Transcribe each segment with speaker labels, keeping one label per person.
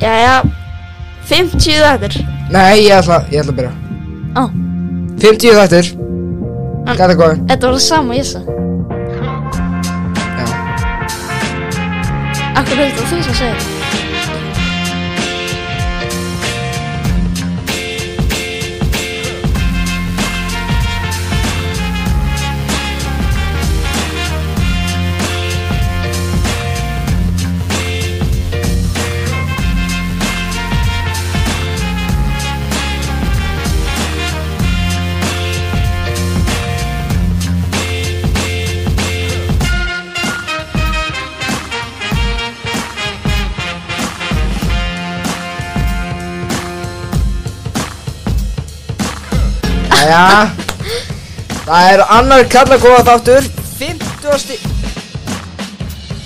Speaker 1: Jæja, 50 þættir.
Speaker 2: Nei, ég ætla, ég ætla að byrja
Speaker 1: Á.
Speaker 2: 50 þættir
Speaker 1: En-
Speaker 2: Gata góði
Speaker 1: Þetta var það sama ég sagði.
Speaker 2: Já
Speaker 1: Akkur er þetta þú sem segir. það?
Speaker 2: Jæja Það er annar kallakóða þáttur 50.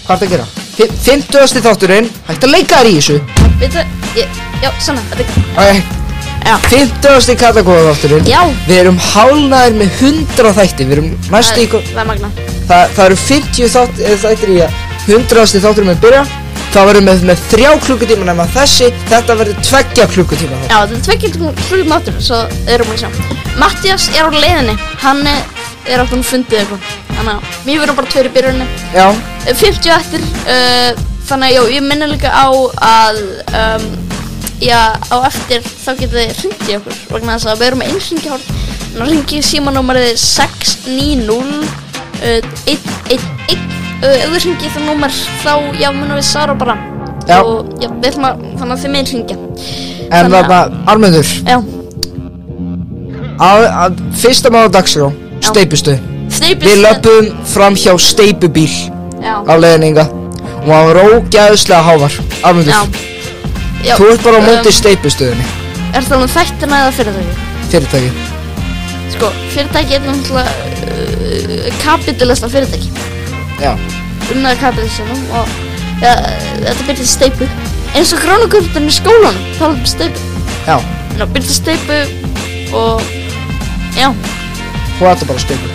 Speaker 2: Hvað ertu að gera? Fi- 50. þátturinn Hægt að leika þér í þessu
Speaker 1: Veitu, ég, já, svona, þetta,
Speaker 2: Ok,
Speaker 1: já.
Speaker 2: 50. kallakóða þátturinn
Speaker 1: Já.
Speaker 2: Við erum hálnaðir með 100 þætti Við erum næstu í
Speaker 1: Það- Það er magna.
Speaker 2: það, það eru 50 þátt, eh, þættir í að 100. þátturinn með byrja Það verður með, með þrjá klukkutíma nema þessi Þetta verður tveggja klukkutíma þáttur
Speaker 1: Já, þetta er tveggjaldum klukkum áttur, svo erum við sjá. Mattias er á leiðinni, hann er, er áttunum fundið eitthvað. Þannig að mér verðum bara tveir í byrjunni.
Speaker 2: Já,
Speaker 1: 50 eftir, uh, þannig að já, ég minna líka á að, um, já, á eftir þá getið þið hringt í okkur. Vegna þess að við erum með einhringjáð, þannig að hringi símanúmerið 690 uh, 111. Uh, ef þið hringið það númer, þá, já, munum við Sara bara.
Speaker 2: Já.
Speaker 1: Og, já, við ætlum að, þannig að þið með hringja.
Speaker 2: en
Speaker 1: Þannig
Speaker 2: það
Speaker 1: að-
Speaker 2: bara almennur
Speaker 1: Já.
Speaker 2: að, að Fyrsta maður dagskrá
Speaker 1: Já.
Speaker 2: Steipustuð
Speaker 1: Sneipi
Speaker 2: Við löpum fram hjá steipubíl
Speaker 1: Já,
Speaker 2: á leiðninga og hann var ógæðslega hávar
Speaker 1: já,
Speaker 2: Armundur,
Speaker 1: já
Speaker 2: þú ert bara á móti
Speaker 1: um,
Speaker 2: steipustöðinni
Speaker 1: Er það um þættina eða fyrirtæki?
Speaker 2: fyrirtæki
Speaker 1: Sko, fyrirtæki er náttúrulega uh, kapitalista fyrirtæki
Speaker 2: Já,
Speaker 1: Unnaður kapitalistinum og ja, þetta byrjaði steipu Eins og grónukurðin í skólanum tala um steipu
Speaker 2: já,
Speaker 1: Ná, byrjaði steipu og Já,
Speaker 2: þú ert bara steipu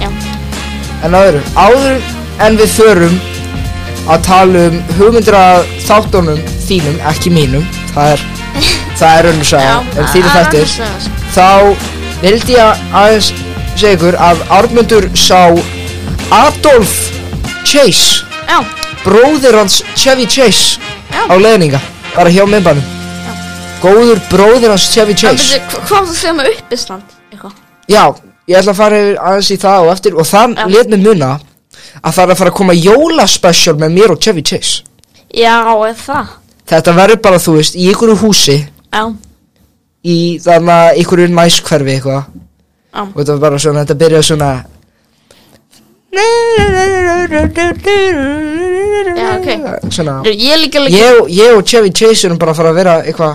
Speaker 1: já,
Speaker 2: En áður, áður en við förum að tala um hugmyndir að þáttunum þínum, ekki mínum það er, það er önnur
Speaker 1: já
Speaker 2: saga en
Speaker 1: að-
Speaker 2: þínu
Speaker 1: að
Speaker 2: þættir
Speaker 1: annars vegar, sko.
Speaker 2: þá vildi ég aðeins segja ykkur að Armundur sá Adolf Chase
Speaker 1: Já,
Speaker 2: bróðir hans Chevy Chase
Speaker 1: Já.
Speaker 2: á leiðninga, bara hjá minnbænum góður bróðir hans Chevy
Speaker 1: en
Speaker 2: Chase
Speaker 1: byrju, hva- hvað var það að segja með uppistand? Eitthvað
Speaker 2: já, ég ætla að fara yfir aðeins í það og eftir og það
Speaker 1: Já.
Speaker 2: let mig muna að það er að fara að koma jólaspecial með mér og Chevy Chase
Speaker 1: Já, er það?
Speaker 2: þetta verður bara, þú veist, í einhverju húsi
Speaker 1: Já,
Speaker 2: í þannig að einhverju næskverfi
Speaker 1: já,
Speaker 2: eitthvað og þetta var bara svona, þetta byrjaði svona
Speaker 1: já, ok
Speaker 2: svona
Speaker 1: Nú, Ég er líka líka
Speaker 2: ég, og- ég og Chevy Chase erum bara að fara að vera eitthvað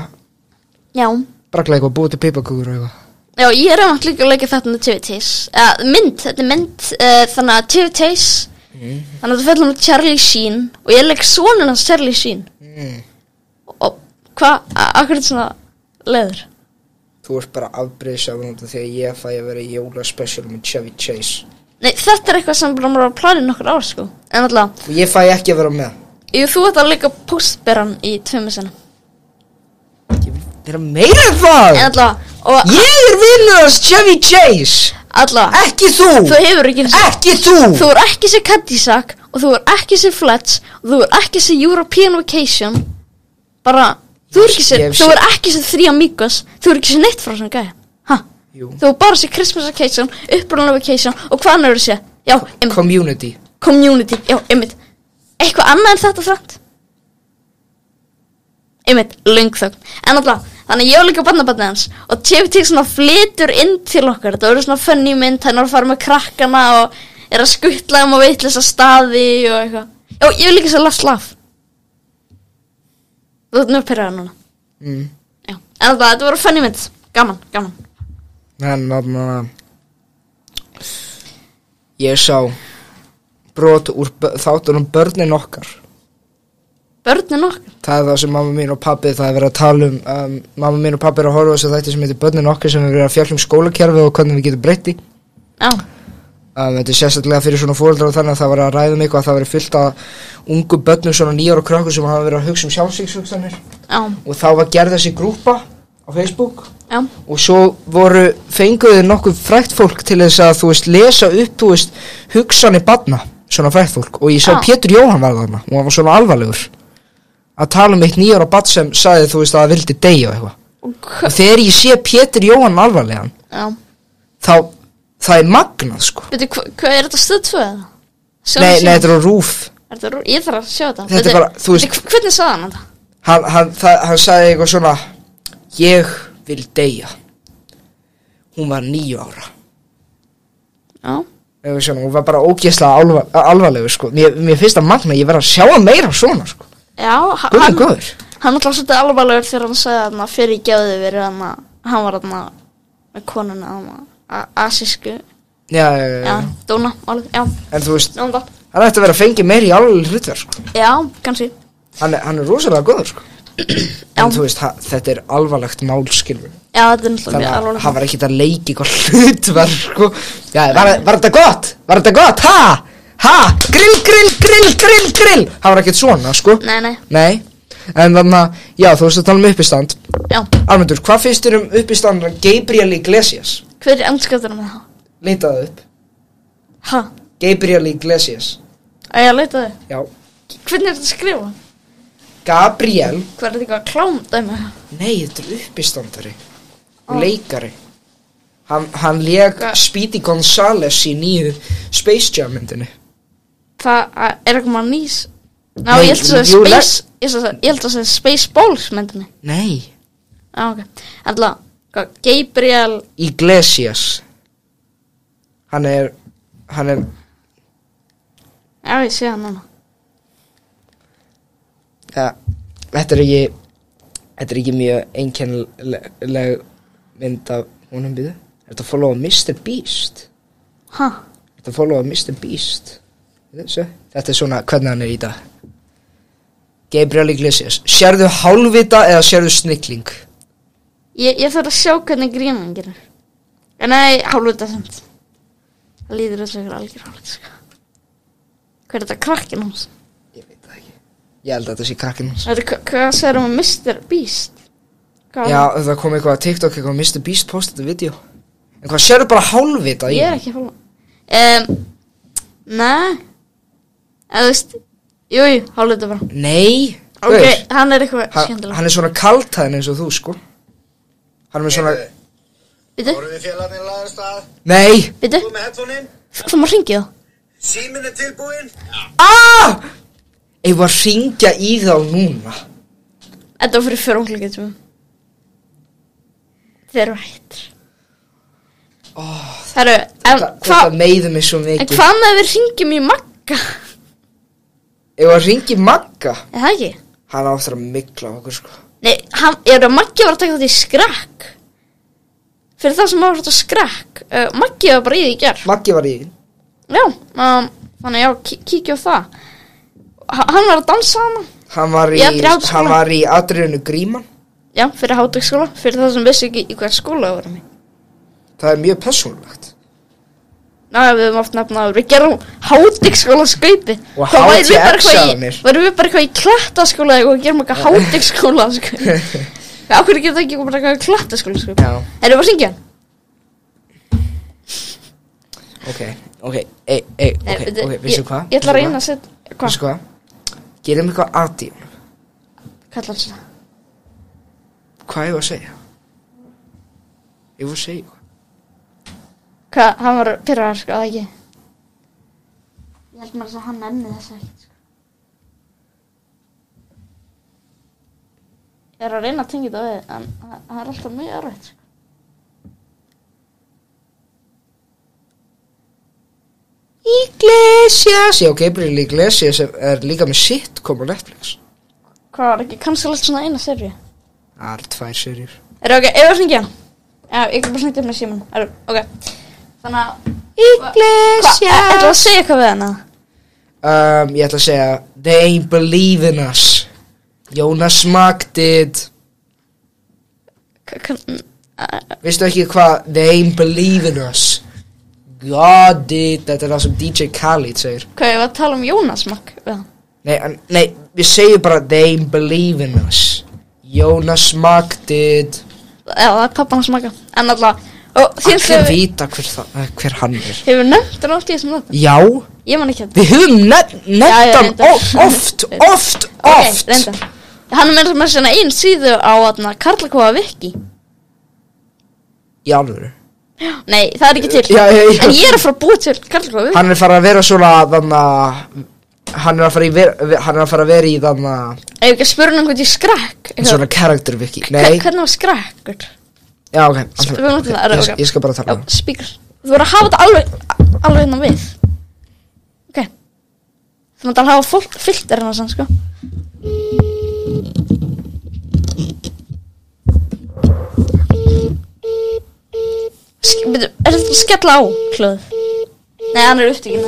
Speaker 1: Já
Speaker 2: brakla eitthvað, búið til pipakugur og eitthvað
Speaker 1: Já, ég er einmitt líka að leika þetta með TVTs uh, Mynd, þetta er mynd uh, Þannig að TVTs Þannig að þetta fellum með Charlie Sheen Og ég leik sonin hans Charlie Sheen
Speaker 2: Mhm.
Speaker 1: Og hvað, akkur þetta svona leður
Speaker 2: Þú ert bara afbreyðsafur út af því að ég fæ að vera í jólaspecial með Chevy Chase
Speaker 1: Nei, þetta er eitthvað sem bara maður var að plana í nokkur ár sko En alltaf,
Speaker 2: og ég fæ ekki að vera með
Speaker 1: jú, þú ert að leika postberan í tveimu sinna
Speaker 2: Þeir eru meira en það
Speaker 1: En alltaf, og
Speaker 2: Ég er vinnur hans Chevy Chase
Speaker 1: alltaf
Speaker 2: Ekki þú
Speaker 1: Ah. Þú hefur ekki eins og-
Speaker 2: Ekki þú
Speaker 1: Þú er ekki sér Cadillac og þú er ekki sér Fletch og þú er ekki sér European Vacation bara, þú er ekki sér
Speaker 2: Ég hef
Speaker 1: þú
Speaker 2: séð-
Speaker 1: er ekki sér Three Amigos þú er ekki sér neitt frá svona gæja ha?
Speaker 2: Jú.
Speaker 1: þú er bara sér Christmas Vacation upprunalina Vacation og hvað annað eru sér já, einmitt,
Speaker 2: Community
Speaker 1: community, já, einmitt eitthvað annað en þetta þrætt einmitt, löng þögn en alltaf, þannig að ég var líka barnabarnið hans og TVT svona flytur inn til okkar þetta voru svona funny mynd, hann er að fara með krakkana og er að skuttla um og veitlisa staði og eitthvað já, ég vil líka sér Last Laugh þú ert nú pyrraða núna
Speaker 2: mm.
Speaker 1: já, en alltaf, þetta voru funny mynd gaman, gaman
Speaker 2: En þarna Ég sá brot úr bö- þáttunum börnin okkar
Speaker 1: börnin okkar,
Speaker 2: Það er það sem mamma mín og pappi, það er verið að tala um, um Mamma mín og pappi er að horfa á þessu þætti sem heitir börnin okkar sem er verið að fjalla um skólakerfi og hvernig við getum breytti
Speaker 1: já,
Speaker 2: Um, þetta er sérstaklega fyrir svona fóreldrar og þannig að það var að ræða um eitthvað að það var fullt af ungu börnum svona nýjar og krakkur sem hafa verið að hugsa um sjálfsvíkshugsanir
Speaker 1: Já,
Speaker 2: og þá var gerð þessi grúpa á Facebook
Speaker 1: já,
Speaker 2: og svo voru fenguðu nokkuð frækt fólk til þess að þú veist lesa upp þú veist hugsanir badna svona frækt fólk og ég sá
Speaker 1: Já.
Speaker 2: Pétur Jóhann var þarna og hann var svona alvarlegur að tala um eitt nýjar og bad sem sagði þú veist að það vildi deyja og eitthvað
Speaker 1: ok,
Speaker 2: og þegar ég sé Pétur Jóhann alvarlegan
Speaker 1: já.
Speaker 2: þá það er magnað sko
Speaker 1: Veitu, hva- hvað er þetta stöð 2 eða?
Speaker 2: nei, nei, þetta er á rúf
Speaker 1: Er þetta rú- Ég þarf að sjá þetta.
Speaker 2: Ah, Þetta er bara- þú veist-
Speaker 1: Veitu, hvernig sagði hann þetta?
Speaker 2: hann, hann, það, hann sagði eitthvað svona ég vil deyja hún var nýju ára
Speaker 1: Já,
Speaker 2: Eða svona, hún var bara ógeðslega alvar, alvarlegu sko. mér, mér finnst það magna, ég verð að sjá hann meira svona sko.
Speaker 1: já, ha-
Speaker 2: Guð
Speaker 1: hann,
Speaker 2: minn góður
Speaker 1: hann alltaf svolítið alvarlegur þegar hann sagði hann að fyrir gjáði verið hann að, hann var hann að, með konuna hann að, a- asísku,
Speaker 2: já, já, já,
Speaker 1: já,
Speaker 2: já.
Speaker 1: dóna, málið, já,
Speaker 2: en þú veist,
Speaker 1: náðum það.
Speaker 2: hann ætti að vera að fengi meira í alveg hlutverk sko.
Speaker 1: Já, kannski,
Speaker 2: hann, er- hann er rosalega góður sko.
Speaker 1: já,
Speaker 2: en þú veist, ha, þetta er alvarlegt málskilvur
Speaker 1: já, þetta er náttúrulega
Speaker 2: þannig
Speaker 1: mjög
Speaker 2: að hann
Speaker 1: alvarlegur.
Speaker 2: var ekki að leika eitthvað hlutverk sko. já, var, var þetta gott? var þetta gott? ha? ha? grill, grill, grill, grill, grill hann var ekkert svona, sko
Speaker 1: Nei, nei,
Speaker 2: nei, en þannig að já, þú veist að tala um uppistand
Speaker 1: já,
Speaker 2: Armendur, hvað finnst þér um uppistandan Gabriel Iglesias?
Speaker 1: hver er angskjöftur með það?
Speaker 2: leitaðu upp
Speaker 1: Ha,
Speaker 2: Gabriel Iglesias
Speaker 1: að ég að leita þau.
Speaker 2: já,
Speaker 1: Hvernig er þetta að skrifa?
Speaker 2: Gabriel
Speaker 1: Hvað er þetta eitthvað klám dæmi?
Speaker 2: nei, þetta er uppistandari og leikari hann, hann leg
Speaker 1: Ga-
Speaker 2: Speedy Gonzales í nýju Space Jam myndinni
Speaker 1: Það a- er eitthvað maður nýs. Ná,
Speaker 2: Nei,
Speaker 1: ég held að
Speaker 2: jú,
Speaker 1: það
Speaker 2: le-
Speaker 1: er space, ég held að það- ég held að það er space balls myndinni.
Speaker 2: nei,
Speaker 1: Já, ok. Alltaf, hvað, Gabriel,
Speaker 2: Iglesias hann er hann er,
Speaker 1: já, ég sé hann núna.
Speaker 2: ja, þetta er ekki þetta er ekki mjög einkennileg mynd af honum býðu er þetta follow Mr. Beast
Speaker 1: Ha,
Speaker 2: Þetta follow að Mr. Beast Þessu. Þetta er svona hvernig hann er í dag Gabriel Iglesias Sérðu hálfvita eða sérðu snilling?
Speaker 1: ég, ég þarf að sjá hvernig grínan gerir. En nei, hálfvita semt. Það líður þessu ykkur algjör hálfvita, sko. Hver er þetta krakkin hans?
Speaker 2: Ég veit það ekki Ég held að þetta sé krakkinn hans
Speaker 1: Þetta, hva- hvað segir um Mr. Beast? Hvað
Speaker 2: Já, það kom eitthvað að TikTok eitthvað Mr. Beast postið þetta video En hvað, sérðu bara
Speaker 1: Ég
Speaker 2: hálfvita í
Speaker 1: er
Speaker 2: yeah.
Speaker 1: ekki að fóla um, Nei Eða þú veist Jú, jú, hálfleita bara
Speaker 2: Nei
Speaker 1: Ok,
Speaker 2: gaur.
Speaker 1: hann er eitthvað
Speaker 2: Ha,
Speaker 1: skemmtilega
Speaker 2: Hann er svona kaltæðin eins og þú, sko Hann er með svona
Speaker 3: Eh.
Speaker 1: Býtu,
Speaker 3: Voruð þið félagarnir lagast að?
Speaker 2: Nei
Speaker 1: býtu,
Speaker 3: Þú með headphone-in?
Speaker 1: þú maður ringið það
Speaker 3: Símin er tilbúin?
Speaker 2: Ah! Ég var að ringja í þá núna
Speaker 1: Þetta var fyrir fjórunglega tíma Þeir eru hættir oh, Herru, en
Speaker 2: Þa, Þetta
Speaker 1: hvað
Speaker 2: meiði mig svo
Speaker 1: En
Speaker 2: mikið
Speaker 1: hvað með við ringjum í Magga?
Speaker 2: Ég var að ringja í Magga
Speaker 1: Er það ekki?
Speaker 2: Hann áttur að mikla á okkur sko
Speaker 1: Nei, hann, er að Maggi var að taka þetta í skrakk Fyrir það sem var þetta skrakk uh, Maggi var bara í því í gær
Speaker 2: Maggi var í því.
Speaker 1: Já, um, þannig já, kí kíkja á það H Hann var að dansa hana
Speaker 2: Hann var í,
Speaker 1: Í atriðinu
Speaker 2: hann
Speaker 1: skóla.
Speaker 2: var í atriðinu gríman
Speaker 1: Já, fyrir hátagsskóla, fyrir það sem vissi ekki í hvern skóla við vorum í
Speaker 2: Það er mjög persónulegt
Speaker 1: Ná, við höfum oft nefnað, við gerum hátagsskóla skaupi
Speaker 2: Og
Speaker 1: Þá værum við bara
Speaker 2: HTX
Speaker 1: eitthvað í-
Speaker 2: salanir.
Speaker 1: værum við bara eitthvað í klattaskóla eitthvað og gerum eitthvað hátagsskóla skaupi Já, hvernig getur það ekki bara eitthvað í klattaskóla skaupi
Speaker 2: Já.
Speaker 1: Erum við að syngja hann?
Speaker 2: Ok, ok, ei, ei,
Speaker 1: Nei,
Speaker 2: ok,
Speaker 1: veitu,
Speaker 2: ok, vissu
Speaker 1: ég-
Speaker 2: hvað?
Speaker 1: Ég ætla að reyna að setja Hvað?
Speaker 2: Vissu hvað? Gerum eitthvað atriðinu
Speaker 1: Kallar hans það?
Speaker 2: Hvað ég var að segja? Ég var að segja eitthvað.
Speaker 1: Hvað, hann var pyrrar sko, eða ekki? Ég held maður að hann nenni þess ekki sko. Ég er að reyna að tengja þetta við, en það- það er alltaf mjög erfitt sko.
Speaker 2: Iglesias Já, Gabriel Iglesias er, er líka með sitcom á Netflix
Speaker 1: Hvað var ekki, kannski alltaf svona eina serju?
Speaker 2: Það er tvær serjur
Speaker 1: Er það ok, ef það syngja hann? Já, ég kan bara syngja hann með síman, er ok. Þannig að, hvað, er það að segja eitthvað við hann? eða?
Speaker 2: um, Ég ætla að segja They ain't believe in us Jonas Magg did
Speaker 1: K- kann-
Speaker 2: Veistu ekki hvað They ain't believe in us god it Þetta er það sem DJ Khaled segir
Speaker 1: Hvað, ég var að tala um Jónas Makk við hann
Speaker 2: Nei, en- nei, við segjum bara They believe in us Jonas Mack did
Speaker 1: Eða það er pappan hans Makka En alltaf Og þér
Speaker 2: Allir
Speaker 1: hefur
Speaker 2: vita hver, það, eh, hver hann er
Speaker 1: Hefur nefnt hann oft í þessum þetta
Speaker 2: Já,
Speaker 1: Ég man ekki að
Speaker 2: við höfum nefnt
Speaker 1: Já, já,
Speaker 2: nefnt hann
Speaker 1: reyndar.
Speaker 2: o- oft, oft, oft
Speaker 1: Ok, reynda Hann er meira með svona einn síðu á aðna Karlakóa Viki
Speaker 2: Í alvöru
Speaker 1: Nei, það er ekki til
Speaker 2: Já, já, já.
Speaker 1: En ég er að fara að búa til Karlakóa Viki
Speaker 2: Hann er farið að vera svona þannig að Hann er að fara, í ver, hann er að fara að vera í þannig að
Speaker 1: Ef ekki að spura hann hvort ég skrekk
Speaker 2: Svona character wiki Nei,
Speaker 1: Hver- Hvernig var skrekkur?
Speaker 2: já ok, alltaf,
Speaker 1: Spurðu mig
Speaker 2: okay.
Speaker 1: til það, er
Speaker 2: Ég,
Speaker 1: ok.
Speaker 2: ég skal bara
Speaker 1: Já,
Speaker 2: tala um
Speaker 1: spíkur Þú verður að hafa þetta alveg Alveg hérna við Ok Þú mátt alveg hafa fólk fyllt er hérna sann sko Sk- byrju, Er þetta að skella á hlöð? Nei, hann er upptíkin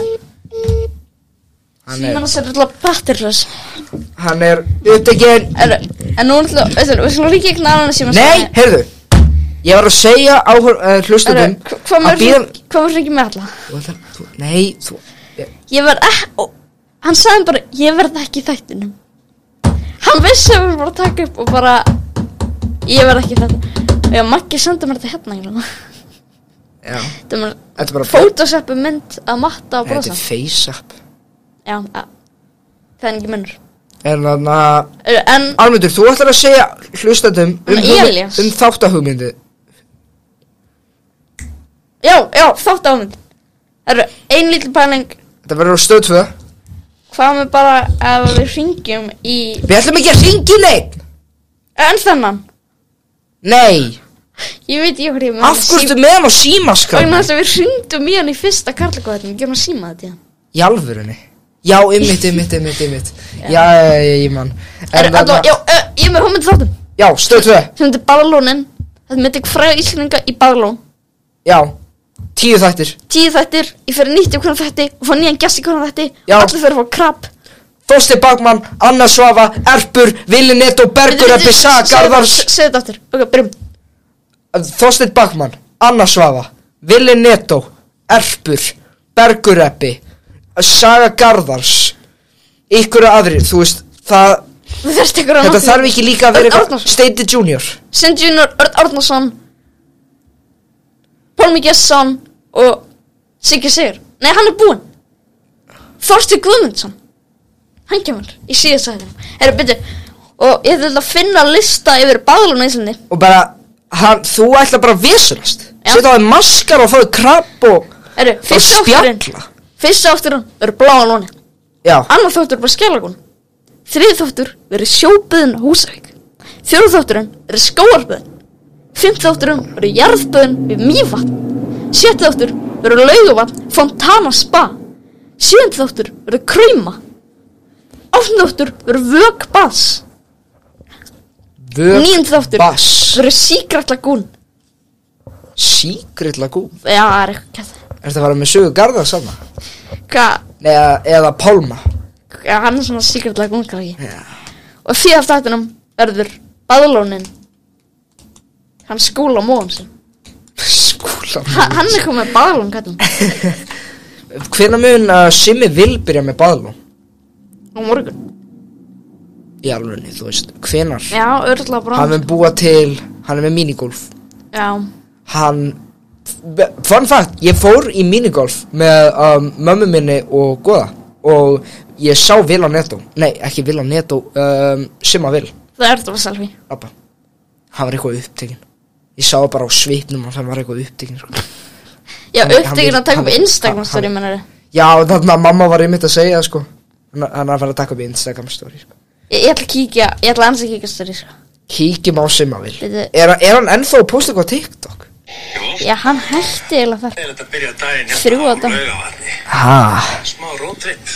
Speaker 2: Hann
Speaker 1: Síman
Speaker 2: er,
Speaker 1: hans er alltaf batterlös
Speaker 2: hann er upptekinn
Speaker 1: En en nú er alltaf Þú veist, við skulum líka ekki náðan að síma
Speaker 2: Nei, heyrðu Ég var að segja á uh, hlustundum
Speaker 1: Hvað maður Hvað maður ekki með alla?
Speaker 2: bíða þú, Nei, þú
Speaker 1: Ég verð ekki ó, Hann sagði bara Ég verð ekki í þættinum Hann vissi að við vorum bara að taka upp og bara Ég verð ekki í þættinum Já, Maggi sendi mér þetta hérna eiginlega.
Speaker 2: Já,
Speaker 1: Þetta er mér
Speaker 2: þetta er bara
Speaker 1: Photoshopu mynd að matta og
Speaker 2: Nei,
Speaker 1: brosa
Speaker 2: Þetta er FaceApp
Speaker 1: Já, já Það er ekki munur
Speaker 2: En þannig að
Speaker 1: Eru, En
Speaker 2: Almundur, þú ætlar að segja hlustendum um,
Speaker 1: Hann er
Speaker 2: hugmynd-
Speaker 1: Elías.
Speaker 2: um þáttahugmyndi
Speaker 1: Já, já, þátt á mynd Það eru ein lítil pæling
Speaker 2: Þetta verður á stöð 2
Speaker 1: Hvað með bara ef við hringjum í
Speaker 2: Við ætlum ekki að ringi neitt
Speaker 1: En þennan
Speaker 2: Nei,
Speaker 1: Ég veit ég hvað ég
Speaker 2: af hverju ertu með hann á símaskrá
Speaker 1: Vagnar þess að við hringdum í hann í fyrsta karlakvæðin Gjörna síma þetta í hann
Speaker 2: Í alvörunni Já, ymmit, ymmit, ymmit, ymmit Já, já, já, ég man
Speaker 1: Er,
Speaker 2: þarna-
Speaker 1: allá, já, ö, ég er með hómið þáttum
Speaker 2: Já, stöð 2
Speaker 1: sem heitir Baðlónin þetta með ekki fræða íslendinga í Baðlón
Speaker 2: Já, tíu þættir
Speaker 1: tíu þættir, ég fer nýtt í hvernig þætti og fá nýjan gest í hvernig þætti
Speaker 2: Já.
Speaker 1: og allir fyrir að fá krab
Speaker 2: Þorsti Bakmann, Anna Svafa, Erpur, Vili Netto, Bergur
Speaker 1: Bíddu, bíddu,
Speaker 2: Ebbi, Saga
Speaker 1: segðu-
Speaker 2: Garðars
Speaker 1: se- segðu þetta aftur, ok, byrjum
Speaker 2: Þorsteinn Bakmann, Anna Svafa, Vili Netto, Erpur, Bergur Ebbi, Saga Garðars, ykkur aðri, þú veist, það,
Speaker 1: þú þarft ykkur að
Speaker 2: þetta þarf ekki líka að vera
Speaker 1: Örn
Speaker 2: eitthvað,
Speaker 1: Árnason
Speaker 2: Steindi Junior,
Speaker 1: Send Junior, Örn Árnason Pálmi Gesson og Siggi Sigur nei, hann er búinn Þorsti Guðmundsson hann kemur í síðasæðum herra, byrju og ég ætla að finna lista yfir Baðlón í Íslandi
Speaker 2: og bara, hann, þú ætla bara að vesunast,
Speaker 1: Já.
Speaker 2: setja á þig maskar og fáið krabb og,
Speaker 1: Eru, fyrsta
Speaker 2: Og spjalla.
Speaker 1: átturinn Fyrsta átturinn verður bláa lóni
Speaker 2: já,
Speaker 1: Annar þáttur bara skellakon Þrið þáttur verður sjóbyðin á Húsavík Fjóru þátturinn verður skóarbyðin Fimm þátturinn verður jarðbyðin við Mývatn Sjett þáttur verður laugavatn Fontana Spa Sjönd þáttur verður kröyma Áttun þáttur verður vögbass
Speaker 2: vöp,
Speaker 1: Níund þáttur
Speaker 2: bass,
Speaker 1: verður síkratlagún
Speaker 2: secret lagú,
Speaker 1: Já, það er eitthvað
Speaker 2: er þetta að fara með sögu Garðars saman,
Speaker 1: Hvað,
Speaker 2: eða, eða Pálma,
Speaker 1: Já, hann er svona síkratlagún krakki
Speaker 2: já,
Speaker 1: Og því af þáttunum verður baðlónin Hann skúla móðum sinn
Speaker 2: skúla,
Speaker 1: ha, Hann er komið með baðlón kattum
Speaker 2: hvenær mun uh, Simmi vil byrja með baðlum?
Speaker 1: Á morgun
Speaker 2: í alvörunni, þú veist, hvenar
Speaker 1: Já, örgulega bara
Speaker 2: hann mun búa til, hann er með minigolf
Speaker 1: Já,
Speaker 2: hann fun fact, ég fór í minigolf með um, mömmu minni og goða og ég sá vil á netto nei, ekki vil á netto um, sem að vil,
Speaker 1: það er þetta bara selfie
Speaker 2: abba hann var eitthvað upptekinn ég sá það bara á svipnum hans, hann var eitthvað upptekinn sko.
Speaker 1: Já,
Speaker 2: Hann- hann
Speaker 1: upptekinn
Speaker 2: vill-
Speaker 1: að taka
Speaker 2: hann
Speaker 1: upp
Speaker 2: vill-
Speaker 1: Instagram
Speaker 2: hann-
Speaker 1: story mennari
Speaker 2: já, þannig að mamma var einmitt að segja sko. hann hann er að fara að taka upp í Instagram story sko.
Speaker 1: Ég, ég ætla að kíkja, ég ætla að að kíkja story sko.
Speaker 2: kíkjum á sem að vil
Speaker 1: Bíddu.
Speaker 2: er, hann- er hann ennþá að posta eitthvað á TikTok?
Speaker 1: Já, hann hætti eiginlega þar
Speaker 3: Er þetta byrja daginn hérna
Speaker 1: Þrjú á
Speaker 3: á
Speaker 1: dag. Eh.
Speaker 3: laugavatni?
Speaker 2: ha,
Speaker 3: Smá rótripp.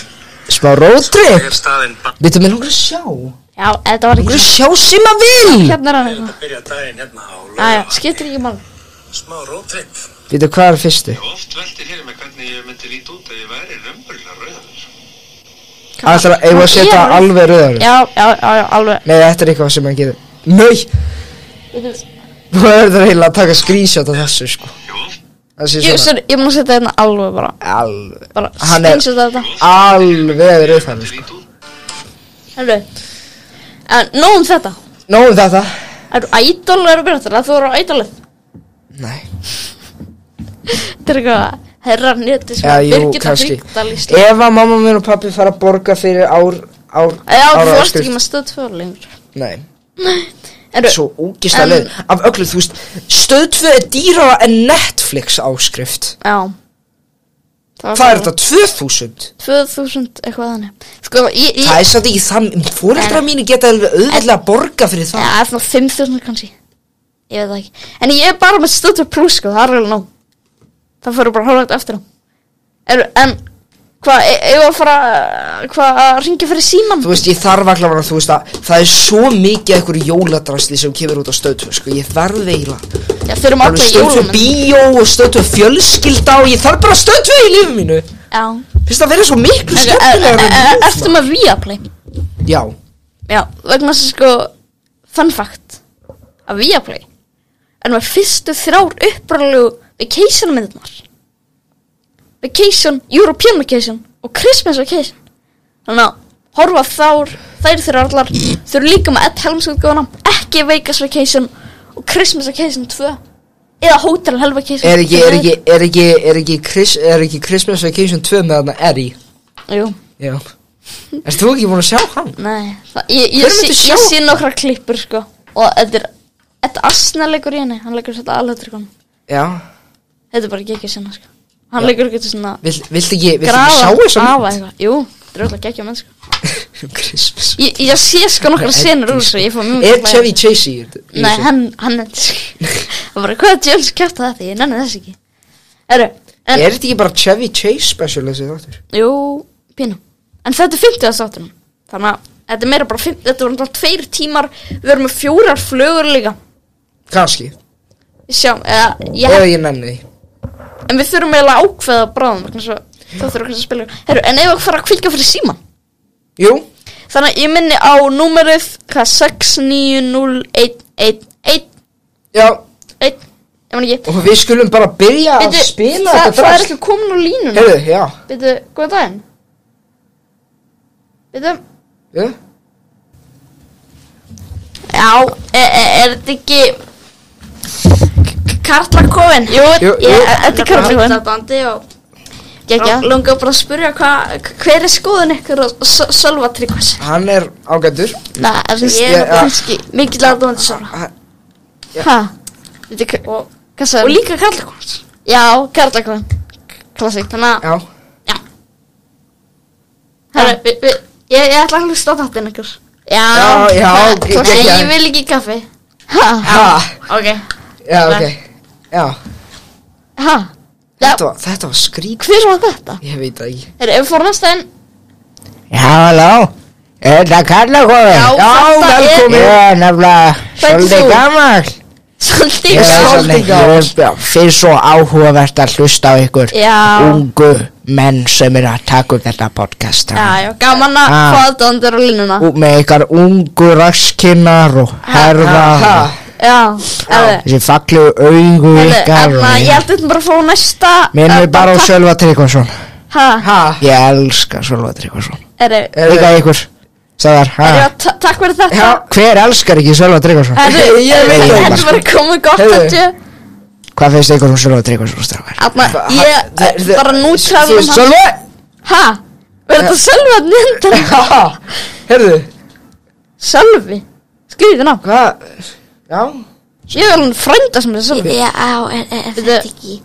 Speaker 2: smá roadtrip
Speaker 3: Er staðinn bara
Speaker 2: Vittu, mér langar að sjá Mér
Speaker 1: Já, þetta var
Speaker 2: langar
Speaker 1: ekki
Speaker 2: að sjá sem að vil
Speaker 1: Hérna er hann eitthvað
Speaker 3: að byrja daginn hérna á
Speaker 1: Æja,
Speaker 3: laugavatni?
Speaker 1: skiptir ekki mál
Speaker 3: Smá rótripp.
Speaker 2: Vittu, hvað er fyrstu?
Speaker 4: Oft veltir fyrir mig hvernig ég myndi líti út ef ég væri raunverulega rauður.
Speaker 2: Ætlar að, eigum við að setja
Speaker 1: Ég-
Speaker 2: alveg röðar
Speaker 1: Já, já, já, já, alveg
Speaker 2: Nei, þetta er eitthvað sem hann gerir Nei,
Speaker 1: Bíddu,
Speaker 2: þú verður eiginlega að taka screenshot af þessu, sko
Speaker 4: Jú, oft
Speaker 2: Það sé
Speaker 1: Jú,
Speaker 2: svona
Speaker 1: sorry, ég mun að setja hérna alveg bara
Speaker 2: Alveg
Speaker 1: Bara
Speaker 2: Hann er-
Speaker 1: screenshot þetta
Speaker 2: Alveg rauð þannig sko.
Speaker 3: lít út
Speaker 1: Herru En nóg um þetta
Speaker 2: Nóum þetta
Speaker 1: Eru ædol eru byrjað að þú eru á ædolið
Speaker 2: Nei
Speaker 1: Þetta er eitthvað herra neti sem
Speaker 2: Já,
Speaker 1: að
Speaker 2: jú,
Speaker 1: Birgitta
Speaker 2: kannski
Speaker 1: Haukdal í slík
Speaker 2: Ef að mamma minn og pappi fara að borga fyrir ár ár
Speaker 1: Já, þú varst
Speaker 2: áskrift-
Speaker 1: ekki með stöð tvö lengur
Speaker 2: Nei
Speaker 1: Herru,
Speaker 2: Svo ógist að
Speaker 1: En-
Speaker 2: leið Af öllu, þú veist Stöð 2 er dýrara en Netflix áskrift
Speaker 1: já
Speaker 2: Hvað er þetta? 2000?
Speaker 1: 2000 eitthvað þannig Sko, ég, ég
Speaker 2: Það er satt ekki þann Fóreldra
Speaker 1: En-
Speaker 2: mínu geta alveg auðvitað borga fyrir
Speaker 1: Já,
Speaker 2: það
Speaker 1: það er svona 5000 kannski Ég veit það ekki En ég er bara með stötu plus sko, það er alveg nóg Það fyrir bara hálflegt eftir á er, En, hvað, e- eigum við að fara eh, Hvað, að ringja fyrir síman?
Speaker 2: Þú veist, ég þarf allavega, þú veist að það er svo mikið af einhverju jóladrasli sem kemur út á stöðtöð, sko, ég verð eiginlega.
Speaker 1: Já, þurfum
Speaker 2: Alveg
Speaker 1: alltaf
Speaker 2: stöðtöð
Speaker 1: jólum
Speaker 2: bíó og stöðtöð fjölskylda og ég þarf bara stöðtöð í lífið mínu.
Speaker 1: Já
Speaker 2: Finnst það að vera svo
Speaker 1: Er-
Speaker 2: miklu
Speaker 1: er-
Speaker 2: skemmtilegur
Speaker 1: er- er- Ertu með Viaplay?
Speaker 2: Já,
Speaker 1: Já, vegna þess að sko Fun fact Að Viaplay Er með fyrstu þrjár upprænlegu Vacation myndirnar Vacation, European Vacation Og Christmas Vacation Þannig að horfa á þár Þær þurfa allar Þau eru líka með Ed Helms útgáfuna Ekki Vegas Vacation Og Christmas Vacation 2 Eða Hotel Hell Vacation
Speaker 2: er ekki, er ekki, er ekki, er ekki, Chris, er ekki Christmas Vacation 2 með þarna Eddie?
Speaker 1: Jú,
Speaker 2: Já. Erst þú ekki búin að sjá hann?
Speaker 1: nei það, Ég,
Speaker 2: Hver
Speaker 1: ég,
Speaker 2: myndi
Speaker 1: ég,
Speaker 2: sjá-
Speaker 1: ég sé nokkra klippur sko Og þetta er Þetta asna leikur í henni Hann leikur þetta alveg konum
Speaker 2: Já,
Speaker 1: Þetta er bara geggja sinna sko Hann leikur ekki til svona
Speaker 2: Vill, vilt ekki, vilt ekki sjá
Speaker 1: Grafa,
Speaker 2: þess að
Speaker 1: grafa eitthvað Jú, þetta er öll að geggja menn sko
Speaker 2: Christmas.
Speaker 1: Ég, ég sé sko nokkra senur úr þessu Ég fór mjög
Speaker 2: Er
Speaker 1: mikið
Speaker 2: Chevy Chase í þetta? í
Speaker 1: Nei,
Speaker 2: þessu?
Speaker 1: hann, hann er Það var hvað er James kæft að þetta Ég nenni þess ekki Eru, en,
Speaker 2: Er þetta ekki bara Chevy Chase special þessi þáttur?
Speaker 1: jú, pínu En þetta er 50 að státtunum Þannig að þetta er meira bara 50 Þetta voru náttúrulega tveir tímar Við erum með fjórar flögur líka
Speaker 2: Kanski,
Speaker 1: Við Sjáum, eða, ég
Speaker 2: eða ég nenni því
Speaker 1: En við þurfum eiginlega að ákveða bráðum vegna þess að Það þurfum kannski að spila Heru, En ef við fara að kvíka fyrir síman
Speaker 2: Jú,
Speaker 1: Þannig að ég minni á númerið hvað 690111
Speaker 2: já,
Speaker 1: ég man ekki
Speaker 2: og við skulum bara byrja að
Speaker 1: Bíddu,
Speaker 2: spila
Speaker 1: það,
Speaker 2: þetta
Speaker 1: það er
Speaker 2: drast
Speaker 1: ekki komin úr línuna
Speaker 2: Heyrðu, já,
Speaker 1: Bíddu, góðan daginn Bíddu,
Speaker 2: já,
Speaker 1: já, e, e, er þetta ekki K- Karlakofinn? Jú,
Speaker 2: Jú,
Speaker 1: ég- e,
Speaker 2: jú.
Speaker 1: þetta er Karlakofinn
Speaker 5: aðdandi og
Speaker 1: Gekja,
Speaker 5: langar bara að spurja hvað, hver er skoðun ykkur og Sölva Tryggvas?
Speaker 2: hann er ágættur
Speaker 1: na, er þetta
Speaker 2: Ég-
Speaker 1: ekki
Speaker 2: ja.
Speaker 1: kannski
Speaker 5: Mikið aðdandi Sölva.
Speaker 1: Hæ, bíddu, hva- hvað
Speaker 5: Og
Speaker 1: sagði
Speaker 5: líka Karlakons.
Speaker 1: Já, Karlakofinn Klassik, þannig að
Speaker 2: Já,
Speaker 1: Herru,
Speaker 5: Herru, vi- vi- Ég, ég ætla að hlusta á þáttinn ykkur.
Speaker 1: Já,
Speaker 2: Já, já,
Speaker 1: Ha,
Speaker 2: ég-
Speaker 1: klart.
Speaker 2: ég-
Speaker 5: Nei,
Speaker 2: Geggjað.
Speaker 5: ég vil ekki kaffi.
Speaker 1: Ha,
Speaker 2: ha,
Speaker 5: Ok.
Speaker 2: já, ok Já,
Speaker 1: ha Já,
Speaker 2: þetta var, þetta var skrík
Speaker 1: hver var þetta?
Speaker 2: Ég veit það ekki
Speaker 1: Er, ef við fórum næsta inn
Speaker 6: Já, halló, er þetta kalla komið?
Speaker 1: Já, þetta er-
Speaker 6: Ég er
Speaker 1: Hvað
Speaker 6: nefnilega
Speaker 1: heitir
Speaker 6: svolítið
Speaker 1: þú?
Speaker 6: gammal.
Speaker 1: Svolítið
Speaker 6: Ég er
Speaker 2: svolítið
Speaker 6: svolítið
Speaker 2: gamall.
Speaker 6: gammal. Ég finn svo áhugavert að hlusta á ykkur
Speaker 1: Já.
Speaker 6: ungu menn sem er að taka upp þetta podcast.
Speaker 1: Já, já, gaman að
Speaker 2: Ah.
Speaker 6: Ha.
Speaker 1: fá þetta undir á línuna
Speaker 6: Og með ykkar ungu raskinnar og herðar.
Speaker 2: Ha,
Speaker 6: og
Speaker 1: Já, eða
Speaker 6: Þessi fallegu augu ykkar.
Speaker 1: Þannig að ég held þetta bara að fá næsta
Speaker 6: Minn
Speaker 1: eh,
Speaker 6: er bara á
Speaker 1: takk-
Speaker 6: Sölva Tryggvason.
Speaker 1: Ha,
Speaker 2: ha,
Speaker 6: Ég elska Sölva Tryggvason.
Speaker 1: er
Speaker 2: Heyrðu.
Speaker 6: Líka ykkur. Sæðar, hæ?
Speaker 1: Já, ta- takk fyrir þetta
Speaker 2: Já.
Speaker 6: Hver elskar ekki Sölva Tryggvason?
Speaker 1: Herru,
Speaker 2: Ég veit
Speaker 1: herru,
Speaker 6: það.
Speaker 1: Þetta var komið gott
Speaker 2: Heyrðu.
Speaker 1: þetta
Speaker 6: Hvað finnst ykkur um Sölva Tryggvason, strákar?
Speaker 1: Þannig
Speaker 2: Ha-
Speaker 1: að ég
Speaker 2: þe-
Speaker 1: eh,
Speaker 2: þe-
Speaker 1: bara nú um
Speaker 2: þú
Speaker 1: trefnum
Speaker 2: veist, Sölvi
Speaker 1: Ha, verður þetta Sölvi að nýnda
Speaker 2: Ha, heyrðu,
Speaker 1: Sölvi, skrýði ná
Speaker 2: hvað Já,
Speaker 1: Ég er alveg frænda sem er Sölvi
Speaker 5: Já, er, er, er þetta ekki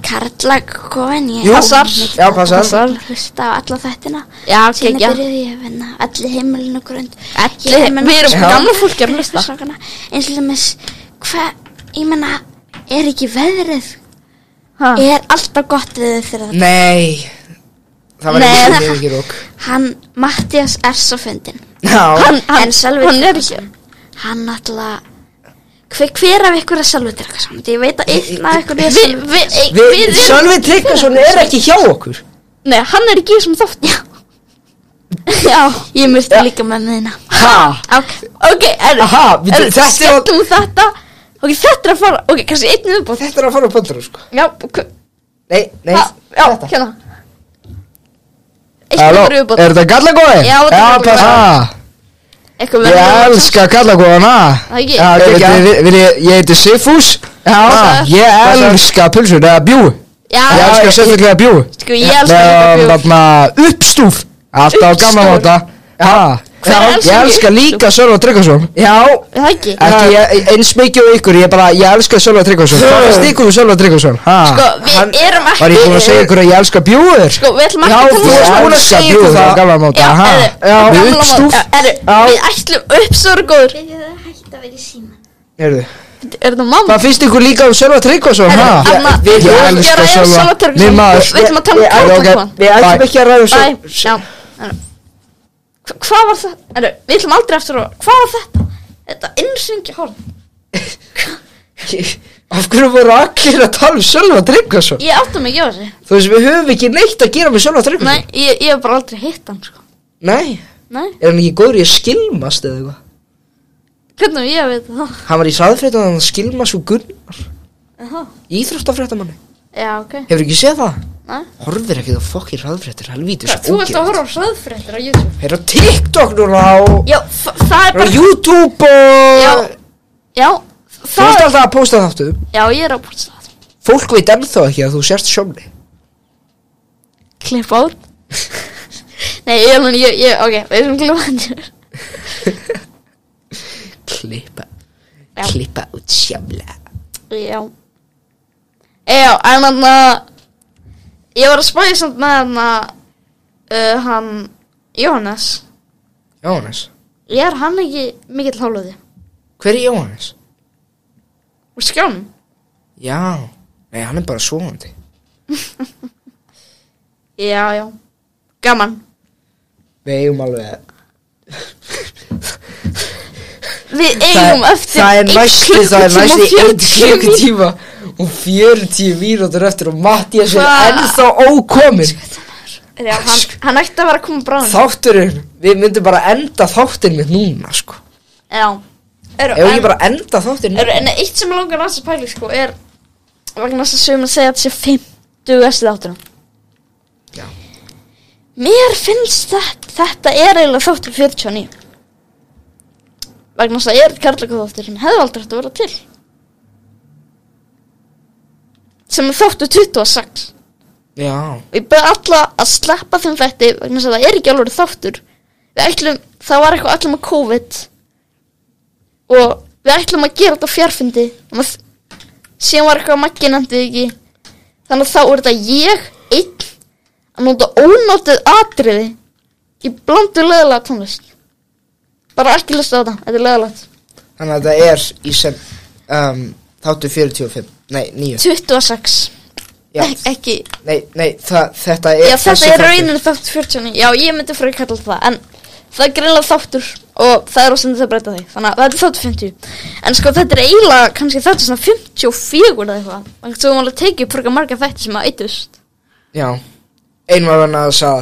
Speaker 5: Karlakofinn?
Speaker 2: Jú,
Speaker 1: Passar.
Speaker 2: já, passar.
Speaker 5: Hlusta á alla þættina.
Speaker 1: Já,
Speaker 5: Sýna
Speaker 1: geggja.
Speaker 5: byrjuði ég að vinna allir heimilin og grund
Speaker 1: Allir- við erum
Speaker 2: Já.
Speaker 1: gamla fólki að hlusta.
Speaker 5: eins og dæmis hvað, ég menna, er ekki veðrið
Speaker 1: Ha.
Speaker 5: er alltaf gott veðrið fyrir það
Speaker 2: nei Það var
Speaker 1: Nei.
Speaker 2: ekki, ég er ekki rók
Speaker 5: hann, Mattias er svo fyndin
Speaker 2: Já,
Speaker 1: Hann, hann,
Speaker 5: en Sölvi
Speaker 1: hann er ekki
Speaker 5: Tryggvason, hann náttúrulega hver, hver af ykkur er Sölvi
Speaker 1: um
Speaker 5: Tryggvason ég veit að einn af ykkur er
Speaker 1: Við,
Speaker 5: Sölvi
Speaker 1: við, við,
Speaker 2: við,
Speaker 1: við erum
Speaker 2: Sölvi Tryggvason er ekki hjá okkur
Speaker 1: Nei, hann er ekki í þessum þátt Já,
Speaker 5: já, ég myrti líka með miðina
Speaker 2: Ha,
Speaker 5: ok,
Speaker 1: ok, er,
Speaker 2: Aha, við-
Speaker 1: er,
Speaker 2: þetta er-
Speaker 1: skellum þetta og Ok, þetta er að fara, ok, kannski einn viðbútt
Speaker 2: Þetta er að fara á pöndra sko
Speaker 1: Já, hva-
Speaker 2: Nei, nei,
Speaker 1: ha, já,
Speaker 2: þetta
Speaker 1: hérna Eitt
Speaker 6: Halló,
Speaker 1: viðbútt
Speaker 6: er þetta gallagói?
Speaker 1: Já, þetta er gallagói. Eitthvað
Speaker 6: Ég elska Ah, gallagóana
Speaker 1: Það ekki?
Speaker 6: Já,
Speaker 2: Ekki,
Speaker 6: ég,
Speaker 2: já.
Speaker 6: ég, ég, ég heiti Sifus Já,
Speaker 1: Blessaður.
Speaker 6: ég elska pulsur, eða bjú
Speaker 1: Já,
Speaker 6: Ég elska sérstaklega bjú
Speaker 1: Sko, ég elska líka bjór.
Speaker 6: Þarna, uppstúf Alltaf á gamla
Speaker 1: Uppstúf.
Speaker 6: móta Já,
Speaker 1: Hver elskar
Speaker 6: já, ég
Speaker 1: ekki
Speaker 6: elska líka Sölva Tryggvason
Speaker 2: Já,
Speaker 1: Er Það ekki
Speaker 6: Já.
Speaker 2: ekki ég- eins mikið og ykkur, ég bara, ég elska Sölva Tryggvason Hvað finnst ykkur um Sölva Tryggvason? Ha?
Speaker 1: Sko, við
Speaker 2: Hann-
Speaker 1: erum ekki
Speaker 6: Var ég búinn að segja ykkur að ég elska bjúður?
Speaker 1: Sko, við ætlum
Speaker 2: Já,
Speaker 1: ekki
Speaker 2: þú
Speaker 1: að
Speaker 2: varst
Speaker 1: tala
Speaker 2: búin að segja ykkur það.
Speaker 6: á gamla móta
Speaker 1: Já,
Speaker 6: ha.
Speaker 1: heyrðu,
Speaker 2: Já.
Speaker 1: á
Speaker 6: Við
Speaker 1: gamla
Speaker 6: uppstúf
Speaker 1: mót- Já, heyrðu,
Speaker 2: Já.
Speaker 1: Við ætlum uppsöru góður
Speaker 5: Byrjuðu að hætta að vera í síman.
Speaker 2: Heyrðu,
Speaker 1: Er það mamma?
Speaker 2: Hvað finnst ykkur líka um Sölva Tryggvason?
Speaker 1: Heyrðu,
Speaker 2: ha?
Speaker 1: Anna,
Speaker 2: Ég-
Speaker 1: við
Speaker 2: ég-
Speaker 1: erum að
Speaker 6: elska
Speaker 1: gera eða
Speaker 6: Sölva.
Speaker 1: Sölva
Speaker 6: Minn maður.
Speaker 1: Við ætlum að tala um Kápa
Speaker 2: Ég- ég- ok,
Speaker 1: Kóan
Speaker 2: Við ætlum
Speaker 6: Bye.
Speaker 2: ekki að ræða
Speaker 1: Bæ,
Speaker 2: svo
Speaker 1: já heyrðu. Hva- Hvað var það? Heyrðu, Við ætlum aldrei aftur að Hvað var þetta? Þetta innsyngja horn
Speaker 2: Af hverju voru allir að tala um Sölva Tryggvason?
Speaker 1: Ég átta mig ekki á þessu
Speaker 2: Þú veist, við höfum ekki neitt að gera með Sölva
Speaker 1: Nei,
Speaker 2: Tryggvason
Speaker 1: ég ég hef bara aldrei hitt hann sko
Speaker 2: Nei,
Speaker 1: Nei,
Speaker 2: er hann ekki góður í að skilmast eða eitthvað?
Speaker 1: hvernig á ég að veit það?
Speaker 2: Hann var í saðfréttan að hann skilmast og Gunnar
Speaker 1: Aha.
Speaker 2: Íþróttafréttamanni
Speaker 1: Já, ok
Speaker 2: Hefur ekki séð það?
Speaker 1: Nei.
Speaker 2: Horfir ekki það fokkir hraðfréttir, helvítis
Speaker 1: Hvað, Þú ert að horfa á hraðfréttir á YouTube
Speaker 2: Er á TikTok núna á,
Speaker 1: Já, þa- það er
Speaker 2: á
Speaker 1: bara
Speaker 2: YouTube og
Speaker 1: Já, já
Speaker 2: Þú ert
Speaker 1: það,
Speaker 2: alltaf að posta þáttu
Speaker 1: Já, ég er að búinst það
Speaker 2: Fólk veit ennþá ekki að þú sérst sjómni
Speaker 1: Klipp át Nei, ég er alveg, ég, ég, ok, við erum klipp át
Speaker 2: Klippa
Speaker 1: Já.
Speaker 2: Klippa út sjómla
Speaker 1: Já Eh, Já, en hann að Ég var að spæði samt með hann að uh, Hann, Jóhannes
Speaker 2: Jóhannes
Speaker 1: Ég er hann ekki mikill hálóði
Speaker 2: Hver er Jóhannes?
Speaker 1: Úr skjánum
Speaker 2: Já Nei, hann er bara svovandi
Speaker 1: Já, já Gaman
Speaker 2: Við eigum alveg
Speaker 1: Við
Speaker 2: Það-
Speaker 1: eigum eftir
Speaker 2: Það er
Speaker 1: einn
Speaker 2: næstu, það er
Speaker 1: klukkutíma
Speaker 2: næstu
Speaker 1: og
Speaker 2: 1
Speaker 1: 40 mínútur.
Speaker 2: klukkutíma og 40 mínútur eftir og Mattias er
Speaker 1: Hva?
Speaker 2: ennþá ókomin
Speaker 1: Já, hann, hann ætti að vera að koma bráðum
Speaker 2: Þátturinn, við myndum bara enda þáttinn mitt núna sko
Speaker 1: Já Eru,
Speaker 2: Ef ekki bara enda þáttinn
Speaker 1: er,
Speaker 2: núna
Speaker 1: en eitt sem mig langar að þessi pæli sko er vegna þess að sögum að segja að þetta sé 50 þessi þáttunum
Speaker 2: Já.
Speaker 1: mér finnst þetta þetta er eiginlega þáttur 49 vegna þess að er karlaka þáttur sem hefði aldrei hægt að vera til sem er þáttur 26
Speaker 2: Já,
Speaker 1: og ég byrði alla að sleppa þeim þetta vegna þess að það er ekki alveg þáttur við ætlum, það var eitthvað allir með COVID og við ætlum að gera þetta á fjárfundi og maður- síðan var eitthvað að maggi nefndi því ekki þannig að þá er þetta ég einn að nota ónótið atriði í blandu leðalega tónlist bara ekki lusta á þetta, þetta er leðalegt
Speaker 2: þannig að það er í sem um, þáttur 45 Nei, 9
Speaker 1: 26
Speaker 2: Já.
Speaker 1: Ek, ekki,
Speaker 2: Nei, nei, það, þetta er
Speaker 1: Já, þetta
Speaker 2: þessi
Speaker 1: er
Speaker 2: þáttur.
Speaker 1: rauninu þáttur 49 Já, ég myndi fyrir að kalla það En það er greinlega þáttur Og það er á sem þetta breyta því Þannig að þetta er þáttur 50 En sko, þetta er eiginlega kannski þáttur svona 54 eða eitthvað Þannig að þú málega tekið fyrir marga þætti sem að eittust
Speaker 2: Já, einu var hann að þess að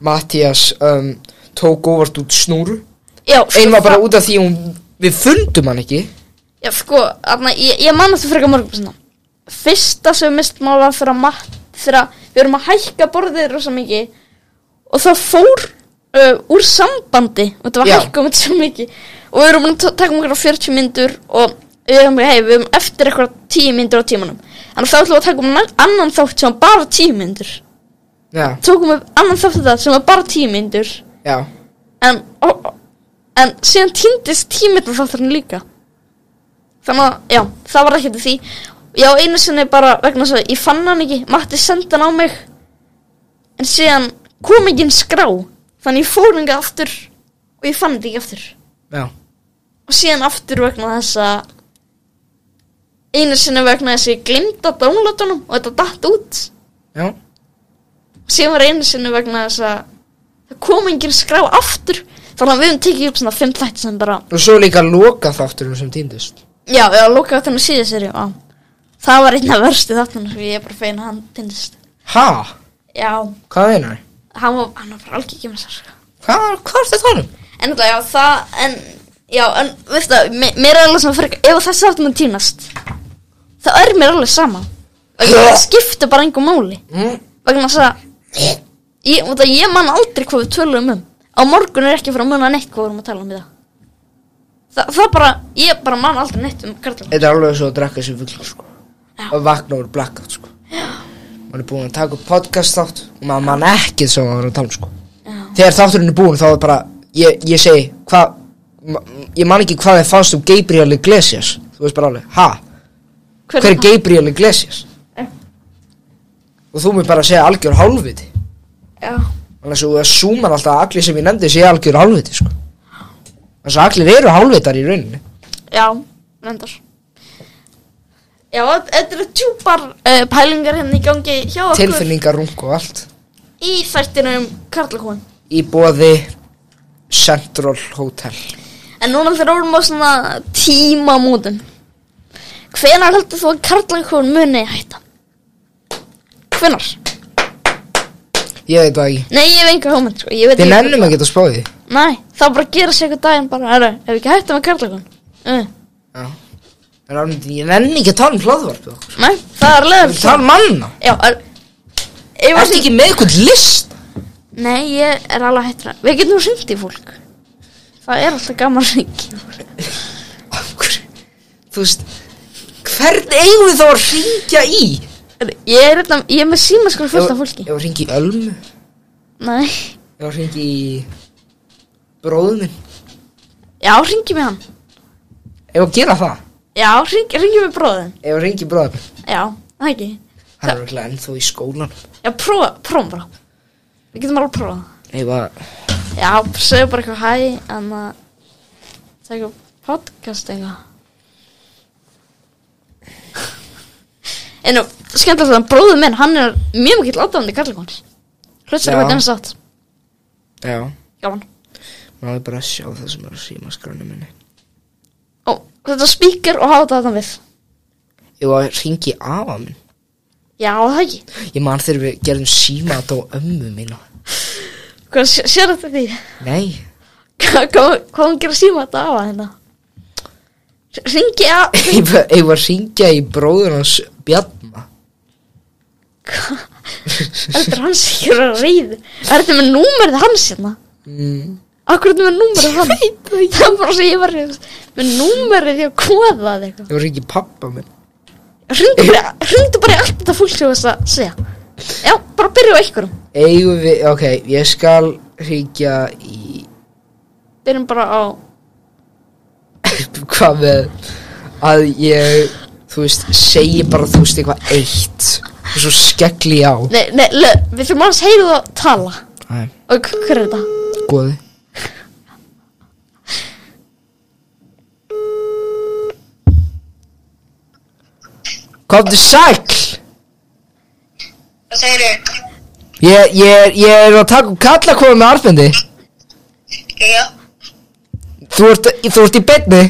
Speaker 2: Mattias um, tók óvart út snúru
Speaker 1: Já, sko,
Speaker 2: Einu var bara
Speaker 1: það-
Speaker 2: út af því hún, við fundum hann ekki
Speaker 1: Já, sko, þarna, ég, ég man eftir frekar mörgum svona Fyrsta sem við mist mál var fyrir að mat Fyrir að við erum að hækka borðið rosa mikið Og það fór uh, úr sambandi Og þetta var
Speaker 2: Já.
Speaker 1: hækka um þetta svo mikið Og við erum búin að ta- taka um okkur á 40 myndur Og við erum, hei, við erum eftir eitthvað 10 myndur á tímanum En þá ætlum við að taka um na- annan þátt sem var bara 10 myndur
Speaker 2: Já,
Speaker 1: Tókum við annan þátt þetta sem var bara 10 myndur
Speaker 2: já,
Speaker 1: en, ó, ó, en síðan týndist tíminn og þátturinn líka þannig að, já, það var ekkert í því já, einu sinni bara vegna þess að ég fann hann ekki, Matti sendi hann á mig en síðan kom ekki einn skrá þannig ég fór hingað aftur og ég fann þetta ekki aftur
Speaker 2: já
Speaker 1: og síðan aftur vegna þess að einu sinni vegna þess að ég glimta dónlátunum og þetta datt út
Speaker 2: Já,
Speaker 1: síðan var einu sinni vegna þess að það kom engin skrá aftur þannig að við höfum tekið upp svona fimm þætti sem bara
Speaker 2: og svo líka loka þátturum sem týndist
Speaker 1: já, við höfum lokað þáttunum síðan sér það var einn af verstu þáttunum sem ég er bara fein að hann tindist
Speaker 2: Ha?
Speaker 1: já,
Speaker 2: Hvað meinar?
Speaker 1: hann var, hann var bara algjör ekki með sér sko.
Speaker 2: Hvað, hvað er þetta honum?
Speaker 1: en þetta já, það en Já, en veist það, mér mér er alveg svona frekar, ef þessi áttum að týnast, það er mér alveg sama. Og ég skipta bara engum máli.
Speaker 2: Mm.
Speaker 1: Vegna þess að, ég, út af ég man aldrei hvað við tölum um. Á morgun er ekki að fara að muna neitt hvað við erum að tala um í dag. Það, það bara, ég bara man aldrei neitt um karlum.
Speaker 2: Þetta er alveg svo að drakka þessi fugglar sko
Speaker 1: Já.
Speaker 2: Að vakna úr blackout sko Man er búin að taka upp podcast þátt Og maður man ekki þess að maður er að tala um, sko Þegar þátturinn er búin þá er bara Ég, ég segi, hvað ma- Ég man ekki hvað þið fannst um Gabriel Iglesias Þú veist bara alveg, ha? Hver er Gabriel Iglesias?
Speaker 1: Já.
Speaker 2: Og þú mér bara að segja algjör hálfviti
Speaker 1: Já,
Speaker 2: Þannig að þú súmar alltaf að allir sem ég nefndi sé algjör hálfviti sko Þannig að allir eru hálfvitar í rauninni
Speaker 1: já, reyndar. Já, þetta eru tjúpar uh, pælingar hérna í gangi hjá okkur.
Speaker 2: Tilfinningar, rung og allt
Speaker 1: Í þættinum karlakóin.
Speaker 2: í bóði Central Hotel
Speaker 1: En núna þegar orðum á svona tímamótum Hvenar heldur þú að karlækun muni hætta? Hvenar?
Speaker 2: ég veit það ekki
Speaker 1: Nei, ég hef enga hómynd sko Ég veit
Speaker 2: við nennum ekki að spáði
Speaker 1: Nei, það bara gera sig eitthvað daginn bara Herra, ef við ekki hætta með karlækun uh.
Speaker 2: því en alveg ég nenni ekki að tala um hlaðvarp við
Speaker 1: Nei, það er leður
Speaker 2: tala um manna
Speaker 1: Já, er Ef
Speaker 2: ertu ekki með eitthvað list
Speaker 1: Nei, ég er alveg hættur að Við getum hringt í fólk Það er alltaf gaman hringi
Speaker 2: Af hverju? þú veist hvern eigum við þá að ringja í
Speaker 1: Ég er, hérna, ég er með símaskóla fullt af fólki
Speaker 2: ég var að ringja í Ölmu ég
Speaker 1: Nei
Speaker 2: var að ringja í bróðum minn
Speaker 1: Já, hringi með hann
Speaker 2: ég var að gera það
Speaker 1: Já, hringi, hringi með bróðin
Speaker 2: ég var að ringja í bróðum minn
Speaker 1: Já, það ekki
Speaker 2: hann er örugglega ennþá í skólan
Speaker 1: Já, prófa, prófum bara Við getum alveg að prófa
Speaker 2: ég var
Speaker 1: það Já, segðu bara eitthvað hæ En að Segðu podcast eitthvað En nú, skemmtilegt að bróðu minn Hann er mjög mikill aðdáðandi karlikons Hlustar
Speaker 2: Já.
Speaker 1: hvað þennan satt
Speaker 2: já
Speaker 1: Gaman
Speaker 2: maður bara að sjá það sem er að síma skránu minni
Speaker 1: Ó, þetta spíkir og hafa þetta við
Speaker 2: ég var að ringja í afa minn
Speaker 1: Já, það ekki
Speaker 2: Ég man þegar við gerðum símat á ömmu mína
Speaker 1: Hvað sé- sér þetta því?
Speaker 2: Nei,
Speaker 1: Hvað hvað hún gerir síma þetta á að hérna? Ringi að
Speaker 2: ég var, ég var að ringja í bróður hans Bjarna
Speaker 1: Þetta er hans ekki að vera reyð Er þetta með númerið hans hérna?
Speaker 2: mm.
Speaker 1: Akkur er þetta með númerið hans? Það er bara svo ég var með númerið ég að koða það eitthvað
Speaker 2: Ég var að ringja í pappa minn
Speaker 1: Hringdu bara, hringdu bara í allt þetta fólk sem þú veist að segja Já, bara byrjum á einhverjum
Speaker 2: Eigum við, ok, ég skal ringja í
Speaker 1: Byrjum bara á
Speaker 2: Hvað með Að ég, þú veist, segi bara, þú veist, eitthvað eitt Og svo skelli ég á
Speaker 1: Nei, nei, le, við þurfum aðeins heyrið að tala
Speaker 2: Æ,
Speaker 1: Og hver er þetta?
Speaker 2: góði Komdu sæll
Speaker 7: Hvað segirðu?
Speaker 2: Ég, ég, ég er að taka um kallakóðu með Arfendi
Speaker 7: Já,
Speaker 2: Þú ert, þú ert í beinni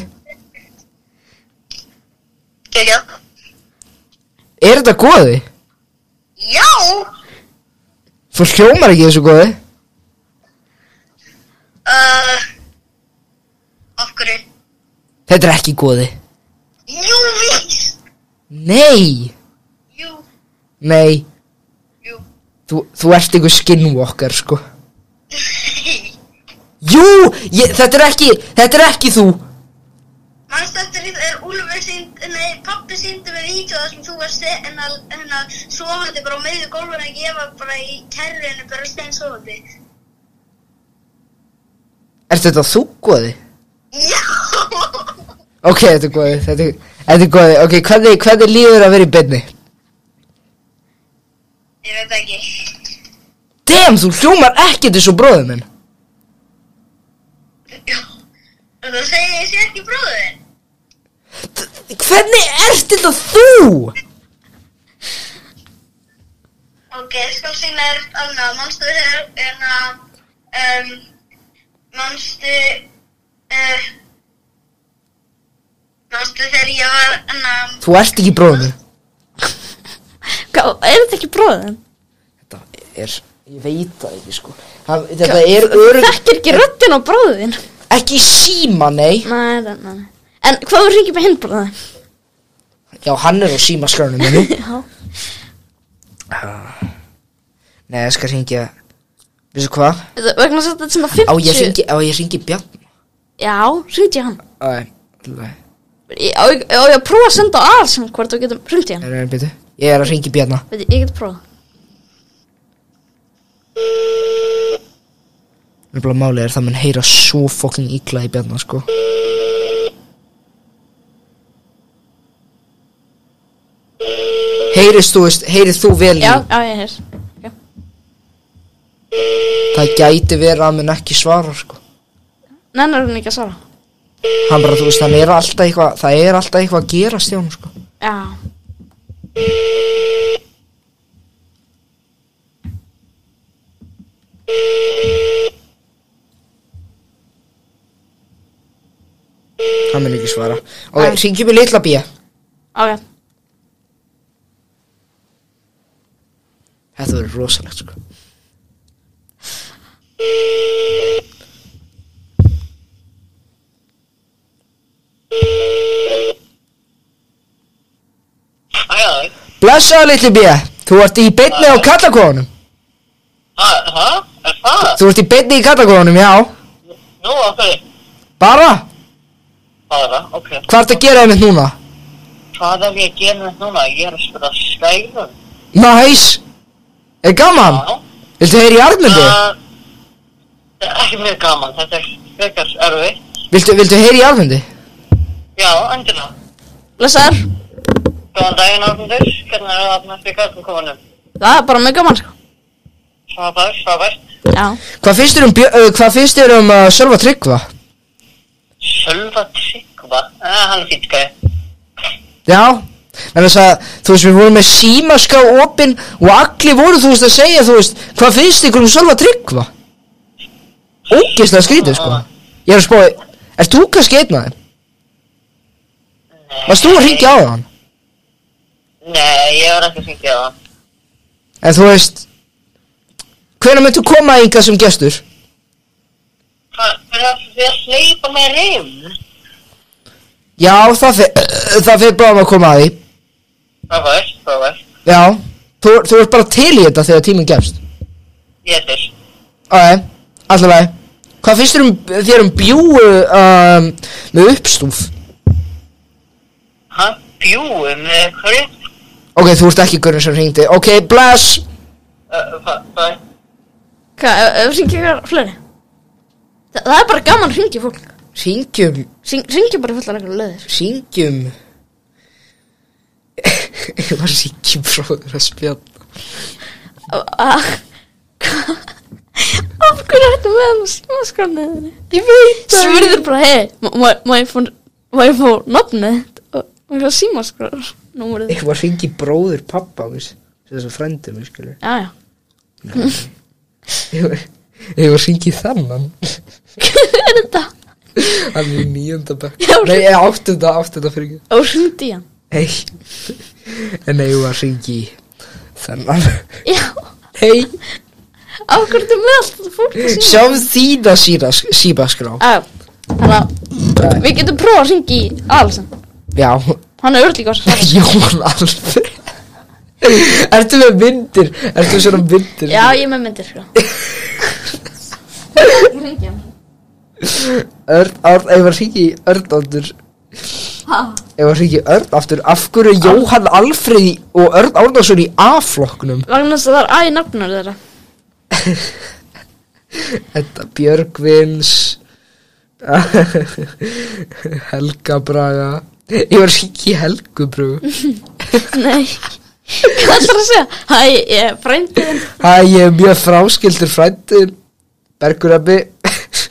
Speaker 7: já, já.
Speaker 2: Er þetta góði?
Speaker 7: Já,
Speaker 2: Þú hljómar ekki þessu góði
Speaker 7: uh, af hverju?
Speaker 2: Þetta er ekki góði
Speaker 7: Jú, vís.
Speaker 2: Nei,
Speaker 7: Jú,
Speaker 2: nei
Speaker 7: jú.
Speaker 2: Þú, þú ert einhver skinwalker sko Jú, ég, þetta er ekki, þetta er ekki þú
Speaker 7: Manst eftir því er Úlfur sínd, nei, pappi síndi með vítjóða sem þú varst en að, en að sofandi bara á meðu gólfinu að ég var bara í kerrinu bara stein sofandi.
Speaker 2: Er þetta þú góði?
Speaker 7: Já,
Speaker 2: Ok, þetta er góði, þetta er, þetta er góði Ok, hvernig, hvernig líður að vera í beinni?
Speaker 7: ég veit ekki.
Speaker 2: Damn, þú hljómar ekki þessu bróðum minn
Speaker 7: Já, en þú segir ég sé ekki bróðin.
Speaker 2: Hvernig ert þetta þú?
Speaker 7: Ok, ég skal sína þér annað. Manstu þér, en að, um, manstu, uh, manstu þegar ég var, en að,
Speaker 2: Þú ert ekki bróðum minn
Speaker 1: Hvað, er þetta ekki bróðin?
Speaker 2: Þetta er, ég veit það ekki sko Það- Þetta er örug
Speaker 1: Þekkir ekki röddin á bróðin
Speaker 2: Ekki í síma, nei
Speaker 1: Nei, nei, nei En hvað var hringið með hinn bara það?
Speaker 2: Já, hann er á símaskranum minni
Speaker 1: Já
Speaker 2: Nei, ég skal hringja Vissu hvað?
Speaker 1: Þetta- Vegna þess að þetta er svona 50
Speaker 2: Á ég hringi, á ég hringi Bjarn
Speaker 1: Já, hringið hann
Speaker 2: Æ, nei,
Speaker 1: Ég- Á ég á ég að prófa að senda á alls hvort þú getum hringið hann
Speaker 2: nei, nei, byrju Ég er að hringi Bjarna
Speaker 1: Veit ég, ég get prófað
Speaker 2: Nefnilega málið er það mun heyra svo fokkin illa í Bjarna, sko Heyrist þú, veist, heyrið þú vel í
Speaker 1: Já, já, ég heyr Ok.
Speaker 2: Það gæti verið að hann mun ekki svara, sko
Speaker 1: Nei, nei, hún er ekki að svara
Speaker 2: Hann bara, þú veist, hann er alltaf eitthvað Það er alltaf eitthvað að gerast hjá hann, sko
Speaker 1: Já
Speaker 2: Hann mun ekki svara Ok, hringjum í litla bíja
Speaker 1: Ok,
Speaker 2: Þetta verður rosalegt sko
Speaker 7: Hæ,
Speaker 2: Blessaðu litli bíja Þú ert í beinni á kallakofunum
Speaker 7: hæ, hæ, er það?
Speaker 2: Þú ert í beinni í kallakofunum, já
Speaker 7: Nú, ok,
Speaker 2: Bara,
Speaker 7: bara, ok.
Speaker 2: hvað ertu að gera einmitt núna?
Speaker 7: Hvað er ég að gera þetta núna? Ég er að spila skælum.
Speaker 2: Næs Er gaman? Viltu heyra í armindi?
Speaker 7: Það er ekki mjög gaman, þetta er frekar erfitt.
Speaker 2: Viltu, viltu heyra í armindi?
Speaker 7: Já, endilega.
Speaker 1: blessaður
Speaker 7: Góðan daginn, Arnundur. Hvernig er það að næstu kvartum komunum?
Speaker 1: Það er bara mjög gaman sko
Speaker 7: Svabar, svabar.
Speaker 1: Já
Speaker 2: Hvað finnst þér um, Bjö- uh, hvað finnst þér um uh, Sölva Tryggva?
Speaker 7: Sölva Tryggva. Eh, hann er fýtt gæði.
Speaker 2: Já En þess að, þú veist, við vorum með símaská opinn og allir voru, þú veist, að segja, þú veist, hvað finnst ykkur um Sölva Tryggva? Ógislega skrítið, sko. Ég er að spói, ert þú kannski einn af þeim? Varst þú að hringja á hann?
Speaker 7: Nei, ég var ekki að syngja á hann.
Speaker 2: En þú veist, hvenær myndu koma yngar sem gestur?
Speaker 7: Hvað, fyrir að því að sleipa mér heim?
Speaker 2: Já, það fer, það fer bráðum að koma að því.
Speaker 7: Svabar, svabar.
Speaker 2: Já, þú, þú ert bara til í þetta þegar tíminn gefst.
Speaker 7: Ég er til.
Speaker 2: Æ, allavega, hvað finnst þér um, þér um bjúu um, með uppstúf?
Speaker 7: Hann bjúi með hverju?
Speaker 2: Ok, þú ert ekki gurinn sem hringdi Ok, bless
Speaker 7: Eh, Hvað, hvað?
Speaker 1: Hvað, ef- ef hringið e, ykkur fleiri? Þa, það er bara gaman að hringið fólk
Speaker 2: Hringjum,
Speaker 1: Hringið bara í fullar einhverju leiðir
Speaker 2: hringjum Ég var hringjum bróður að spjalla
Speaker 1: Ah, Hvað? Af hverju ertu með hann smáskranniðinni?
Speaker 2: Ég veit
Speaker 1: Svurður bara, hei, má- má- má ég fá- má ég fá nafnið þitt og og hvað símaskrar númurið þitt?
Speaker 2: Ég var hringjum bróður pappa mis, Þessu frendi mig, skilur
Speaker 1: Já, já
Speaker 2: Ég var, ég var hringjum þannan
Speaker 1: Hvað er þetta?
Speaker 2: Hann er í nýjönda bekk
Speaker 1: Já,
Speaker 2: Nei, ég áttunda, áttunda fyrir ekki
Speaker 1: Og hringdi í hann
Speaker 2: Hei En nei, ég var hringjum þannan
Speaker 1: Já,
Speaker 2: Hei
Speaker 1: af hverju ertu með allt þetta fólk að síma?
Speaker 2: Sjáum þína síra- síbaskrá
Speaker 1: Já, já. þannig að við getum prófað að hringi í Alsen
Speaker 2: Já,
Speaker 1: Hann er örlík á þess að svara
Speaker 2: Jón Alfred Ertu með myndir? Ertu með svona myndir?
Speaker 1: Já, ég er með myndir, sko Ég hringi hann
Speaker 2: Örn, Örn, ef að hringi í Örn aftur Ef að hringi í Örn aftur Af hverju er Jóhann Alfred í- og Örn Árnason í A-flokknum?
Speaker 1: Vagnar þess að það er æ nafnur þeirra
Speaker 2: Þetta Björgvins Helga Braga Ég var að hringi í Helgu Braga
Speaker 1: Nei Hvað ætlar það að segja? Hæ, ég er frændiðin
Speaker 2: Hæ, ég er mjög fráskildur frændin Bergur Ebbi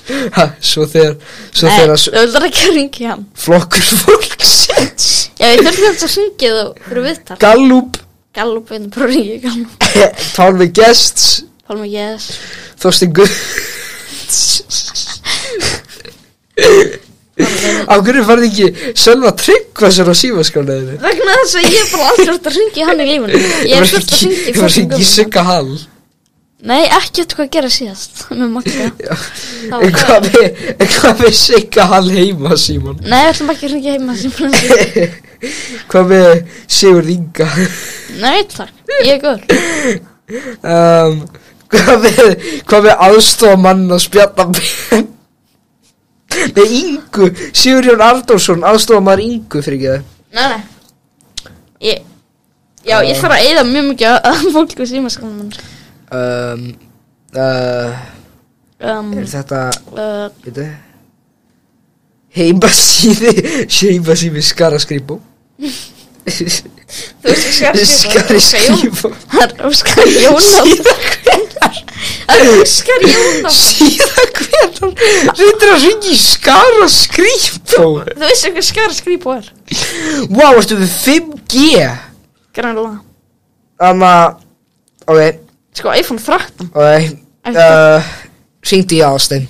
Speaker 2: Svo þegar Svo
Speaker 1: Nei,
Speaker 2: þegar
Speaker 1: þú
Speaker 2: að s-
Speaker 1: ætlar ekki að ringi hann
Speaker 2: flokkur fólksins
Speaker 1: Já, ég þurfti þetta að ringi þú fyrir viðtal
Speaker 2: Gallup
Speaker 1: Gallup, við erum bara að ringi Gallup
Speaker 2: Pálmi Gests
Speaker 1: Pálma, yes
Speaker 2: Þorstein Guð Á hverju farði ekki Sölva Tryggva sér á símaskránaðinu
Speaker 1: Vegna þess að ég er bara aldrei hægt að ringi hann í lífinu Ég er fullt að ringi
Speaker 2: Ég var ekki Sigga Hall
Speaker 1: Nei, ekkert hvað gera síðast með Magga. Það var
Speaker 2: En hvað við, en hvað við sigga hann heima, Símon?
Speaker 1: Nei, við ætlum ekki að hringja heima sem fransi.
Speaker 2: Hvað við Sigur Inga?
Speaker 1: Nei, takk. Ég er góður.
Speaker 2: Um, hvað við, hvað við aðstofa mann að spjalla með? Nei, Ingu, Sigurjón Ardórsson, aðstofa maður Ingu fyrir ekki það.
Speaker 1: Nei, nei. Ég, já, ég þarf að eyða mjög mikið að- að fólku símaskólanum.
Speaker 2: Um, uh,
Speaker 1: Um,
Speaker 2: er þetta,
Speaker 1: uh,
Speaker 2: veitu, heimasíði, heimasíði skara skrýpum.
Speaker 1: þú veist, skar
Speaker 2: Skari skrýpum.
Speaker 1: Það er Óskar Jónas. Það er Óskar Jónas.
Speaker 2: Síðan hvernig reyndir að ringi í skara skrýptó
Speaker 1: Þú veist ekki hvað skar skrýpa er?
Speaker 2: Vá, ertu við 5G?
Speaker 1: Grænlega.
Speaker 2: Þannig að, ok,
Speaker 1: Sko, iPhone 13.
Speaker 2: ok uh, Ringdi í aðstein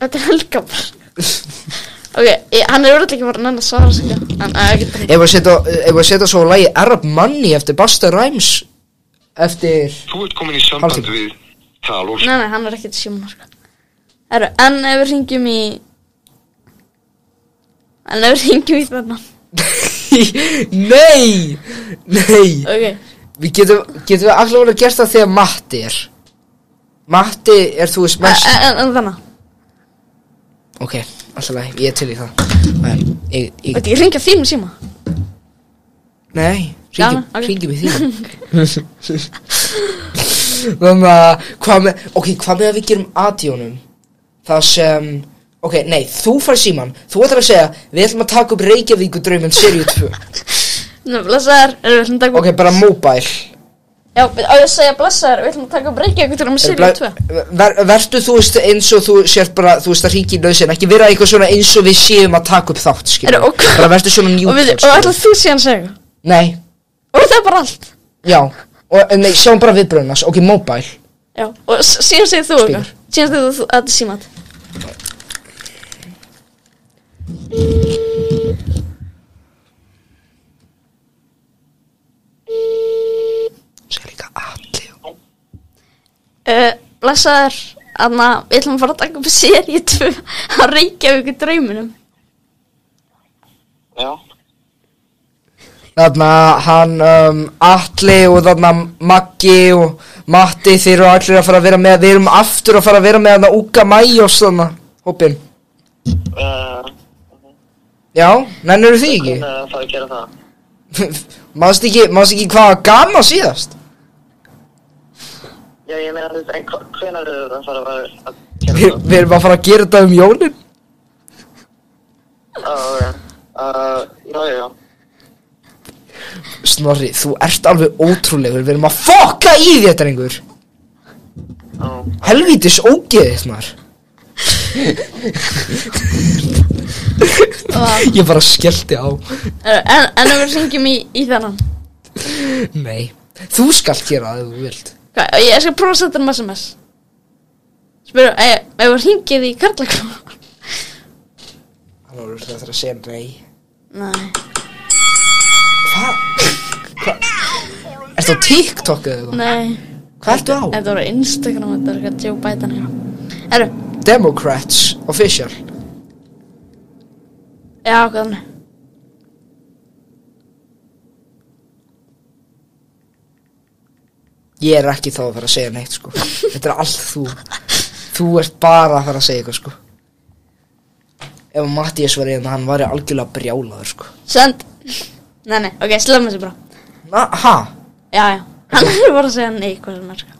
Speaker 1: Þetta er helgamar. ok, ég, hann er verið ekki bara nenn að svara sig. Hann er ekki bara...
Speaker 2: Ef að setja, ef að setja svo lagi Arab Money eftir Busta Rhymes Eftir
Speaker 8: Þú ert komin í samband
Speaker 2: Haldið.
Speaker 8: við tal og
Speaker 1: Nei, nei, hann er ekkert sjómar sko. Herru, en ef við ringjum í En ef við ringjum í þennan
Speaker 2: Nei, nei
Speaker 1: Ok,
Speaker 2: Við getum, getum við allavega verið að gert það þegar Matti er Matti er þú veist mest
Speaker 1: en, en, en þennan
Speaker 2: Ok, allavega, ég er til í það Nei, ég, ég,
Speaker 1: Þetta ég ringja þínum síma
Speaker 2: Nei,
Speaker 1: Gaman, ok.
Speaker 2: ringjum við því Þannig að hvað með, ok, hvað með að við gerum aðjónum Það sem, ok, nei, þú farið síman Þú ætlar að segja, við ætlum að taka upp Reykjavíku drauminn Siriu 2
Speaker 1: Nú, blessaðar, erum við ætlum að taka
Speaker 2: Ok, bara mobile
Speaker 1: Já, við- á ég að segja blessaðar, við ætlum að taka upp reykja ykkur til að með Sirius 2
Speaker 2: Ver, Vertu þú veist eins og þú sért bara, þú veist að ringi í lausin Ekki vera eitthvað svona eins og við séum að taka upp þátt, skilur
Speaker 1: Eru, og hvað-
Speaker 2: Bara vertu svona
Speaker 1: Og, við,
Speaker 2: njúkjör,
Speaker 1: og ætlum þú síðan að segja
Speaker 2: Nei,
Speaker 1: Og það er bara allt
Speaker 2: já, og, nei, sjáum bara viðbröðunars, ok, mobile
Speaker 1: Já, og s- síðan segir þú okkar Síðan segir þú að þetta er símat
Speaker 2: Sér líka allir
Speaker 1: uh, Blessaðar, Anna, við ætlum að fara að taka upp Sirius 2 að reykja ykkur drauminum
Speaker 7: Já.
Speaker 2: Þarna hann um, Atli og þarna Maggi og Matti þeir eru allir að fara að vera með Við erum aftur að fara að vera með þarna Uga Majos þarna Hópin
Speaker 7: Uh,
Speaker 2: Já, nennir því ekki
Speaker 7: það er eh, að gera það.
Speaker 2: Mást ekki, mást ekki hvað var gaman síðast
Speaker 7: Já, ég meina þetta, en hva- hvenær eru það að fara að vera að
Speaker 2: Við
Speaker 7: gera það?
Speaker 2: við erum að fara að gera þetta um jólin
Speaker 7: Já, já, Uh, já, já, já.
Speaker 2: Snorri, þú ert alveg ótrúlegur Við erum að fokka í þér, drengur
Speaker 7: Já.
Speaker 2: Helvítis ógeðið, snar Ég bara skellti á
Speaker 1: Herru, Eh, En, en ef við syngjum í, í þennan
Speaker 2: Nei, þú skalt gera það ef þú vilt
Speaker 1: Hvað, Ég skal prófa að setja um sms Spyrum, ef eh, ef við hringið í karlaklá
Speaker 2: Hann voru þetta að segja nei
Speaker 1: Nei
Speaker 2: Hvað? Ertu á TikTok eða eitthvað?
Speaker 1: Nei,
Speaker 2: Hvað ertu á?
Speaker 1: þetta voru Instagram Þetta er eitthvað Joe Biden hérna Herru,
Speaker 2: Democrats Official
Speaker 1: já, hvað þannig
Speaker 2: Ég er ekki þá að fara að segja neitt sko Þetta er allt þú Þú ert bara að fara að segja eitthvað sko Ef Mattias var einn hann væri algjörlega brjálaður sko
Speaker 1: Send Nei, nei, ok, slöfum þessu bara
Speaker 2: Na, ha?
Speaker 1: Já, já, hann er bara að segja nei Hvað sem er sko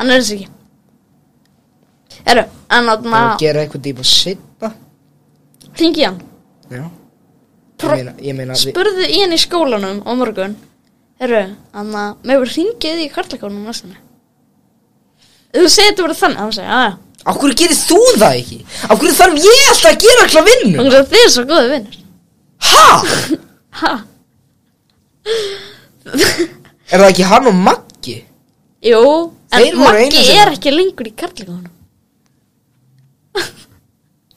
Speaker 1: Hann er þessu ekki Herru, en
Speaker 2: Það er
Speaker 1: átna
Speaker 2: að gera eitthvað dýpa sitna
Speaker 1: Hringi í hann
Speaker 2: Já Ég
Speaker 1: Pro-
Speaker 2: meina, ég meina við,
Speaker 1: Spurðu í hann í skólanum á morgun Herru, hann að Mér voru hringið í karlakonum næstunni Þú segir þetta bara þannig Hann segir, "Ah, aðja
Speaker 2: Af hverju gerir þú það ekki? Af hverju þarf ég alltaf að gera alltaf vinnu?
Speaker 1: Þannig að þið er svo góði vinnur
Speaker 2: Ha?
Speaker 1: Ha?
Speaker 2: Er það ekki hann og Maggi?
Speaker 1: Jú,
Speaker 2: Þeir
Speaker 1: en
Speaker 2: voru einu
Speaker 1: Maggi
Speaker 2: sinni.
Speaker 1: er ekki lengur í karlakonum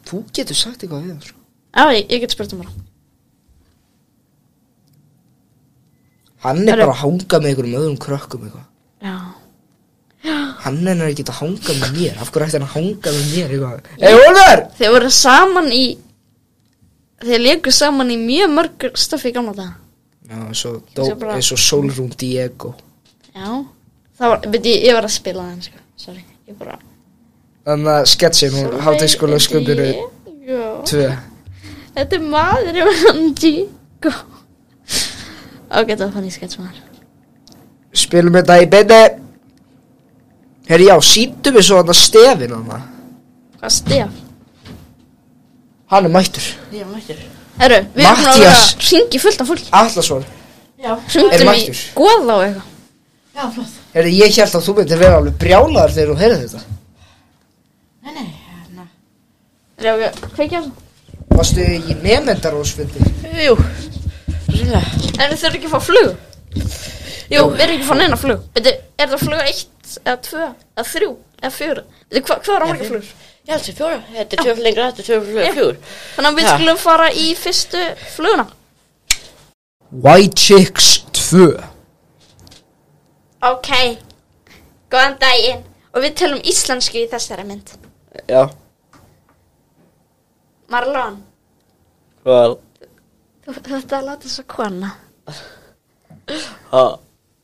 Speaker 2: Þú getur sagt eitthvað við það sko
Speaker 1: Já, ég, ég get spurt um hana
Speaker 2: Hann er
Speaker 1: Herru.
Speaker 2: bara að hanga með einhverjum öðrum krökkum eitthvað
Speaker 1: Já,
Speaker 2: Hann hennar ekki að hanga með mér Af hverju ætti hann að hanga með mér eitthvað? Ey, Ólfur!
Speaker 1: Þeir voru saman í Þeir leiku saman í mjög mörg stöfi í gamla daga
Speaker 2: Já, svo, dó,
Speaker 1: Svo bara-
Speaker 2: eins og Solrún Diego
Speaker 1: Já Það var, veit ég, ég var að spila það sko. Sorry, ég bara
Speaker 2: Þannig að sketsin úr hátískóla sköpunu
Speaker 1: Já,
Speaker 2: 2
Speaker 1: Þetta er maður ég var hann Diego Ok, það var fannig skets maður
Speaker 2: Spilum þetta í beinni Herri, já, síndum við svo hann að stefin hann
Speaker 1: Hvað stef?
Speaker 2: Hann er mættur
Speaker 1: Ég mættur Herru, við erum búin að vera
Speaker 2: Matthías.
Speaker 1: að hringi fullt af fólki
Speaker 2: Allarsson Er
Speaker 1: Hringdum í
Speaker 2: mættur?
Speaker 1: goða og eitthvað
Speaker 2: Herri, ég held að þú myndir vera alveg brjálaður þegar þú heyrði þetta
Speaker 1: Já, ok, kveikja á þessu
Speaker 2: Varstu í nefndarósfundi?
Speaker 1: Jú, reyla En þau eru ekki að fá flug Jú, við erum ekki að fá neina flug Beti, Er það flug 1 eða 2 eða 3 eða 4 Beti, hva, Hvað er á marga flugur?
Speaker 9: Ég held sér fjóra, þetta er tjöfn lengra, þetta er tjöfn flugur, flugur.
Speaker 1: Þannig að við
Speaker 9: Ha.
Speaker 1: skulum fara í fyrstu fluguna
Speaker 2: White Chicks 2
Speaker 1: Ok, góðan daginn Og við tölum íslensku í þessari mynd
Speaker 9: Já,
Speaker 1: Marlon,
Speaker 9: hvað,
Speaker 1: þú þú ert að láta svo kona
Speaker 9: ha,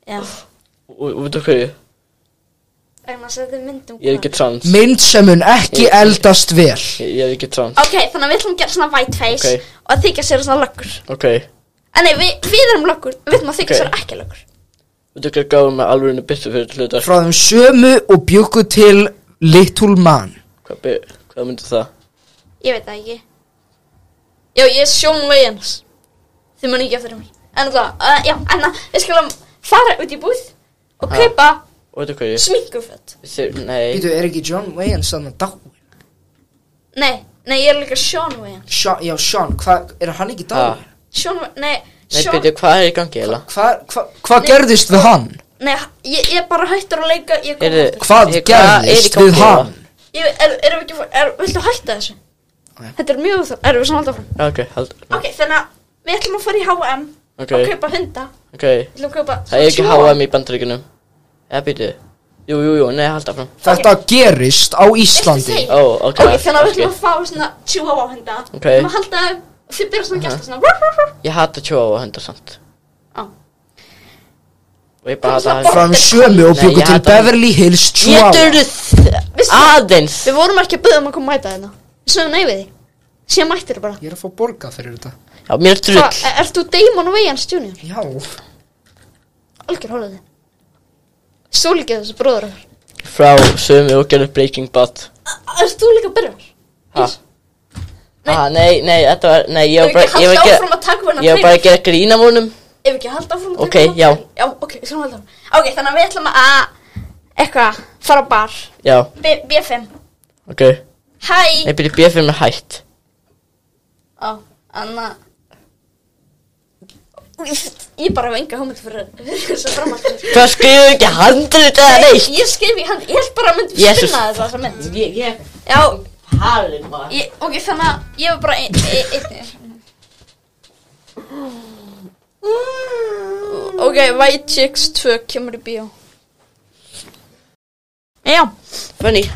Speaker 1: Já,
Speaker 9: og veit þú hverju,
Speaker 1: vegna þess að þetta er mynd um
Speaker 9: ég er ekki trans,
Speaker 2: Mynd sem mun ekki eldast vel
Speaker 9: ég ég er ekki trans,
Speaker 1: Ok, þannig að við ætlum að gera svona whiteface
Speaker 9: Ok.
Speaker 1: Og að þykja sér svona löggur
Speaker 9: ok, veit
Speaker 1: En nei, við, við erum löggur Við ætlum að þykja
Speaker 9: Ok.
Speaker 1: sér ekki löggur
Speaker 9: þú hverju gáðum með alvörinu byssu fyrir hlutar,
Speaker 2: Frá þeim sömu og bjúku til Little Man
Speaker 9: hvað, be- hvað myndi það,
Speaker 1: Ég veit það ekki Já, ég er Sjón Vegins Þið mun ekki eftir mér En alltaf, uh, já, en að við skulum fara út í búð Og
Speaker 9: Ha.
Speaker 1: kaupa
Speaker 9: og veit þú hverju,
Speaker 1: sminkuföt
Speaker 9: Sér, nei,
Speaker 2: Býtu, er ekki John Wayans þannig að dáin?
Speaker 1: Nei, nei, ég er líka Sjón Vegins
Speaker 2: Sean, já, Sean, hvað, er hann ekki dáin?
Speaker 9: Ha.
Speaker 1: Sjón, nei,
Speaker 9: nei,
Speaker 1: Sjón
Speaker 9: byrju, hvað er í gangi, eða,
Speaker 2: Hvað hva, hva gerðist við hann?
Speaker 1: Nei, ég, ég er bara hættur að leika Ég kom
Speaker 9: er
Speaker 1: aftur
Speaker 2: Hvað gerðist við hann?
Speaker 1: Ég, er, erum við ekki, að fá- er, viltu hætta þessu? Þetta er mjög þar, erum við saman alltaf fram
Speaker 9: Já, ok, hald,
Speaker 1: Ok, þannig að við ætlum að fara í H&M
Speaker 9: ok,
Speaker 1: Og kaupa hunda
Speaker 9: ok,
Speaker 1: Við ætlum að kaupa
Speaker 9: það er ekki
Speaker 1: tvo-
Speaker 9: HM í bandaríkunum, eða byrju, jú, jú, jú, nei, halda fram,
Speaker 2: Þetta gerist á
Speaker 1: Viltu
Speaker 2: Íslandi
Speaker 1: segja?
Speaker 9: ó, ok,
Speaker 1: Ok, þannig að við
Speaker 9: ok.
Speaker 1: ætlum að fá svona chihuahua hunda
Speaker 9: Ok.
Speaker 1: Við ætlum að halda þeim og Þið byrja svona að gæsta svona rrr, rrr, rrr.
Speaker 9: Ég hata tjóa á hundar samt
Speaker 1: Á.
Speaker 9: Og ég bara
Speaker 1: Þú
Speaker 9: hata
Speaker 1: ert
Speaker 2: Frá
Speaker 9: hann
Speaker 1: svona
Speaker 2: þeim sömu og
Speaker 9: Nei,
Speaker 2: bjúku
Speaker 9: ég
Speaker 2: til
Speaker 9: hata hann.
Speaker 2: Beverly Hills Chihuahua
Speaker 9: Geturðu þ-
Speaker 1: Veistu-
Speaker 9: aðeins
Speaker 1: Við vorum ekki að byggja um að koma að mæta þeirna Við sögum nei við því Síðan mættir þið bara
Speaker 2: Ég er að fá borga fyrir þetta
Speaker 9: Já, mér er drull
Speaker 1: Hvað, ert þú Damon Wayans Jr.?
Speaker 2: Já
Speaker 1: Algjör hólaði Svo líka þessu bróður okkar.
Speaker 9: Frá sömu og gerðu Breaking Bad
Speaker 1: A- Ert þú líka byrjar?
Speaker 9: Ha?
Speaker 1: Nei.
Speaker 9: Ha, nei, nei, þetta var, nei, ég
Speaker 1: Ef
Speaker 9: var
Speaker 1: ekki
Speaker 9: bara,
Speaker 1: að
Speaker 9: ég var
Speaker 1: halda
Speaker 9: ekki,
Speaker 1: áfram að taka hvernig
Speaker 9: ég var bara að gera grína múnum
Speaker 1: Ef ekki að halda áfram að taka
Speaker 9: Ok, já.
Speaker 1: Já, ok, við skulum halda áfram Ok, þannig að við ætlum að Eitthvað, fara á bar
Speaker 9: Já,
Speaker 1: B B5
Speaker 9: ok
Speaker 1: Hæ
Speaker 9: Nei, byrju B5 er hætt
Speaker 1: Já, Anna Ég bara hef enga hugmynd fyrir fyrir þessu framhaldinu
Speaker 9: Hvað skrifur ekki handrit eða neitt?
Speaker 1: Ég skrif í hand, ég held bara að myndi
Speaker 9: Jesus.
Speaker 1: spinna þetta þessa mynd
Speaker 9: Ég, ég,
Speaker 1: Já,
Speaker 9: halin maður
Speaker 1: ég, ok, þannig að ég var bara einn ein, ein, Ok, White Chicks 2 kemur í bíó Já,
Speaker 9: Funny,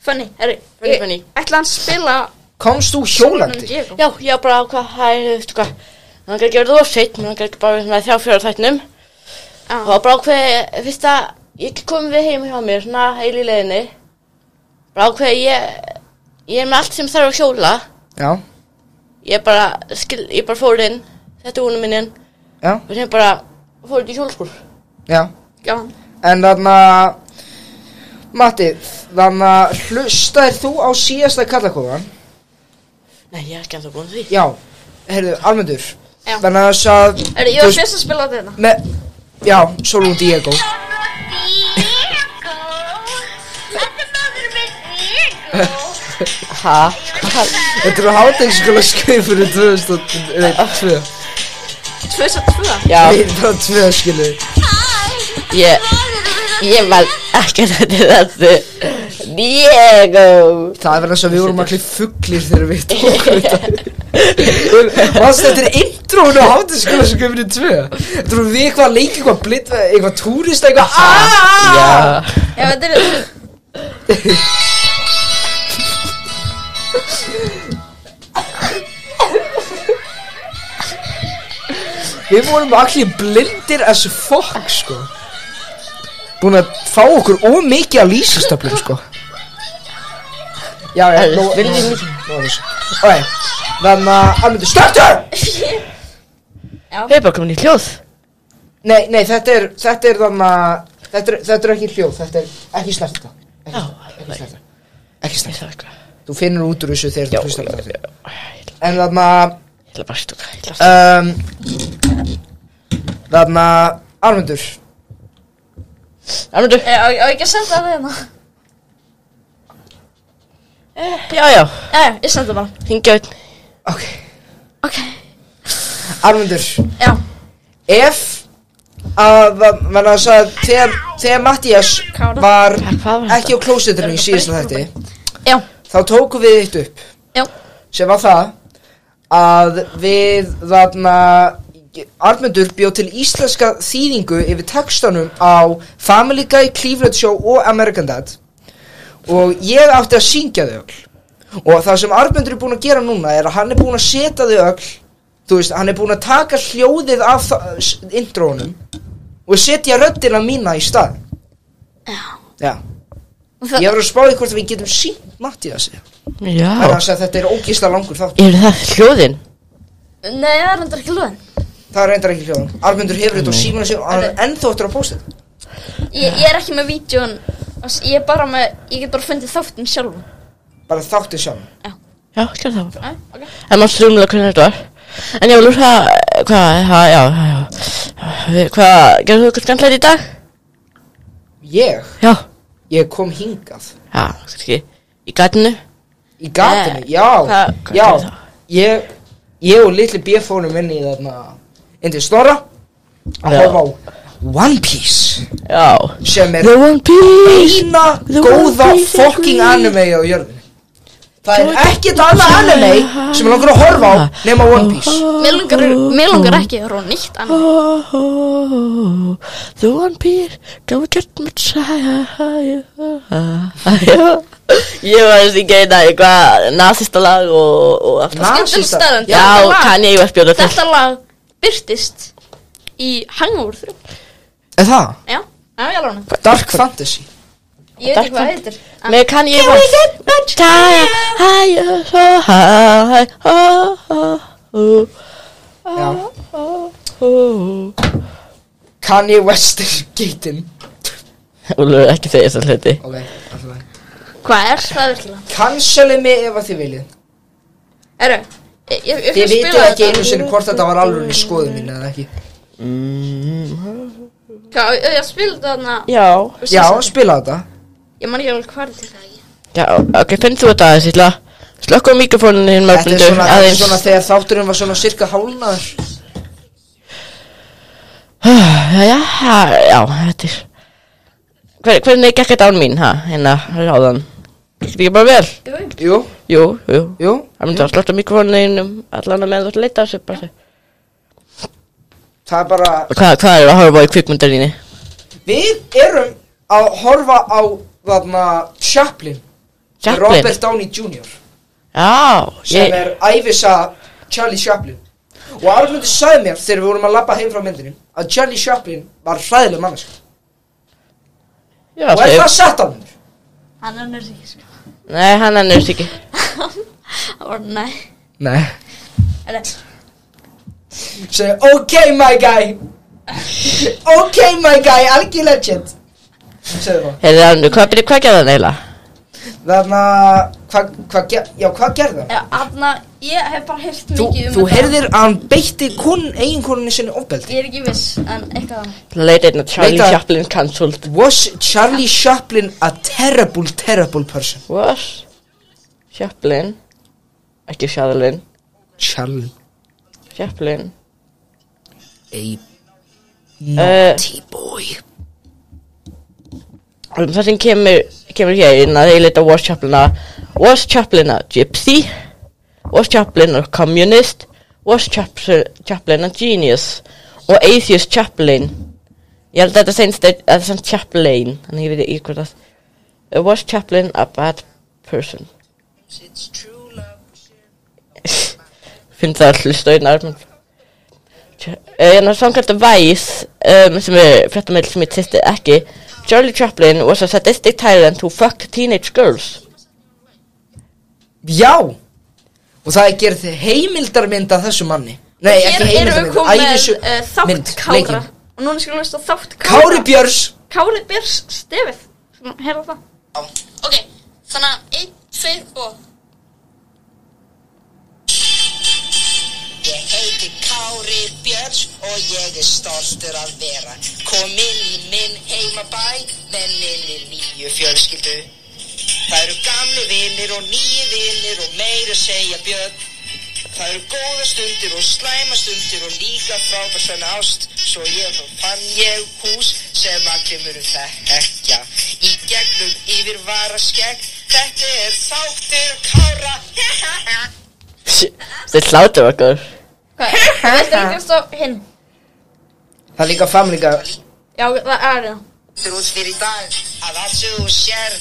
Speaker 1: Fanny, herri
Speaker 9: Funny,
Speaker 1: ég
Speaker 9: funny.
Speaker 1: Ætla hann spila
Speaker 2: Komst þú
Speaker 1: Diego.
Speaker 2: hjólandi?
Speaker 9: já, ég var bara á hvað, hæ, þú veist hvað Hann gæti gera það of seitt, hann gæti bara verið með þrjá fjóra þættinum
Speaker 1: Já.
Speaker 9: Það var bara ákveðið, fyrst að ég kom við heim hjá mér, svona heil í leiðinni. Bara ákveðið, ég, ég er með allt sem þarf að hjóla.
Speaker 2: Já,
Speaker 9: Ég bara, skil, ég bara fór inn, þetta er húnum minninn,
Speaker 2: já,
Speaker 9: og sem bara fór inn í hjólskúr.
Speaker 2: já
Speaker 1: Já,
Speaker 2: En þarna Matti, þarna hlustaðir þú á síðasta kallakofan?
Speaker 9: Nei, ég er ekki að það búin að því.
Speaker 2: Já, heyrðu, almendur
Speaker 1: Já.
Speaker 2: Þannig að þess að
Speaker 1: herri, ég
Speaker 2: þú
Speaker 1: var
Speaker 2: veist,
Speaker 1: fyrst að spila þetta
Speaker 2: með, Já, Solon Diego
Speaker 10: Diego Þetta er maður með Diego
Speaker 9: Ha?
Speaker 2: Þetta eru hátegnskóla skaufunum 2002
Speaker 1: Tvö sem tvö
Speaker 9: Já,
Speaker 2: Það er bara tvö skilu
Speaker 9: ég, ég var ekki að þetta er þessu. Diego!
Speaker 2: Það er verið eins og við vorum allir fuglir þegar við tókum þetta Vannst þetta er Þrú hún á hátaskóla sem gömur í tvö Þrú við eitthvað að leika eitthvað blitt Eitthvað túrist eitthvað aaaah
Speaker 11: Já
Speaker 1: Já, þetta er
Speaker 2: Við vorum allir blindir as fuck sko Búin að fá okkur ómikið að lýsastöflum sko Já, já, nú Viljum við mikið Nú er þessu Ok, þannig að Almyndu, stöktur!
Speaker 9: Við erum bara komin í hljóð.
Speaker 2: Nei, nei, þetta er, þetta er þannig að þetta er, þetta er ekki hljóð, þetta er ekki snerta Ekki
Speaker 9: Já,
Speaker 2: snerta, ekki snerta Ekki
Speaker 9: Ég
Speaker 2: snerta
Speaker 9: þarf eitthvað.
Speaker 2: Þú finnur út úr þessu þegar þú
Speaker 9: Já, já,
Speaker 2: hlustar á
Speaker 9: já,
Speaker 2: þetta
Speaker 9: já. Ég
Speaker 2: En þannig að
Speaker 9: ætla bara að stúka. Ég ætla að
Speaker 2: um, Þannig að Almyndur
Speaker 9: stúka. Armundur.
Speaker 1: Já, á á ekki að senda það hérna
Speaker 9: Já, já.
Speaker 1: Já, já, ég senda bara
Speaker 9: Hingja einn.
Speaker 2: Ok Ok Almundur
Speaker 1: Já.
Speaker 2: Ef að, menn að sagði, þegar, þegar Mattias var
Speaker 9: hvað var þetta?
Speaker 2: ekki á klósetinu í síðasta þætti
Speaker 1: Já.
Speaker 2: þá tókum við eitt upp
Speaker 1: Já.
Speaker 2: sem var það að við þarna Armundur bjó til íslenska þýðingu yfir textanum á Family Guy, Cleveland Show og American Dad og ég átti að syngja þau öll og það sem Armundur er búinn að gera núna er að hann er búinn að setja þau öll þú veist, hann er búinn að taka hljóðið af þa- s- intrónum og setja röddina mína í stað Já, ég var að spá í hvort við getum sínt Mattiasi Það er
Speaker 9: Já.
Speaker 2: að segja að þetta er ógísla langur þáttur
Speaker 9: Eru það hljóðin?
Speaker 1: Nei, það er endur ekki lúðin
Speaker 2: Það er reyndar ekki hljóðan Armundur hefur þetta og símuna sig og hann er ennþá eftir að posta þetta
Speaker 1: ég, ég er ekki með vídjón Ég er bara með, ég get bara fundið þáttinn sjálfum
Speaker 2: Bara þáttið sjálf
Speaker 9: Já, hljóð það.
Speaker 1: Æ, ok
Speaker 9: En maður strumla hvernig þetta var. En ég vil úr það, hvað, það, já, já, já. Við- Hvað, gerðu þú eitthvað skemmtilegt í dag?
Speaker 2: Ég,
Speaker 9: Já.
Speaker 2: ég kom hingað
Speaker 9: Já, kannski. Í gatinu.
Speaker 2: Í gatinu,
Speaker 9: Eh,
Speaker 2: já,
Speaker 9: hvað- hvað gerði þá?
Speaker 2: já Ég, ég og litli B fórum inn í þarna Inn til Snorra Að
Speaker 9: Já.
Speaker 2: horfa á One Piece
Speaker 9: Já.
Speaker 2: Sem er
Speaker 9: The One Piece.
Speaker 2: eina
Speaker 9: The
Speaker 2: góða
Speaker 9: One Piece er
Speaker 2: fucking
Speaker 9: great.
Speaker 2: anime á jörðinu Það er ekkert annað anime sem langar að horfa á nema One Piece
Speaker 1: Mér langar, mér langar ekki að horfa á nýtt annað
Speaker 9: Oh, oh, oh, the one piece, don't get much higher, higher, higher. Ég var þessi geina eitthvað nazista lag og, og allt það.
Speaker 1: Skemmtum
Speaker 2: Nasista-
Speaker 1: staðan
Speaker 9: Já,
Speaker 1: þetta lag-
Speaker 9: kann ég var spjóða til.
Speaker 1: Þetta lag byrtist í Hangover 3
Speaker 2: Er það?
Speaker 1: Já, já, ég alveg
Speaker 2: Dark Fantasy
Speaker 1: Ég veit ekki hvað það heitir en-
Speaker 9: Með kann ég var higher, higher, so high, oh, oh, oh,
Speaker 2: Já
Speaker 9: oh.
Speaker 2: Kanye West er geitin
Speaker 9: Úlfur, ekki segja þessar hluti.
Speaker 2: Ok, alltaf það
Speaker 1: Hvað er það virkilega?
Speaker 2: Canceli mig ef að þið viljið
Speaker 1: Erru, ég, ég, ég
Speaker 2: Þið vitið ekki einu sinni hvort þetta var alveg í skoðun mín eða ekki
Speaker 1: Hvað, ég, ég spila þetta þarna
Speaker 9: Já.
Speaker 2: Já, spila þetta
Speaker 1: Ég man ekki alveg hvað er þetta ekki
Speaker 9: Já, ok, finn þú þetta aðeins, ég ætla að slökka á mikrofóninu hinn
Speaker 2: Þetta er
Speaker 9: mörgundu
Speaker 2: svona, þetta er
Speaker 9: aðeins.
Speaker 2: svona þegar þátturinn var svona cirka hálnaður
Speaker 9: Jæja, ha- já, þetta er Hver, Hvernig gekk þetta án mín, ha, hérna, ráðan Gekk þetta ekki bara vel?
Speaker 2: Jú,
Speaker 9: Jú, jú
Speaker 2: jú
Speaker 9: Það myndi að slóta mikrofóninum allan að með þú ert að leita að sér bara
Speaker 2: Það er bara,
Speaker 9: Hvað, hvað er að horfa á í kvikmyndarinni?
Speaker 2: við erum að horfa á þarna Chaplin með
Speaker 9: Chaplin?
Speaker 2: Robert Downey Jr.
Speaker 9: Já,
Speaker 2: sem
Speaker 9: ég,
Speaker 2: er æfisa Charlie Chaplin og Arnundur sagði mér þegar við vorum að labba heim frá myndinni að Charlie Chaplin var hræðileg manneska
Speaker 9: já,
Speaker 2: og er
Speaker 9: segir
Speaker 2: það satt á mér?
Speaker 1: Hann er nörd ekki sko
Speaker 9: Nei, hann er nýrst ekki
Speaker 1: Það var, nei
Speaker 2: Nei
Speaker 1: Erru,
Speaker 2: Segði, ok my guy Ok my guy, algjör legend Segði það
Speaker 9: Heyrðu, Arnur, hvað, byrju, hvað gerði hann eiginlega?
Speaker 2: Þarna, hvað hva, ger, já, hvað gerði það?
Speaker 1: aðna, ég hef bara heyrt
Speaker 2: Þú,
Speaker 1: mikið um
Speaker 2: þú
Speaker 1: þetta.
Speaker 2: heyrðir að hann beitti kun, eiginkonunni sinni ofbeldi
Speaker 1: Ég er ekki viss, en eitthvað annað
Speaker 9: Leit einna Charlie
Speaker 2: Leita-
Speaker 9: Chaplin cancelled
Speaker 2: Was Charlie Chaplin a terrible, terrible person?
Speaker 9: Was Chaplin Ekki Chaplin
Speaker 2: Charlie
Speaker 9: Chaplin
Speaker 2: A
Speaker 9: Eh,
Speaker 2: T-boy
Speaker 9: um, það sem kemur, kemur hér inn að þeir leita Was Chaplin að Was Chaplin að Gypsy Was Chaplin að Communist was Chapl- Chaplin a genius og atheist Chaplin ég held að þetta seinst er að það er Chaplin en ég veit ekki hvað það was Chaplin a bad person finn það að hlusta einn armum en að hérna, samkvæmt að Vice um, sem er fréttamill sem ég tisti ekki Charlie Chaplin was a sadistic tyrant who fucked teenage girls
Speaker 6: Já Og það er gerð heimildarmynd af þessu manni Nei,
Speaker 1: Hér
Speaker 6: ekki
Speaker 1: erum við komið með
Speaker 6: heimildarmynd Ævisu
Speaker 1: uh, þátt
Speaker 6: mynd,
Speaker 1: Kára
Speaker 6: leikinn.
Speaker 1: Og núna skulum við stá þátt Kára
Speaker 6: Kári Björns
Speaker 1: Kári Björns stefið Svona, Heyrðu það
Speaker 12: Ok, þannig að 1, 2 og
Speaker 2: Ég heiti Kári Björns og ég er stoltur að vera kominn í minn heimabæ með minni nýju fjölskyldu. Það eru gamli vinnir og nýju vinnir og meira segja Björn. Það eru góða stundir og slæma stundir og líka frábærsann ást svo ég fann ég hús sem allir munu þekkja í gegnum yfir varaskegg. Þetta er þáttur Kára.
Speaker 9: þeir hlátur okkur
Speaker 1: Hvað, þú veist ekki að stá hinn
Speaker 6: Það er líka family guy
Speaker 1: Já, það er það
Speaker 2: lítur út fyrir í dag að allt sem þú sér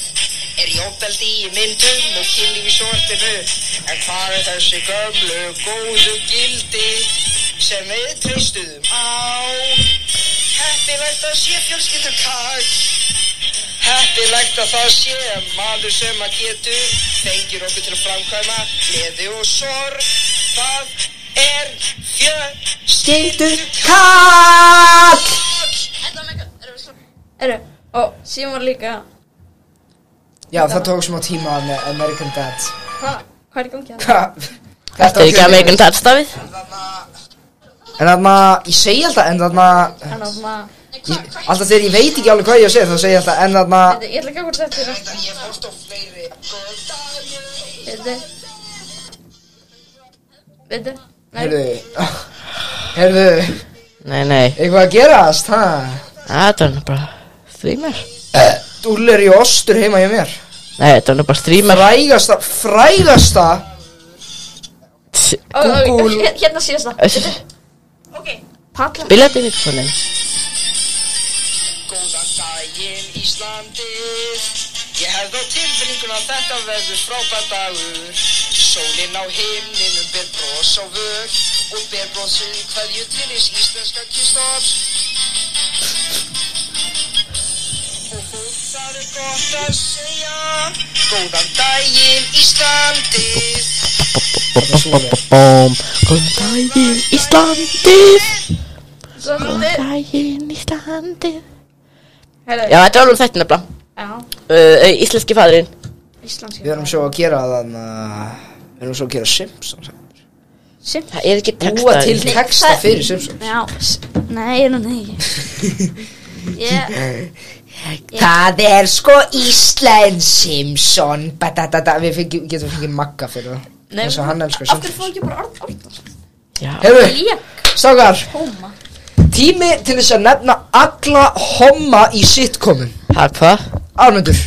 Speaker 2: er í óbeldi í myndum og kynlíf í sortinu en hvað er þessi gömlu góðu gildi sem við treystuðum á heppilegt að sé fjölskyldur kall heppilegt að það sé maður sem að getur fengir okkur til að framkvæma gleði og sorg það er fjölskyldur kall
Speaker 1: Eru, og síðan var líka
Speaker 6: Já, það tók smá tíma með American Dad
Speaker 1: Hvað, hvað er í gangi það?
Speaker 6: Hvað?
Speaker 9: þeir ekki að meikun þetta stafið
Speaker 6: En þarna, ég segi alltaf, en þarna
Speaker 1: Þannig að svona
Speaker 6: ég- Alltaf þegar ég veit ekki alveg hvað ég á að segja þá segi ég alltaf, en þarna
Speaker 1: Þetta, ég ætla ekki að hvort þetta er rétt
Speaker 2: ég fórst á fleiri góð dagur
Speaker 1: Þetta Þetta Nei,
Speaker 6: Heyrðu Heyrðu,
Speaker 9: nei nei
Speaker 6: eitthvað að gerast, ha?
Speaker 9: það er nú bara streamer
Speaker 6: Dúll er í ostur heima hjá mér
Speaker 9: nei það er nú bara streamer
Speaker 6: Frægasta, frægasta
Speaker 1: ó, ó,
Speaker 6: Google.
Speaker 1: hér- hérna síðast það
Speaker 9: spila
Speaker 1: Palla
Speaker 9: þetta í svona
Speaker 2: Góðan daginn Íslandið Ég hefði á tilfinningun að þetta verður frábær dagur Sólinn á himninum ber bros á vör Og ber brosið hverju til ís íslenska kistofs Og fólk þar er gott að segja Góðan daginn Íslandið
Speaker 9: Bum, góðan daginn Íslandi
Speaker 1: Svo þetta
Speaker 9: Daginn Íslandi
Speaker 1: Herðu,
Speaker 9: Já, þetta var alveg þetta nefnilega
Speaker 1: já
Speaker 9: uh, uh, Íslenski fadurinn
Speaker 1: Íslandski
Speaker 6: Við erum svo að gera þarna Við erum svo að gera Simpsons
Speaker 1: Simp
Speaker 9: Það er ekki
Speaker 6: Búa til
Speaker 9: textaður
Speaker 6: texta fyrir Simpsons
Speaker 1: Já, s- nei, er hún ekki Ég,
Speaker 6: Það er sko Ísland Simpson Badadada. Við fengi, getum fengið magga fyrir það
Speaker 1: nei
Speaker 6: Þess að hann elskar
Speaker 1: Af hverju
Speaker 6: Simpsons
Speaker 1: fóðu ekki bara orð orð
Speaker 6: Hefur,
Speaker 1: Líka
Speaker 6: stákar
Speaker 1: Hóma
Speaker 6: Tími til þess að nefna alla homma í sitcomin
Speaker 9: Ha, hva?
Speaker 6: Ármundur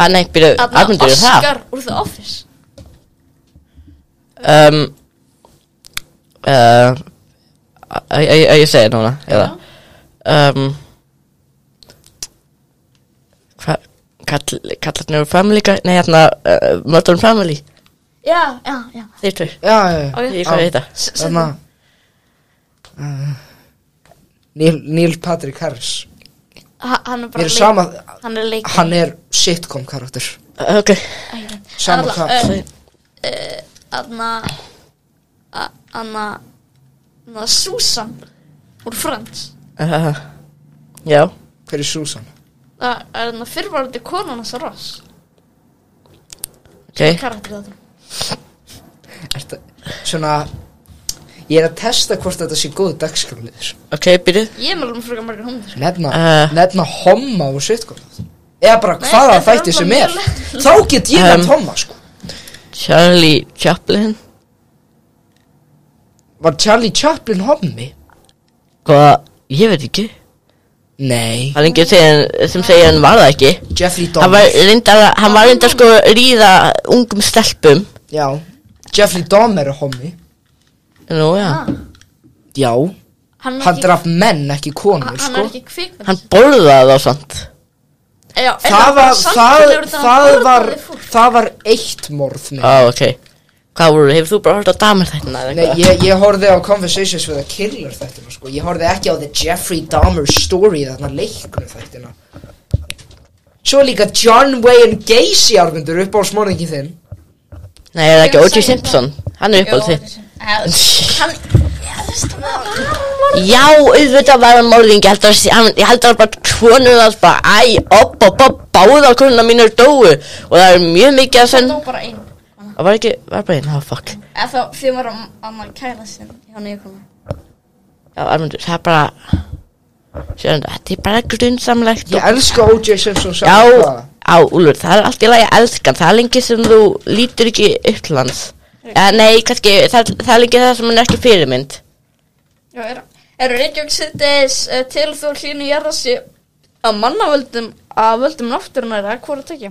Speaker 9: Ha, nei, byrju,
Speaker 1: Þarna
Speaker 9: afmyndur það
Speaker 1: Oscar úr The Office
Speaker 9: Um Uh Æ, æ, æ, ég segi það núna Eða Um Hva? Kall, kallarnir úr Family Guy Nei, hérna, uh, Modern Family
Speaker 1: Já, já, já
Speaker 9: Þeir tveir
Speaker 6: Já, já, já
Speaker 1: Ok.
Speaker 9: Ég hvað heita
Speaker 1: S- s-
Speaker 6: Þarna uh, Neil, Neil Patrick Harris
Speaker 1: ha- Hann er
Speaker 6: Við
Speaker 1: bara
Speaker 6: erum
Speaker 1: leik-
Speaker 6: sama
Speaker 1: Hann er leik
Speaker 6: Hann er sitcom karakter
Speaker 9: Uh, Ok
Speaker 6: Sama
Speaker 1: Alla,
Speaker 6: hvað
Speaker 1: eh,
Speaker 9: Þeir-
Speaker 1: Anna a- Anna Anna Susan úr Friends
Speaker 9: Uh, já,
Speaker 6: Hver er Susan?
Speaker 1: Það er hérna fyrrvarandi konan hans Ross
Speaker 9: ok
Speaker 1: karakter þetta
Speaker 6: Ertu, svona Ég er að testa hvort þetta sé góð dagskráliður
Speaker 9: Ok, byrju
Speaker 1: Ég er með alveg frekar margar hóndir
Speaker 6: Nefna,
Speaker 9: Eh.
Speaker 6: nefna homma og sitcom Eða bara
Speaker 1: þetta
Speaker 6: hvaða
Speaker 1: er
Speaker 6: þætti
Speaker 1: allavega
Speaker 6: sem
Speaker 1: mjög
Speaker 6: er Þá get ég
Speaker 9: Um.
Speaker 6: nefnt homma sko
Speaker 9: Charlie Chaplin
Speaker 6: Var Charlie Chaplin hommi?
Speaker 9: Hvað, ég veit ekki
Speaker 6: Nei
Speaker 9: Það er enginn segja, sem segja hann var það ekki
Speaker 6: Jeffrey
Speaker 9: Hann var
Speaker 6: Dahmer
Speaker 9: reyndar, að- hann var reyndar sko að ríða ungum stelpum
Speaker 6: Já Jeffrey Dahmer er hommi
Speaker 9: Nú, já.
Speaker 6: Já,
Speaker 1: Hann, er
Speaker 6: hann
Speaker 1: ekki-
Speaker 6: draf menn, ekki konur,
Speaker 1: hann er
Speaker 6: sko
Speaker 1: ekki kvikmynd
Speaker 9: Hann borðaði þá samt.
Speaker 1: Já, er
Speaker 6: Það
Speaker 1: bara
Speaker 6: var, það,
Speaker 1: samfélagur þegar hann
Speaker 6: það
Speaker 1: borðaði
Speaker 6: var,
Speaker 1: fólk?
Speaker 6: það var eitt morð
Speaker 9: Á,
Speaker 6: með
Speaker 9: ok. Hvað voru, hefur þú bara hort á damir þættina eða
Speaker 6: Nei,
Speaker 9: eitthvað?
Speaker 6: ég, ég horfði á Conversations with a Killer þættina, sko Ég horfði ekki á The Jeffrey Dahmer Story, þarna leiknum þættina Svo líka John Wayne Gacy, Arvindur, upp á smorðingi þinn
Speaker 9: Nei, er það ekki
Speaker 1: Ég
Speaker 9: O.J.
Speaker 1: sagði
Speaker 9: Simpson? Hann er uppáð þitt.
Speaker 1: Hann, já, þú veist, það var bara
Speaker 9: Já, auðvitað var hann morðing, ég held að hann, ég held að hann bara konur það bara, æ, opp, opp, opp, báða konuna mínur dóu og það er mjög mikið að senn,
Speaker 1: Það var bara einn
Speaker 9: það var ekki, var bara einn, það fuck.
Speaker 1: Eða þá því var annar kæla sinn hjá nýjum
Speaker 9: Já, Armundur, það er bara, sérðu, þetta er bara grunnsamlegt.
Speaker 6: Ég elska O.J. Simpson
Speaker 9: Já,
Speaker 6: saman hvað.
Speaker 9: á, Úlfur, það er allt í lagi að elska hann, það er lengi sem þú lítur ekki upp til hans. Ja, nei, kannski, það, það er lengi það sem hann er ekki fyrirmynd.
Speaker 1: Já, er, er Reykjavík sýttis uh, til þú hlínu jarðasi að mannavöldum að völdum náttúrunar eða hvort ekki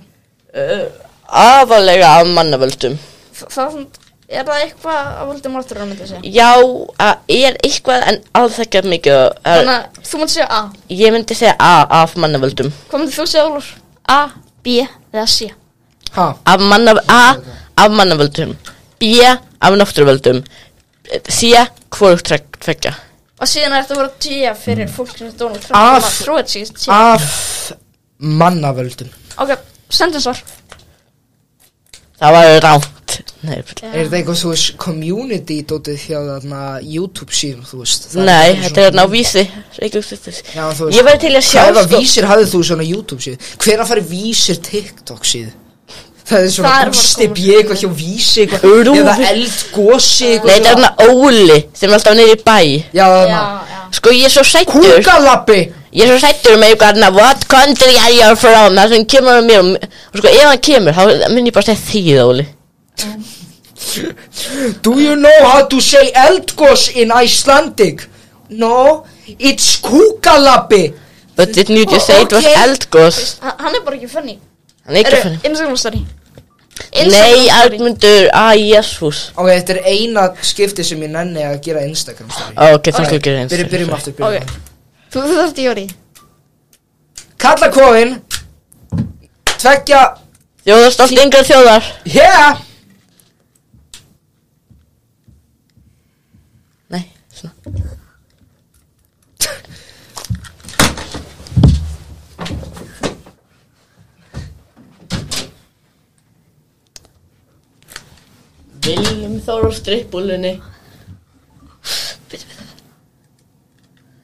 Speaker 9: Uh, afalega af mannavöldum.
Speaker 1: Það er það eitthvað að völdum náttúrunar myndi að segja
Speaker 9: Já, að er eitthvað en alls ekki mikið er,
Speaker 1: Þannig að þú myndi segja A
Speaker 9: Ég myndi segja A af mannavöldum
Speaker 1: Hvað myndi þú segja Ólur? A, B eða C
Speaker 6: Ha,
Speaker 9: af manna, A af mannavöldum B af náttúruvöldum C hvorugt trek- tveggja
Speaker 1: Og síðan er þetta að vera G fyrir fólk sem er Donald Trump sem
Speaker 6: Af-
Speaker 1: að trúið sig G.
Speaker 6: af mannavöldum
Speaker 1: Ok, sendum svar
Speaker 9: Það var rámt Nei, fyrir-
Speaker 6: Er þetta eitthvað, þú veist, community dótið hjá þarna YouTube síðan, þú veist það
Speaker 9: Nei
Speaker 6: eitthvað
Speaker 9: þetta er
Speaker 6: svona-
Speaker 9: ná vísi Reykjavík Sisters.
Speaker 6: Já, þú veist-
Speaker 9: Ég væri til í að sjá
Speaker 6: Hvaða
Speaker 9: sko-
Speaker 6: vísir hafði þú svona YouTube síðu? Hver að fara í vísir TikTok síðu? Það er svona
Speaker 1: Þar var
Speaker 6: gústi
Speaker 1: komast-
Speaker 6: bjeg eitthvað hjá vísi eitthvað
Speaker 9: Rúfi.
Speaker 6: Eða eldgósi
Speaker 9: Nei, þetta er
Speaker 6: svona.
Speaker 9: hérna Óli sem er alltaf niður í bæ
Speaker 6: Já,
Speaker 1: Já,
Speaker 6: þarna
Speaker 1: já
Speaker 9: Sko ég er svo sættur
Speaker 6: Kúkalabbi
Speaker 9: Ég er svo sættur með eitthvað hérna What country are you from? Það sem kemur að mér og- og Sko ef hann kemur þá mun ég bara segja þýð Óli
Speaker 6: Do you know how to say eldgós in Icelandic? No, it's kúkalabbi
Speaker 9: But didn't you just say it was
Speaker 6: Ok.
Speaker 9: eldgós?
Speaker 1: Hann hann er bara ekki funny
Speaker 9: Hann er ekki
Speaker 1: Eru,
Speaker 9: fyrir
Speaker 1: Instagram story
Speaker 9: Nei, Arnmundur, ah, að jésús
Speaker 6: Ok, þetta er eina skipti sem ég nenni að gera Instagram story
Speaker 9: Ah, Ok, það skulle ekki
Speaker 6: Byrjum,
Speaker 9: reyns
Speaker 6: byrjum aftur, byrjum
Speaker 1: Ok. Þú þú þarft í orði
Speaker 6: Kalla kóin Tveggja
Speaker 9: Þjóðarstolt yngra þjóðar
Speaker 6: Yeah
Speaker 9: Nei, svona Viljum Þór á strippbúlunni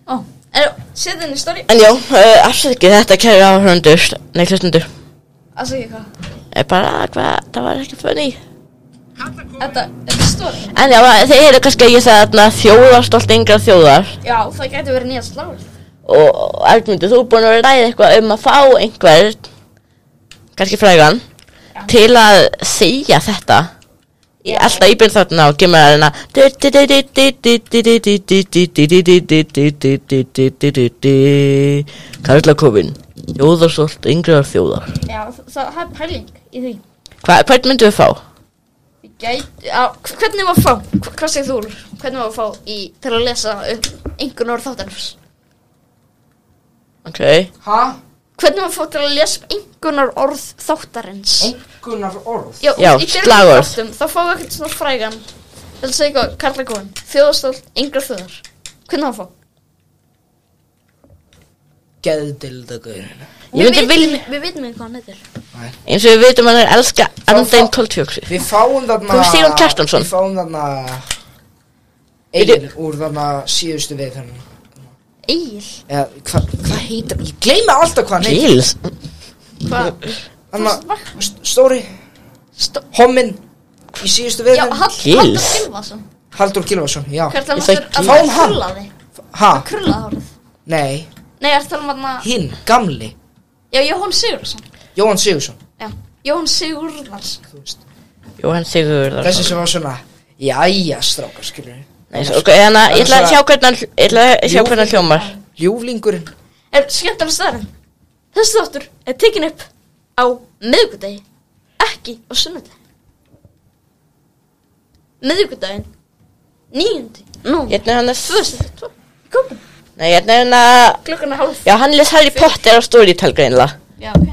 Speaker 1: Ó, er, setið henni story
Speaker 9: En já, uh, afsækki þetta kæri áhörundur Nei, hlustundur
Speaker 1: Það segja hvað
Speaker 9: Eh, Bara, hvað, það var ekki funny
Speaker 1: Þetta, þetta er story
Speaker 9: En já, þeir eru kannski að ég sagði þarna Þjóðarstolt yngra þjóðar
Speaker 1: Já, það gæti verið nýja sláður
Speaker 9: og Arnmundur, þú er búin að vera að ræða eitthvað um að fá einhver kannski frægan til að segja þetta í alltaf íbyrð þarna og gemur að reyna Karlakofin Jóðarsolt, yngriðar þjóðar
Speaker 1: Já, það, það er pæling í því
Speaker 9: Hva, Hvern myndum við fá?
Speaker 1: Ég Gæti, á, hvernig var að fá hva- Hvað segir þú, Úlfur? Hvernig var að fá í, til að lesa einhvern orð þáttarins
Speaker 9: Ok,
Speaker 6: Ha?
Speaker 1: Hvernig var að fá til að lesa einhvernar orð þáttarins
Speaker 6: Einhvernar orð
Speaker 1: Já,
Speaker 9: Já,
Speaker 1: í byrjun
Speaker 9: slagorð.
Speaker 1: þáttum, Þá fáum við eitthvað svona frægan Þetta segja eitthvað, Karla Góðan Þjóðastóll, yngra þjóðar Hvernig á að fá?
Speaker 6: Geðdildagurinn
Speaker 9: Ég myndi
Speaker 1: Við
Speaker 9: vilja-
Speaker 1: vitum- Við vitum ekki hvað hann heitir
Speaker 9: eins og við veitum hann er að elska Andein Koltjóksi
Speaker 6: Við fáum þarna
Speaker 9: Þú veist Sigurður Kjartansson?
Speaker 6: Við fáum þarna Egil
Speaker 9: Byrju-
Speaker 6: úr þarna síðustu við þarna
Speaker 1: Egil
Speaker 6: Eða, hva- hvað heitir Ég gleymi alltaf hvað hann heitir
Speaker 9: Gils
Speaker 1: Hvað?
Speaker 6: Þarna, st- stóri Hommin Í síðustu við
Speaker 1: Já,
Speaker 6: þarna
Speaker 1: Hall-
Speaker 9: Gils.
Speaker 1: Halldór Gylfason
Speaker 6: Haldur Gilvason, já
Speaker 1: Hvað er það
Speaker 9: Ég sagði
Speaker 1: maður að
Speaker 6: Gils.
Speaker 1: maður krulla þig?
Speaker 6: Ha?
Speaker 1: Krulla hárið
Speaker 6: Nei,
Speaker 1: Nei, er það maður að
Speaker 6: hinn, gamli
Speaker 1: Já, Jóhann Sigurðarsson
Speaker 6: Jóhann Sigursson
Speaker 1: Já, Jóhann Sigurðarsson
Speaker 6: þú veist.
Speaker 9: Jóhann Sigurðar
Speaker 6: Þessi sem var svona Jæja, strákar, skilur við
Speaker 9: Nei, svo- ok, hérna, ég ætla að sjá hvernig hann- ég ætla að sjá hvernig hann hljómar
Speaker 6: Ljúflingurinn
Speaker 1: Er skemmtilega staðarinn Þessi þáttur er tekin upp á miðvikudegi Ekki á sunnudegi Miðvikudaginn Níundi? Nú,
Speaker 9: Hérna er hann að...
Speaker 1: tvöðsett
Speaker 9: Nei, hérna er hann að...
Speaker 1: Klukkan er hálf
Speaker 9: Já, hann les Harry Potter á Storytel greinlega.
Speaker 1: Já, ok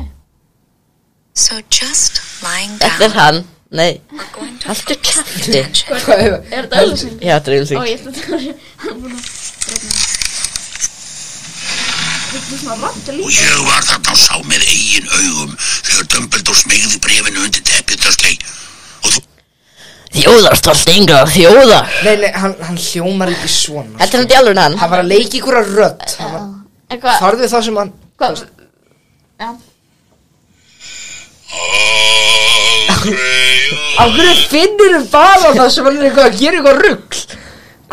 Speaker 13: So just lying
Speaker 9: Þetta er
Speaker 13: down,
Speaker 9: hann. Nei,
Speaker 13: we're going to
Speaker 9: haltu kæfti.
Speaker 6: Hvað er það?
Speaker 1: Er þetta auðlýsing?
Speaker 9: Já, þetta er
Speaker 1: Ó,
Speaker 9: auðvitað.
Speaker 1: ég ætla að það var Hann er búin að Hérna Þetta er svona rátt að líka
Speaker 3: Ég var þarna og sá með eigin augum þegar Dumbledore smegði brefinu undir teppjöldastlei og þú...
Speaker 9: Þjóðarstolt Inga, þjóðar.
Speaker 6: Nei, nei, hann, hann hljómar ekki svona sko.
Speaker 9: Þetta er hann djálurinn hann.
Speaker 6: Hann var að leika ykkur að rödd Hann var-
Speaker 1: En hvað,
Speaker 6: Farðu það sem hann
Speaker 1: hvað Já
Speaker 6: Á hverju finnur þú bara það sem hann er eitthvað að gera eitthvað rugg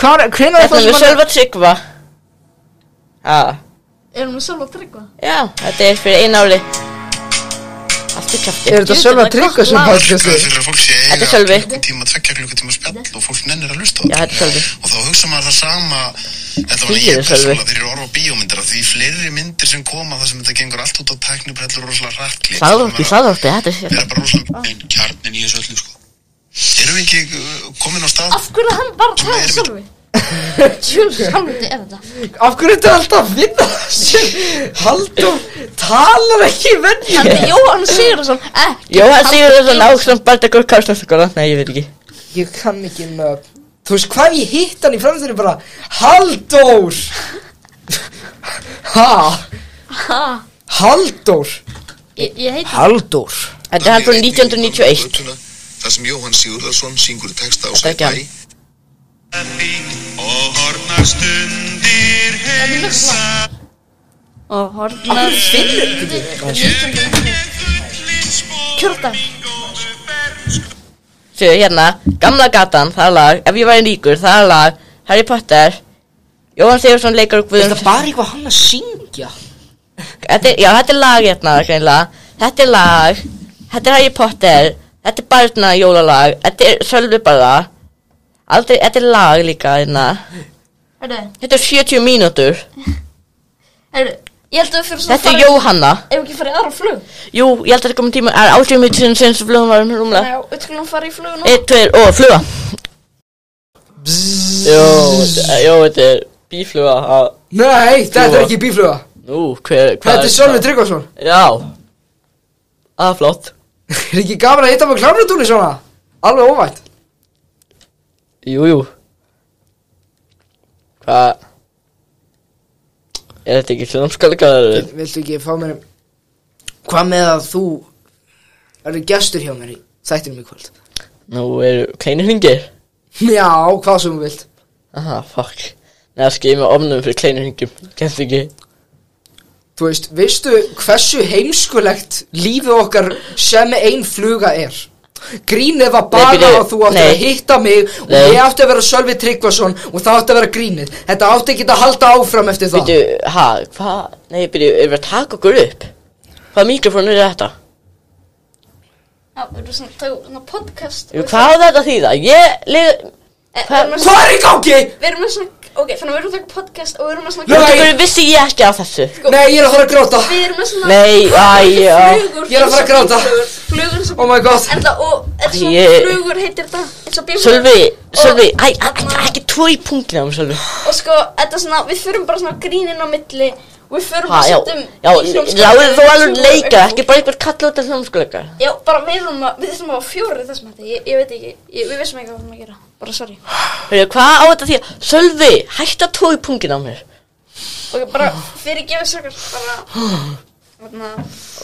Speaker 6: Hvar, hvenær er
Speaker 9: Þetta
Speaker 6: það
Speaker 9: er
Speaker 6: sem
Speaker 9: Hérna með
Speaker 6: hann
Speaker 1: Erum við
Speaker 9: Sölva Tryggva. Já,
Speaker 1: sjálf að tryggva?
Speaker 9: já, þetta er fyrir einu ári. Haltu kæfti.
Speaker 6: Er þetta
Speaker 1: Ég
Speaker 6: Sölva
Speaker 1: þetta
Speaker 6: Tryggva sem
Speaker 1: gott lag.
Speaker 6: podcastu?
Speaker 14: að fólk sé
Speaker 9: Þetta er Sölvi.
Speaker 14: tíma, tvekja klukkutíma spjall og fólk nennir að lusta
Speaker 9: Já, þetta er Sölvi.
Speaker 14: og þá hugsa maður það sama þetta var ég
Speaker 9: Fyrir Sölvi.
Speaker 14: persónulega þegar ég orða á bíómyndir af því fleiri myndir sem koma þar sem þetta gengur allt út á tæknibrellur og rosalega rætt
Speaker 9: Sáðorti, sáðorti, þetta er
Speaker 14: Það
Speaker 9: sér.
Speaker 14: er bara rosalega en kjarnin í þessu öllu sko Erum við ekki uh, komin á stað?
Speaker 1: Af hverju er hann bara að tala sjálfi? Júls, sjálfið er þetta
Speaker 6: Af hverju þetta er alltaf að finna það sem Haldur talar ekki venni
Speaker 1: Þetta er Jóhann Sigurðsson Ekki
Speaker 9: Jóhann
Speaker 1: Halldór
Speaker 9: Sigurðarsson Áksson Bardagur Karlsson Nei, ég veit ekki
Speaker 6: Ég kann ekki nöfn Þú veist hvað ég hitt hann í framstæðinu bara Haldur Ha
Speaker 1: Ha,
Speaker 6: Haldur
Speaker 1: Ég ég heiti
Speaker 6: Haldur
Speaker 9: Þetta er hann frá 1991
Speaker 14: Það sem Jóhann Sigurðarsson syngur texta á
Speaker 9: Þetta er ekki hann.
Speaker 14: Og hornar stundir heilsa
Speaker 1: Og hornar Kjördag
Speaker 9: Sér, hérna, Gamla gatan, það er lag Ef ég væri ríkur, það er lag Harry Potter Jóhann Sigurðarsson leikur
Speaker 6: Er
Speaker 9: Guðjón
Speaker 6: þetta bara eitthvað hann að syngja?
Speaker 9: þetta er, Já, þetta er lag hérna, greinlega Þetta er lag Þetta er Harry Potter Þetta er barna jólalag Þetta er sölvi bara Aldrei, þetta er lag líka hérna
Speaker 1: Herru,
Speaker 9: Þetta er 70 mínútur
Speaker 1: herru Ég held að við fyrir svona
Speaker 9: Þetta er Jóhanna
Speaker 1: Ef ekki farið í aðra flug
Speaker 9: Jú, ég held að þetta komið tíma Það er 80 mínútur sinni sinni sem flugum var um rúmlega
Speaker 1: Þannig að við skulum fara í flug nú
Speaker 9: Einn, tveir og fluga Jó, þetta- jó, þetta er bífluga að
Speaker 6: Nei, þetta er ekki bífluga
Speaker 9: Nú, hver, hvað
Speaker 6: Þetta er Sölvi Tryggvason
Speaker 9: Já Það er flott
Speaker 6: Er ekki gaman að hitta með klárnutúni svona? Alveg óvænt
Speaker 9: Jú, jú Hvað Er þetta ekki hljómskalega
Speaker 6: Viltu ekki fá mér Hvað með að þú Erðu gestur hjá mér í þættinum í kvöld
Speaker 9: Nú eru kleinir hringir
Speaker 6: Já, hvað sem þú vilt
Speaker 9: Aha, fuck Nei, það skil ég með ofnum fyrir kleinir hringum Kennst ekki
Speaker 6: Þú veist, veistu hversu heimskulegt lífið okkar sem ein fluga er? Grínið var bara
Speaker 9: Nei, byrju,
Speaker 6: að þú átti
Speaker 9: nei.
Speaker 6: að hitta mig og
Speaker 9: Nei.
Speaker 6: ég átti að vera Sölvi Tryggvason og það átti að vera grínið. Þetta átti ekki að halda áfram eftir það.
Speaker 9: Býtu, ha, hvað Nei, byrju, erum við að taka okkur upp Hvað mikrofónu er þetta?
Speaker 1: Já, við erum svona Tökum svona podcast
Speaker 9: Jú, Hvað á þetta að þýða? Ég leg...
Speaker 1: Eh, við
Speaker 9: hvað-
Speaker 1: erum með svona-
Speaker 6: Hvað er í gangi?
Speaker 1: Við erum með svona Ok, þannig að við erum að taka podcast Og við erum með svona
Speaker 9: Þú
Speaker 6: Nei.
Speaker 9: veist, vissi ég ekki á þessu
Speaker 6: Nei, ég er að fara að gráta.
Speaker 1: Við erum með svona
Speaker 9: Nei, æ, já.
Speaker 1: Flugur
Speaker 6: Ég er að fara að gráta.
Speaker 1: Flugur, Flugur sem
Speaker 6: Oh my god.
Speaker 1: Er það og Er svona
Speaker 9: Ég-
Speaker 1: flugur heitir þetta Er svo bíflugur
Speaker 9: Sölvi, Sölvi,
Speaker 1: Og-
Speaker 9: æ, æ, æ, ekki tvo í punktinu á mig, Sölvi
Speaker 1: Og sko, þetta er svona Við förum bara svona grínin á milli og Við förum að
Speaker 9: Ha, já,
Speaker 1: setja um
Speaker 9: já,
Speaker 1: í hljómskapið
Speaker 9: láður þú
Speaker 1: og
Speaker 9: alveg
Speaker 1: svona
Speaker 9: leika,
Speaker 1: eitthvað.
Speaker 9: ekki bara einhver kalla út af hljómskuleika
Speaker 1: Já, bara við erum að Við þessum að fjóri þessum þetta Ég, ég veit ekki ég, Við vissum ekki hvað við erum að gera Bara sorry
Speaker 9: Hörru, hvað á þetta því að, Sölvi, hætt að tvo í punktinu á mér
Speaker 1: Ok, bara fyrir gefið sökar Bara Þarna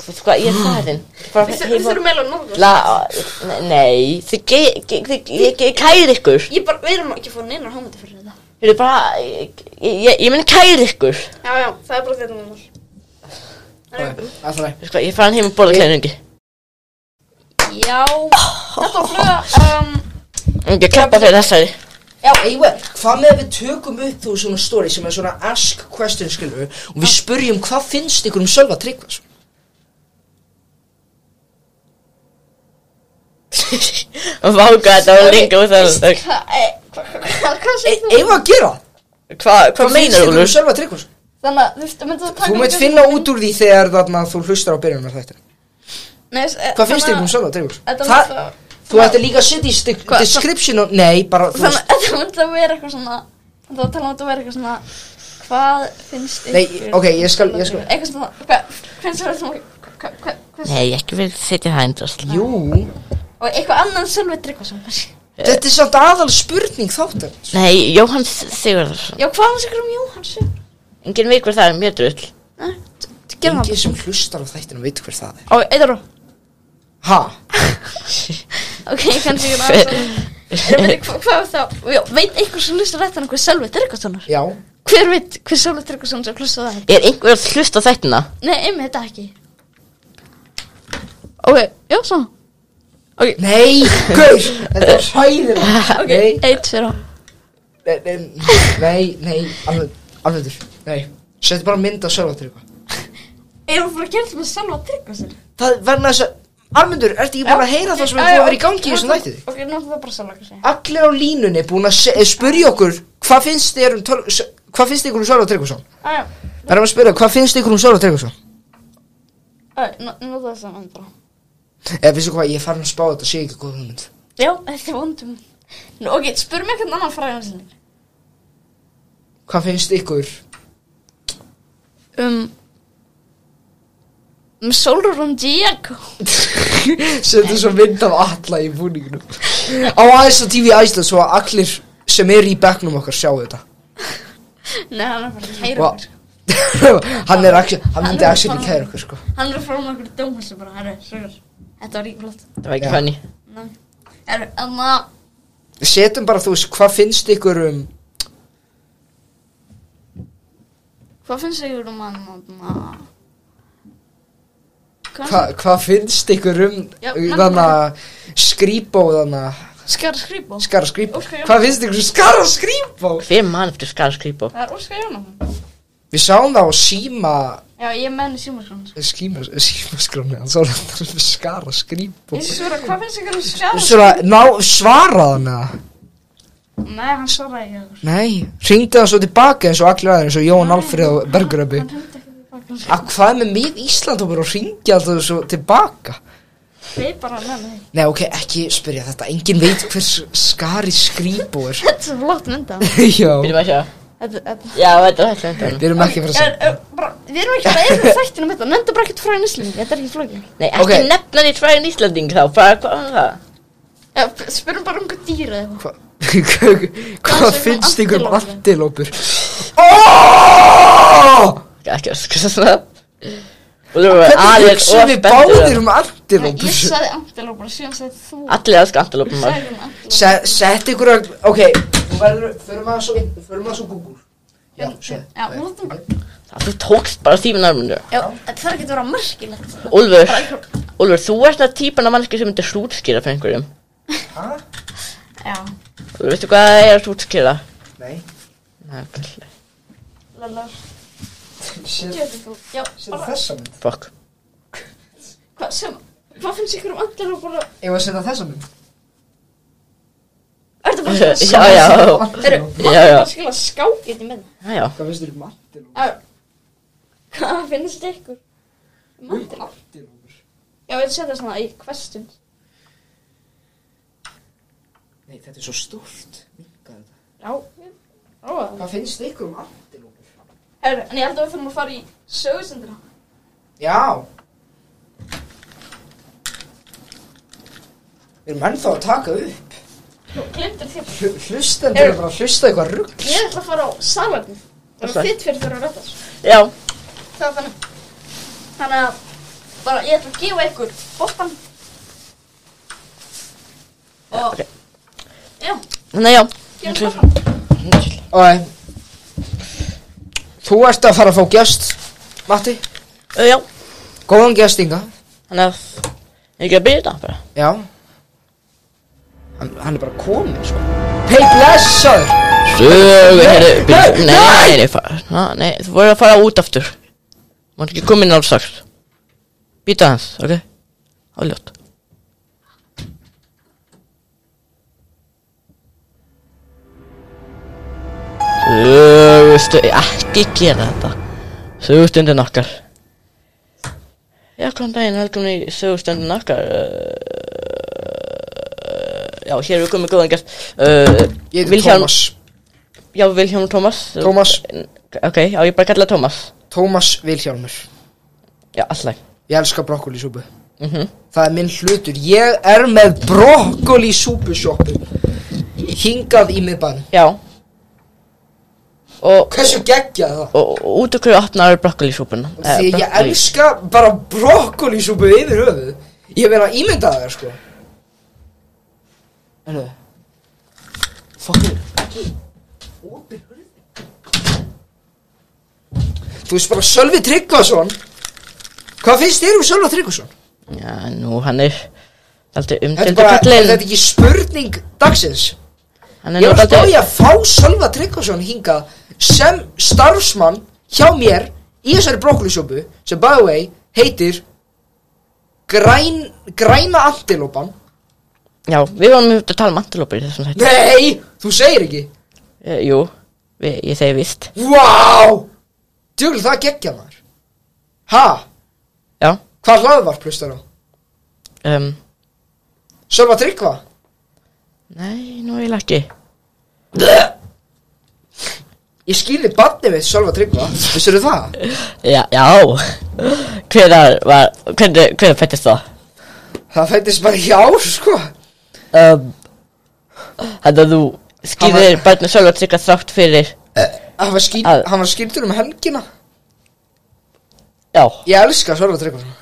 Speaker 9: Veitu hvað, ég er fæðin
Speaker 1: Við þur- við þurfum eiginlega nóg
Speaker 9: La, nei, þið ge, ge, ge, ge, ge, kæri ykkur
Speaker 1: Ég bara, við erum ekki að fá neinar hómyndi fyrir þetta
Speaker 9: Hörru, bara, ég, ég, ég meni kæri ykkur
Speaker 1: Já, já, það er bara þetta núna
Speaker 6: Það er
Speaker 9: Veitu hvað, ég fæðan heim að borða kleinungi
Speaker 1: Já, þetta var fluga um,
Speaker 9: Ég klappa fyrir þessari
Speaker 6: Já, Eyver, hvað með að við tökum upp þú svona story sem er svona ask question, skilur við, og við spurjum hvað finnst ykkur um Sölva Tryggvason?
Speaker 9: Váka, þetta var lengi út af
Speaker 1: Hvað, eh, hvað, hvað, hvað
Speaker 6: E
Speaker 1: segir þú?
Speaker 6: Eigum við að gera það?
Speaker 9: Hvað, hvað
Speaker 6: Hvað finnst
Speaker 9: meinar,
Speaker 6: ykkur um
Speaker 9: Úlfur?
Speaker 6: Sölva Tryggvason?
Speaker 1: Þannig að þú- þú myndir að taka
Speaker 6: Þú meitt finna út úr því þegar þarna þú hlustar á byrjunar þetta.
Speaker 1: Nei, þess- eh,
Speaker 6: Hvað finnst
Speaker 1: þannig
Speaker 6: ykkur um
Speaker 1: að-
Speaker 6: Sölva Tryggvason?
Speaker 1: Þetta
Speaker 6: Það,
Speaker 1: var
Speaker 6: Þú ætti líka að setja í sti- description og, Nei, bara, þú
Speaker 1: Þannig
Speaker 6: veist
Speaker 1: að það myndi að vera eitthvað svona Það var að tala um að það vera eitthvað svona Hvað finnst
Speaker 6: Nei, ok, ég skal- ég skal-
Speaker 1: Eitthvað svona, hvað, hvernig svo er svona hvað- hvað- hvað-
Speaker 9: Nei, ekki vil setja það einn drasl.
Speaker 6: Jú.
Speaker 1: Og eitthvað annan Sölvi Tryggvason
Speaker 6: Þetta er samt aðal spurning þáttar
Speaker 9: Nei, Jóhann Sigurðarsson.
Speaker 1: Já, hvað var sikur um Jóhann Sölvi?
Speaker 9: Engin veikur það er mjög drull.
Speaker 1: Gerðu það.
Speaker 6: Engið sem hlustar á þættinu veit hver það er
Speaker 1: Ó, eitthvað rá
Speaker 6: Ha?
Speaker 1: Ok, kannski ekki náttúrulega Hvað var þá? Já, veit einhver sem hlustar þetta hann hver Sölvi Tryggvason er?
Speaker 6: Já
Speaker 1: Hver veit hver Sölvi Tryggvason sem hlustar það?
Speaker 9: Er einhver að hlusta á þættina?
Speaker 1: Nei, einmitt þetta ekki Ok, já, svona okay.
Speaker 6: Nei, gaur, þetta er hræðilegt.
Speaker 1: Ok,
Speaker 6: Nei.
Speaker 1: eitt fyrir á
Speaker 6: Nei, nei, nei, nei alveg, alveg Nei, setja bara mynd á sjálfatir eitthvað
Speaker 1: Erum við bara að gera þetta með Sölva Tryggvason?
Speaker 6: Það verður þess að Armundur, ertu ekki bara að heyra það sem er búið að vera í gangi í þessum þætti?
Speaker 1: Ok, nú er það bara Sölva kannski
Speaker 6: Allir á línunni búin að se- eh, spyrja okkur Hvað finnst þér um töl, s- Hvað finnst ykkur um Sölva Tryggvason?
Speaker 1: Æja,
Speaker 6: Það er að spyrja, hvað finnst ykkur um Sölva Tryggvason?
Speaker 1: æja, nú það saman bara
Speaker 6: Eða finnst ykkur Eh, hvað, ég er farin að spá þetta, sé ekki góð hugmynd
Speaker 1: Já, þetta er vondum Nú, ok, spur mig eitthvað annan fræðan sinni
Speaker 6: Hvað finnst ykkur?
Speaker 1: Um Um Sólrún Diego
Speaker 6: Settu svo mynd af alla í búningnum Á aðeins á TV Æsland svo að allir sem eru í bekknum okkar sjáu þetta
Speaker 1: Nei, hann er bara að kæra
Speaker 6: Og
Speaker 1: okkur
Speaker 6: hann er actually, hann
Speaker 1: Hann
Speaker 6: myndi
Speaker 1: er
Speaker 6: actually
Speaker 1: bara-
Speaker 6: kæra okkur sko
Speaker 1: Hann er að fara með okkur dóma sem bara, herru, sögur Þetta var ekki flott
Speaker 9: Það var
Speaker 6: Já.
Speaker 9: ekki fannig.
Speaker 1: Nei Herru, enna
Speaker 6: Setjum bara þú veist, hvað finnst ykkur um
Speaker 1: Hvað finnst þið um hann, hann,
Speaker 6: Hva, hvað finnst ykkur um
Speaker 1: Já,
Speaker 6: þannig að skrýpa og þannig að
Speaker 1: Skara skrýpa
Speaker 6: skara skrýpa
Speaker 1: Óskar Jónasson.
Speaker 6: hvað finnst ykkur um skara skrýpa
Speaker 9: hver mann eftir skara skrýpa
Speaker 1: Það er Óskar Jónafn
Speaker 6: við sáum það á eh, síma
Speaker 1: Já, ég menni símaskrána
Speaker 6: skíma, símaskráni hann sá það um skara skrýpa
Speaker 1: Ísura, hvað finnst ykkur um skara
Speaker 6: svona ná svara þannig að
Speaker 1: Nei, hann svaraði ekki okkur
Speaker 6: nei ringdi það svo tilbaka eins og allir aðeins eins og Jón Alfrið og Bergröpi að hvað er með mig Ísland og bara ringi alltaf svo tilbaka
Speaker 1: Við bara með mig
Speaker 6: nei ok ekki spyrja þetta engin veit hver skari skrýpa er
Speaker 1: Þetta er flott mynda
Speaker 6: já
Speaker 9: Byrjum að sjá.
Speaker 1: Við
Speaker 9: Já, þetta er hægt hægt.
Speaker 6: Við erum ekki að fara að segja
Speaker 1: erum ekki eh, bara eða þættinum þetta Nefndu bara ekkert fræðin Ísling Þetta er ekki flókið
Speaker 9: Nei, ekki
Speaker 6: Ok.
Speaker 9: nefna því fræðin Íslanding þá, bara hvað var það?
Speaker 1: Já, p- Spyrum bara um hvað dýra eða
Speaker 6: eitthvað. Hvað
Speaker 1: Hvað
Speaker 6: finnst ykkur um antilópur?
Speaker 9: Ekki, ekki að skilja svona. Og þú verður
Speaker 6: Hvernig
Speaker 9: aðeins
Speaker 6: hugsaðum
Speaker 9: og
Speaker 6: við
Speaker 9: spenntur.
Speaker 6: báðir um
Speaker 1: Ég
Speaker 6: antilópur?
Speaker 1: sagði antilópar Síðan sagði þú
Speaker 9: Allir að skantalópum maður.
Speaker 1: Sagði um antilópur
Speaker 6: Sett ykkur að, ok, þú verður, förum að svo, förum að svo Google. Já, svo.
Speaker 1: Já, nú þarfum
Speaker 9: Það þú tókst bara símin armundu.
Speaker 1: Já, þetta þarf ekki að vera merkilegt
Speaker 9: Úlfur, Úlfur, þú ert það típan af mannski sem myndir hrútskýra fyrir einhverjum.
Speaker 1: Já,
Speaker 9: Úlfur, veistu hvað það er að hrútskýra?
Speaker 6: Nei.
Speaker 9: Nei, kallar.
Speaker 1: lallar
Speaker 6: Sér
Speaker 1: Djöfull, Já, bara
Speaker 6: þessa mynd?
Speaker 9: Fuck.
Speaker 1: Hvað sem Hvað finnst ykkur um antilópar
Speaker 6: Ég var að setja þessa mynd.
Speaker 1: Ertu bara að
Speaker 9: Já, já.
Speaker 1: Eru,
Speaker 9: Já, já.
Speaker 1: maður skilja skákið í með
Speaker 9: Já, já.
Speaker 6: Hvað finnst ykkur um antilópur?
Speaker 1: Já. Hvað finnst ykkur? Mandela. Já, við setja svona í hverstum.
Speaker 6: Nei, þetta er svo stórt. Minkar þetta.
Speaker 1: Já. Róða.
Speaker 6: Hvað finnst ykkur um antilópur?
Speaker 1: Herru, en ég held að við þurfum að fara í sögusendina.
Speaker 6: Já. Við erum ennþá að taka upp.
Speaker 1: Glimtir þér.
Speaker 6: Hlu- Hlustendur eru bara að hlusta á eitthvað rugg.
Speaker 1: Ég ætla að fara á salarnið. Það er
Speaker 9: Salernið.
Speaker 1: þitt fyrir þurfa að rætta þessu.
Speaker 9: Já.
Speaker 1: Það var þannig. Þannig að bara ég ætla að gefa ykkur bóttan. Og já,
Speaker 9: Nei, já.
Speaker 1: gefa ykkur bóttan.
Speaker 6: Æ. Þú ert að fara að fá gest, Matti.
Speaker 9: Ö, Já.
Speaker 6: Góðan gestinga.
Speaker 9: Þannig að ég ekki að byrja þetta bara.
Speaker 6: Já. Hann, hann er bara komið, sko. Hey, blessaður!
Speaker 9: Sögu, heyrðu,
Speaker 6: Nei, nei,
Speaker 9: byrja, nei, nei, nei, fara, na, nei, þú voru að fara út aftur. Mátt ekki koma inn alls strax. Býta hans, ok? Háljótt. Sögu stund, ekki gera þetta. Sögu stundin okkar. Eh, Já, kom daginn, velkomin í sögu stundin okkar. Uh, já, hér er komið góðan gæst uh,
Speaker 6: Ég heiti Tómas.
Speaker 9: Já, Vilhjálmur Tómas
Speaker 6: Tómas.
Speaker 9: Ok, já, ég bara kalla Tómas
Speaker 6: Tómas Vilhjálmur
Speaker 9: Já, alltaf
Speaker 6: Ég elska brokkolisúpu
Speaker 9: Mhm.
Speaker 6: Það er minn hlutur Ég er með brokkolisúpusjoppu Hingað í miðbæn
Speaker 9: Já og,
Speaker 6: Hversu geggja það?
Speaker 9: Og, og út af hverju opnaður Eh, brokkolisúpuna
Speaker 6: Því ég elska bara brokkolisúpu yfir höfuð Ég verið að ímynda það sko Erðu Fucking Þú veist bara Sölvi Tryggvason Hvað finnst þér um Sölva Tryggvason?
Speaker 9: Já, nú, hann er
Speaker 6: Þetta
Speaker 9: Alltaf
Speaker 6: er
Speaker 9: umtildur
Speaker 6: bara, er
Speaker 9: kallinn
Speaker 6: þetta ekki spurning dagsins?
Speaker 9: Hann er
Speaker 6: Ég
Speaker 9: nú
Speaker 6: var að spá
Speaker 9: dálítið-
Speaker 6: í að fá Sölva Tryggvason hingað sem starfsmann hjá mér í þessari brokkolisjópu sem by the way heitir græn, græna antilópan
Speaker 9: Já, við varum að tala um antilópur í þessum þætti
Speaker 6: Nei, þú segir ekki
Speaker 9: Eh, Jú, við, ég segi vist
Speaker 6: Vá, wow! djögl það geggja maður Ha?
Speaker 9: Já
Speaker 6: Hvað hlaðvarp hlustar á?
Speaker 9: um,
Speaker 6: Sölva Tryggva?
Speaker 9: Nei, nú er ég ekki
Speaker 6: Ég skýrði barni við Sölva Tryggva Vissirðu það?
Speaker 9: Já, já Hvenar var, hvernig, hvernig fættist það?
Speaker 6: Það fættist bara í ár sko
Speaker 9: um, Þannig að þú skýrir barnið sjálf að tryggja þrátt fyrir
Speaker 6: Hann var, skýr,
Speaker 9: Að-
Speaker 6: hann var skýrtur um helgina
Speaker 9: Já
Speaker 6: Ég elska Sölva Tryggva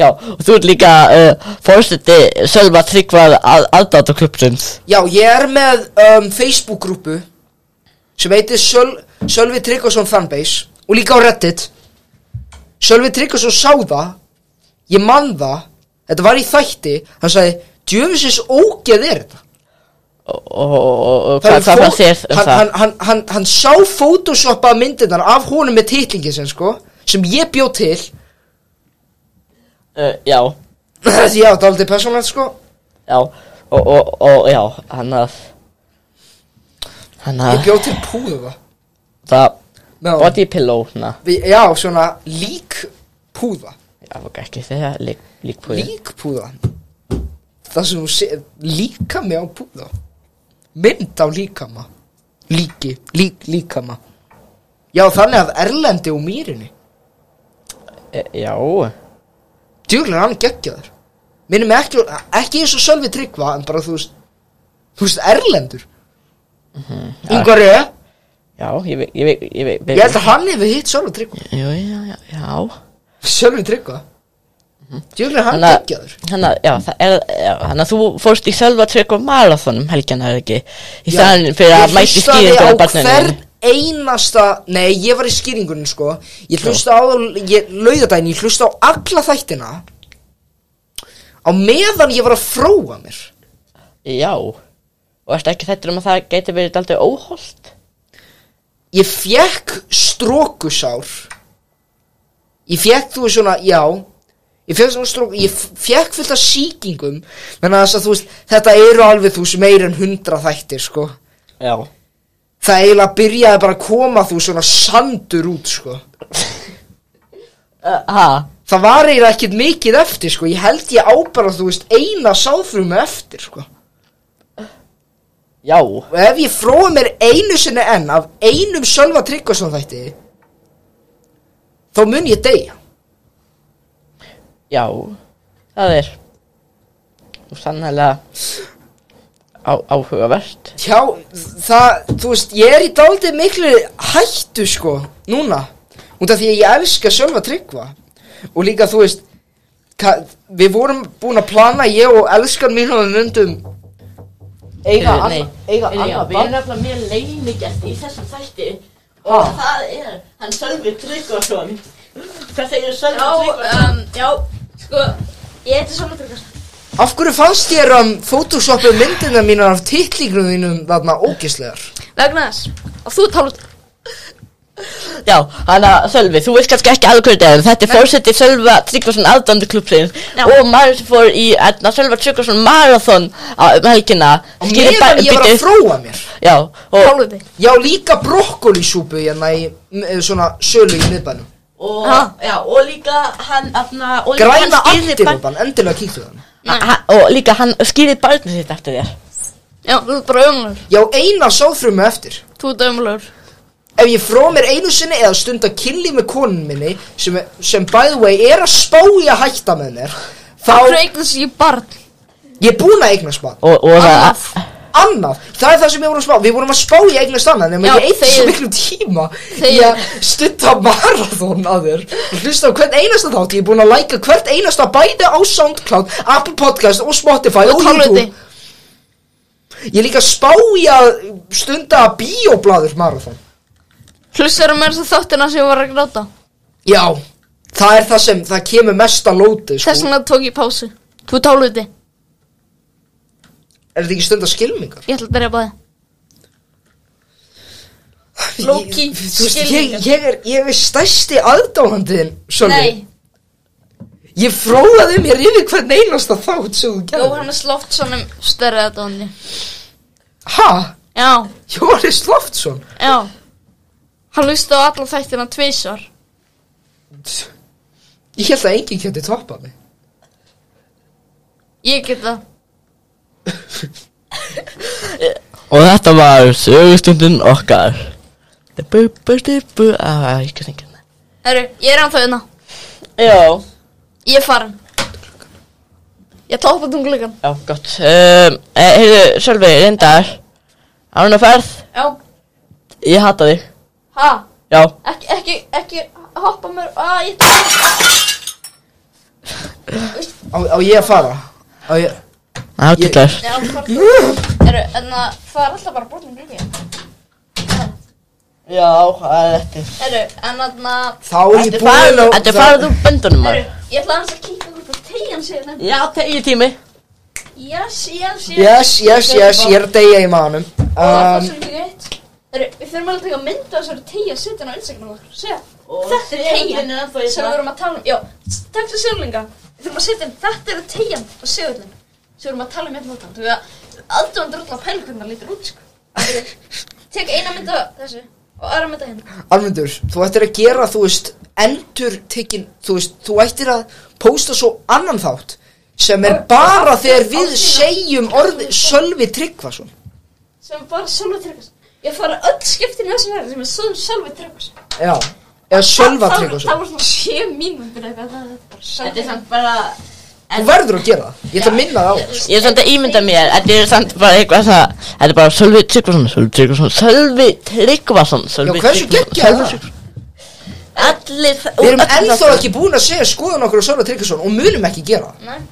Speaker 9: Já, og þú ert líka uh, fórstundi sjálf að tryggja að, aðdáta klubbsins
Speaker 6: Já, ég er með um, Facebook-grúpu sem heitir Söl, Sölvi Tryggvason Fanbase og líka á Reddit Sölvi Tryggvason sá það ég man það þetta var í þætti, hann sagði djöfisins ógeð er þetta
Speaker 9: Og, og, og, og
Speaker 6: Það
Speaker 9: hvað
Speaker 6: eru
Speaker 9: hva
Speaker 6: fó-
Speaker 9: fannst þér um
Speaker 6: hann,
Speaker 9: það?
Speaker 6: hann, hann, hann, hann sá photoshoppað myndirnar af honum með titlingin sem sko sem ég bjó til
Speaker 9: Uh, já,
Speaker 6: því að það er aldrei persónlegt sko
Speaker 9: já, og, og, og já, hann að Hann
Speaker 6: ég
Speaker 9: að
Speaker 6: bjó til púða
Speaker 9: það
Speaker 6: No.
Speaker 9: Body pillow, na
Speaker 6: Við- já, svona lík púða
Speaker 9: Já, ok, ekki þegar lík, líkpúði
Speaker 6: Líkpúða Það sem þú segir Líkami á púða Mynd á líkama Líki, lík, líkama Já þannig að Erlendi og Mýrinni
Speaker 9: e, Já
Speaker 6: Djúlega hann geggjaður Minnum mig ekki, ekki eins og Sölvi Tryggva En bara þú veist Þú veist Erlendur Yngvar ég
Speaker 9: Já, ég veit, ég veit, ég veit
Speaker 6: Ég held að hann hefur hitt Sölvi Tryggva
Speaker 9: Jú, já, já, já
Speaker 6: Sölvi Tryggva Djúlega hann
Speaker 9: Þannig að-
Speaker 6: geggjaður
Speaker 9: Þannig að, já, það er, já, þannig að þú fórst í sjálfa trygg og marathon um helgina, er ekki? Í staðan fyrir að mæti skýrindur á
Speaker 6: Ég
Speaker 9: barninu.
Speaker 6: hlustaði á hvern einasta Nei, ég var í skýringunum sko Ég hlusta á, ég laugardaginn Ég hlusta á alla þættina Á meðan ég var að fróa mér
Speaker 9: Já, og ertu ekki þetta um að það geti verið aldrei óholt?
Speaker 6: Ég fekk strókusár Ég fekk þú veist svona, já Ég fekk svona strók Ég f- fekk fullt af sýkingum Menna þess að þú veist, þetta eru alveg þú veist meir en hundra þættir sko
Speaker 9: Já.
Speaker 6: Það eiginlega byrjaði bara að koma þú svona sandur út sko
Speaker 9: Ha?
Speaker 6: það var eiginlega ekkert mikið eftir sko, ég held ég á bara þú veist eina sáfrumu eftir sko
Speaker 9: Já.
Speaker 6: og ef ég fróði mér einu sinni enn af einum Sölva Tryggvason þætti þá mun ég deyja
Speaker 9: Já, það er nú sannlega á, áhugavert.
Speaker 6: já, það, þú veist, ég er í dálítið miklu hættu sko, núna út af því að ég elska Sölva Tryggva og líka þú veist ka, við vorum búin að plana ég og elskan mín og við myndum eiga
Speaker 9: Heyrðu,
Speaker 6: annað eiga annað
Speaker 9: Við erum
Speaker 6: barn.
Speaker 9: nefnilega mér leinigest í þessum þætti
Speaker 6: Ha?
Speaker 9: og það er hann Sölvi Tryggvason. Hvað segir Sölvi
Speaker 1: Já,
Speaker 9: Tryggvason?
Speaker 1: um, já, sko, ég heiti Sölvi Tryggvason.
Speaker 6: Af hverju fannst þér um photoshopu myndina mínar af titlíknum þínum þarna ógislegar?
Speaker 1: Vegna þess að þú talar
Speaker 9: Já, hann að Sölvi, þú veist kannski ekki alveg hvernig það er, en þetta er fórsetið Sölva Tryggvason aðdóndi klubbsins og maður sem fór í etna, Sölva Tryggvason marathon á um helgina
Speaker 6: Og
Speaker 9: skýrir
Speaker 6: meðan
Speaker 9: bara-
Speaker 6: ég var
Speaker 9: bíddu.
Speaker 6: að fróa mér.
Speaker 9: Já, og,
Speaker 6: Já, líka brokkolisúpu hérna í m- eh, svona sölu í miðbænum.
Speaker 9: og, já, og líka hann, afna, og líka
Speaker 6: Græna
Speaker 9: hann skýrði bara-
Speaker 6: antilópan, endilega kíktu þannig.
Speaker 9: Ha- og líka hann skýrði barnið sitt eftir þér
Speaker 1: Já, þú ert bara ömulegur
Speaker 6: Já, eina sáfrumu eftir
Speaker 1: Þú ert ömulegur
Speaker 6: Ef ég frá mér einu sinni eða stunda kynlíf með konun minni sem, sem by the way er að spá í að hætta með mér Þá
Speaker 1: Þú eignast ég barn
Speaker 6: Ég er búin að eignast barn
Speaker 9: og, og
Speaker 1: Annað.
Speaker 6: Annað, það er það sem við vorum að spá Við vorum að spá í að eignast annað Nefnum
Speaker 1: Já,
Speaker 6: að ég eitt svo
Speaker 1: þeir-
Speaker 6: miklu tíma Í
Speaker 1: þeir-
Speaker 6: að stunda marathón að þér Og hlusta á hvern einasta þátt Ég er búin að læka hvert einasta bæði á Soundcloud Apple Podcast og Spotify og,
Speaker 1: Og um tölvuti.
Speaker 6: Ég er líka að spá í að stunda bíóblaður marathón
Speaker 1: Hlustar um þess að þáttina sem ég var að gráta
Speaker 6: Já, það er það sem, það kemur mest að lóti sko.
Speaker 1: Þess vegna tók ég pásu Þú ert táluti
Speaker 6: Er þetta ekki stunda skilmingar?
Speaker 1: Ég ætla að byrja að bæða Loki,
Speaker 6: Þú veist, ég,
Speaker 1: skilningar
Speaker 6: ég, er, ég er stærsti aðdáhandiðin Sölvi
Speaker 1: Nei,
Speaker 6: Ég fróðaði mér yfir hvern einasta þátt sem þú gerði
Speaker 1: Jóhannes Loftsson stærri þetta honni
Speaker 6: Ha?
Speaker 1: Já,
Speaker 6: Jóhannes Loftsson?
Speaker 1: já Hann hlusta á alla þættina tvisvar
Speaker 6: Ég held að enginn geti toppað mig
Speaker 1: Ég get það
Speaker 9: og þetta var sögustundin okkar bu, bu, bu, bu, á, ég um get enginn
Speaker 1: Herru, ég er ennþá hérna
Speaker 9: já,
Speaker 1: Ég er farin Ég toppa tungleikan
Speaker 9: já, gott um, e, heyrðu, Sölvi, reyndar án og ferð,
Speaker 1: Já,
Speaker 9: ég hata þig
Speaker 1: ha,
Speaker 9: já,
Speaker 1: ekki, ekki, ekki hoppa mér, að ég toppa
Speaker 6: Á, á ég að fara? Á ég
Speaker 9: það er tillar
Speaker 1: Já, hvað Herru, en að það er alltaf bara borðin líka
Speaker 9: já, það er þetta
Speaker 1: Herru, en að
Speaker 6: Þá er ég búin að
Speaker 9: Þetta farið úr böndunum maður
Speaker 1: Herru, ég ætla aðeins að kíkja hvort að tegjan segir nefn
Speaker 9: Já, tegi tími
Speaker 1: Yes, yes, yes
Speaker 6: Yes, yes, yes, ég er að deyja í maðanum
Speaker 1: Það er
Speaker 6: um,
Speaker 1: svo ekki rétt Herru, við þurfum alveg að taka mynd á þessari tegja setja hann á Instagram okkar Sjá, þetta er tegjan sem við vorum að tala um Já, takk svo sjálflinga Við þurfum að setja inn, þetta er tegjan á segullin sem við vorum að tala um hérna þáttan Þú veist að aðdóðandur allar pælir hvernig það lítur út sko. Tek eina mynd á þessu og aðra mynd á hérna
Speaker 6: Almundur, þú ættir að gera, þú veist, endur tekin Þú veist, þú ættir að posta svo annan þátt sem er bara þegar við segjum orði Sölvi Tryggvason
Speaker 1: sem er bara Sölvi Tryggvason Ég fara öll skiptin í þessum verðin sem er Sölvi- Sölvi Tryggvason
Speaker 6: Já, eða Sölva
Speaker 1: Það- það- Það
Speaker 6: Tryggvason
Speaker 1: var svona 7 mínútur eitthvað það- það er bara Sölvi
Speaker 9: Þetta er samt bara
Speaker 6: Þú verður að gera það, ég ætla að minna það á það
Speaker 9: Ég er samt að ímynda mér Þetta er samt bara eitthvað það Þetta er bara Sölvi Tryggvason Sölvi Tryggvason Sölvi Tryggvason Sölvi
Speaker 6: Já, hversu
Speaker 9: Tryggvason,
Speaker 6: geggjað er
Speaker 9: Sölvi
Speaker 6: það?
Speaker 9: Tryggvason. Allir þa-
Speaker 6: Við erum
Speaker 9: öll
Speaker 6: ennþá
Speaker 9: þáttur.
Speaker 6: ekki búin að segja skoðun okkur á Sölva Tryggvason og munum ekki gera það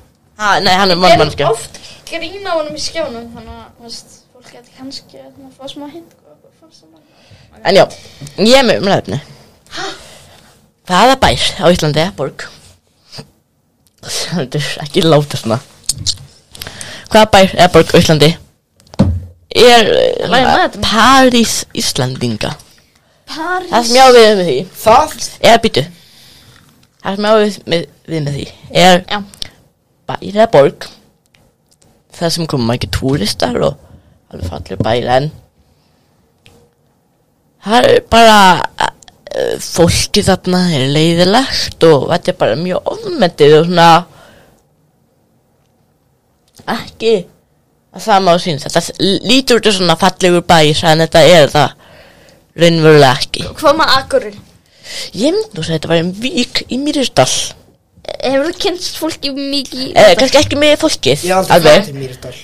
Speaker 9: Ha, Nei, hann er
Speaker 1: Við erum
Speaker 9: mannmannskja
Speaker 1: oft grín á honum í skjánum þannig að þú veist, fólk geti kannski að fá smá hint hvað okkur fannst um hann.
Speaker 9: En já Ég er með umræðefni Hvaða bær á Íslandi er borg? Þetta er ekki láta svona Hvaða bær er borg á Íslandi? Er eh,
Speaker 1: Lagið með þetta?
Speaker 9: París Íslandinga
Speaker 1: París
Speaker 9: Það sem ég á við með því
Speaker 6: Það,
Speaker 9: Eða býtu Það sem ég á við með, við með því Er
Speaker 1: Já.
Speaker 9: bæri eða borg Það sem koma ekki túristar og alveg fallir bæri en Það er bara eh, fólki þarna er leiðilegt og þetta er bara mjög ofmetið og svona ekki að sama á sín þetta s- lítur út af svona fallegur bæs en þetta er það raunverulega ekki
Speaker 1: Hvað með Akureyri?
Speaker 9: Ég myndi nú að þetta var einn vík í Mýristall
Speaker 1: Hefur þú kynst fólki mikið
Speaker 9: eh, Kannski ekki með fólkið
Speaker 6: ég aldrei
Speaker 9: Alveg
Speaker 6: fætti mér í dag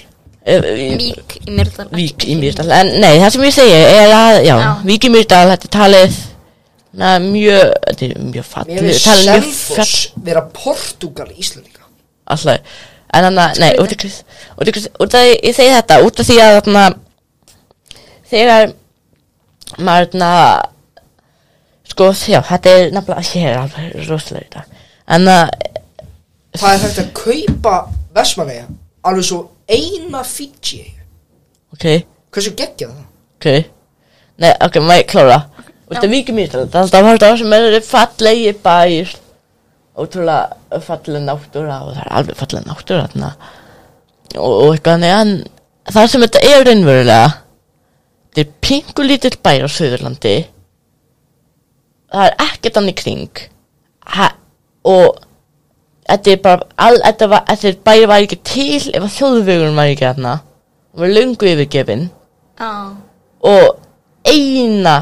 Speaker 9: eh, í-
Speaker 1: Mík í Myrdal
Speaker 9: Vík í Mýristall En nei, það sem ég segi er að Já,
Speaker 1: Já.
Speaker 9: vík í Mýristall, þetta er talið Na, mjög, þetta er mjög
Speaker 6: Mér
Speaker 9: fallið
Speaker 6: finnst
Speaker 9: Talið mjög
Speaker 6: Selfoss
Speaker 9: fall
Speaker 6: vera Portugal Íslandinga
Speaker 9: Alltaf En þannig, nei, út af hvers- út af hvers- út af ég segi þetta Út af því að þarna Þegar Maður þarna Sko, já, þetta er nefnilega Ég er alveg rosalega í dag En að
Speaker 6: Það er hægt að kaupa Vestmanneja alveg svo eina Fiji
Speaker 9: Ok,
Speaker 6: Hversu geggja það?
Speaker 9: ok Nei, ok, maður ég klára Út af Víkjum Ísland, það er alltaf hægt á sem er fallegi bæir Ótrúlega falleg náttúra og það er alveg falleg náttúra þarna og, og eitthvað þannig en það sem þetta er raunverulega Þetta er pingu lítill bæir á Suðurlandi Það er ekkert annir kring ha, og Þetta er bara, all, þetta var, þetta er bæri var ekki til ef að þjóðvegurinn var ekki hérna. Það var löngu yfirgefin
Speaker 1: Já.
Speaker 9: og eina,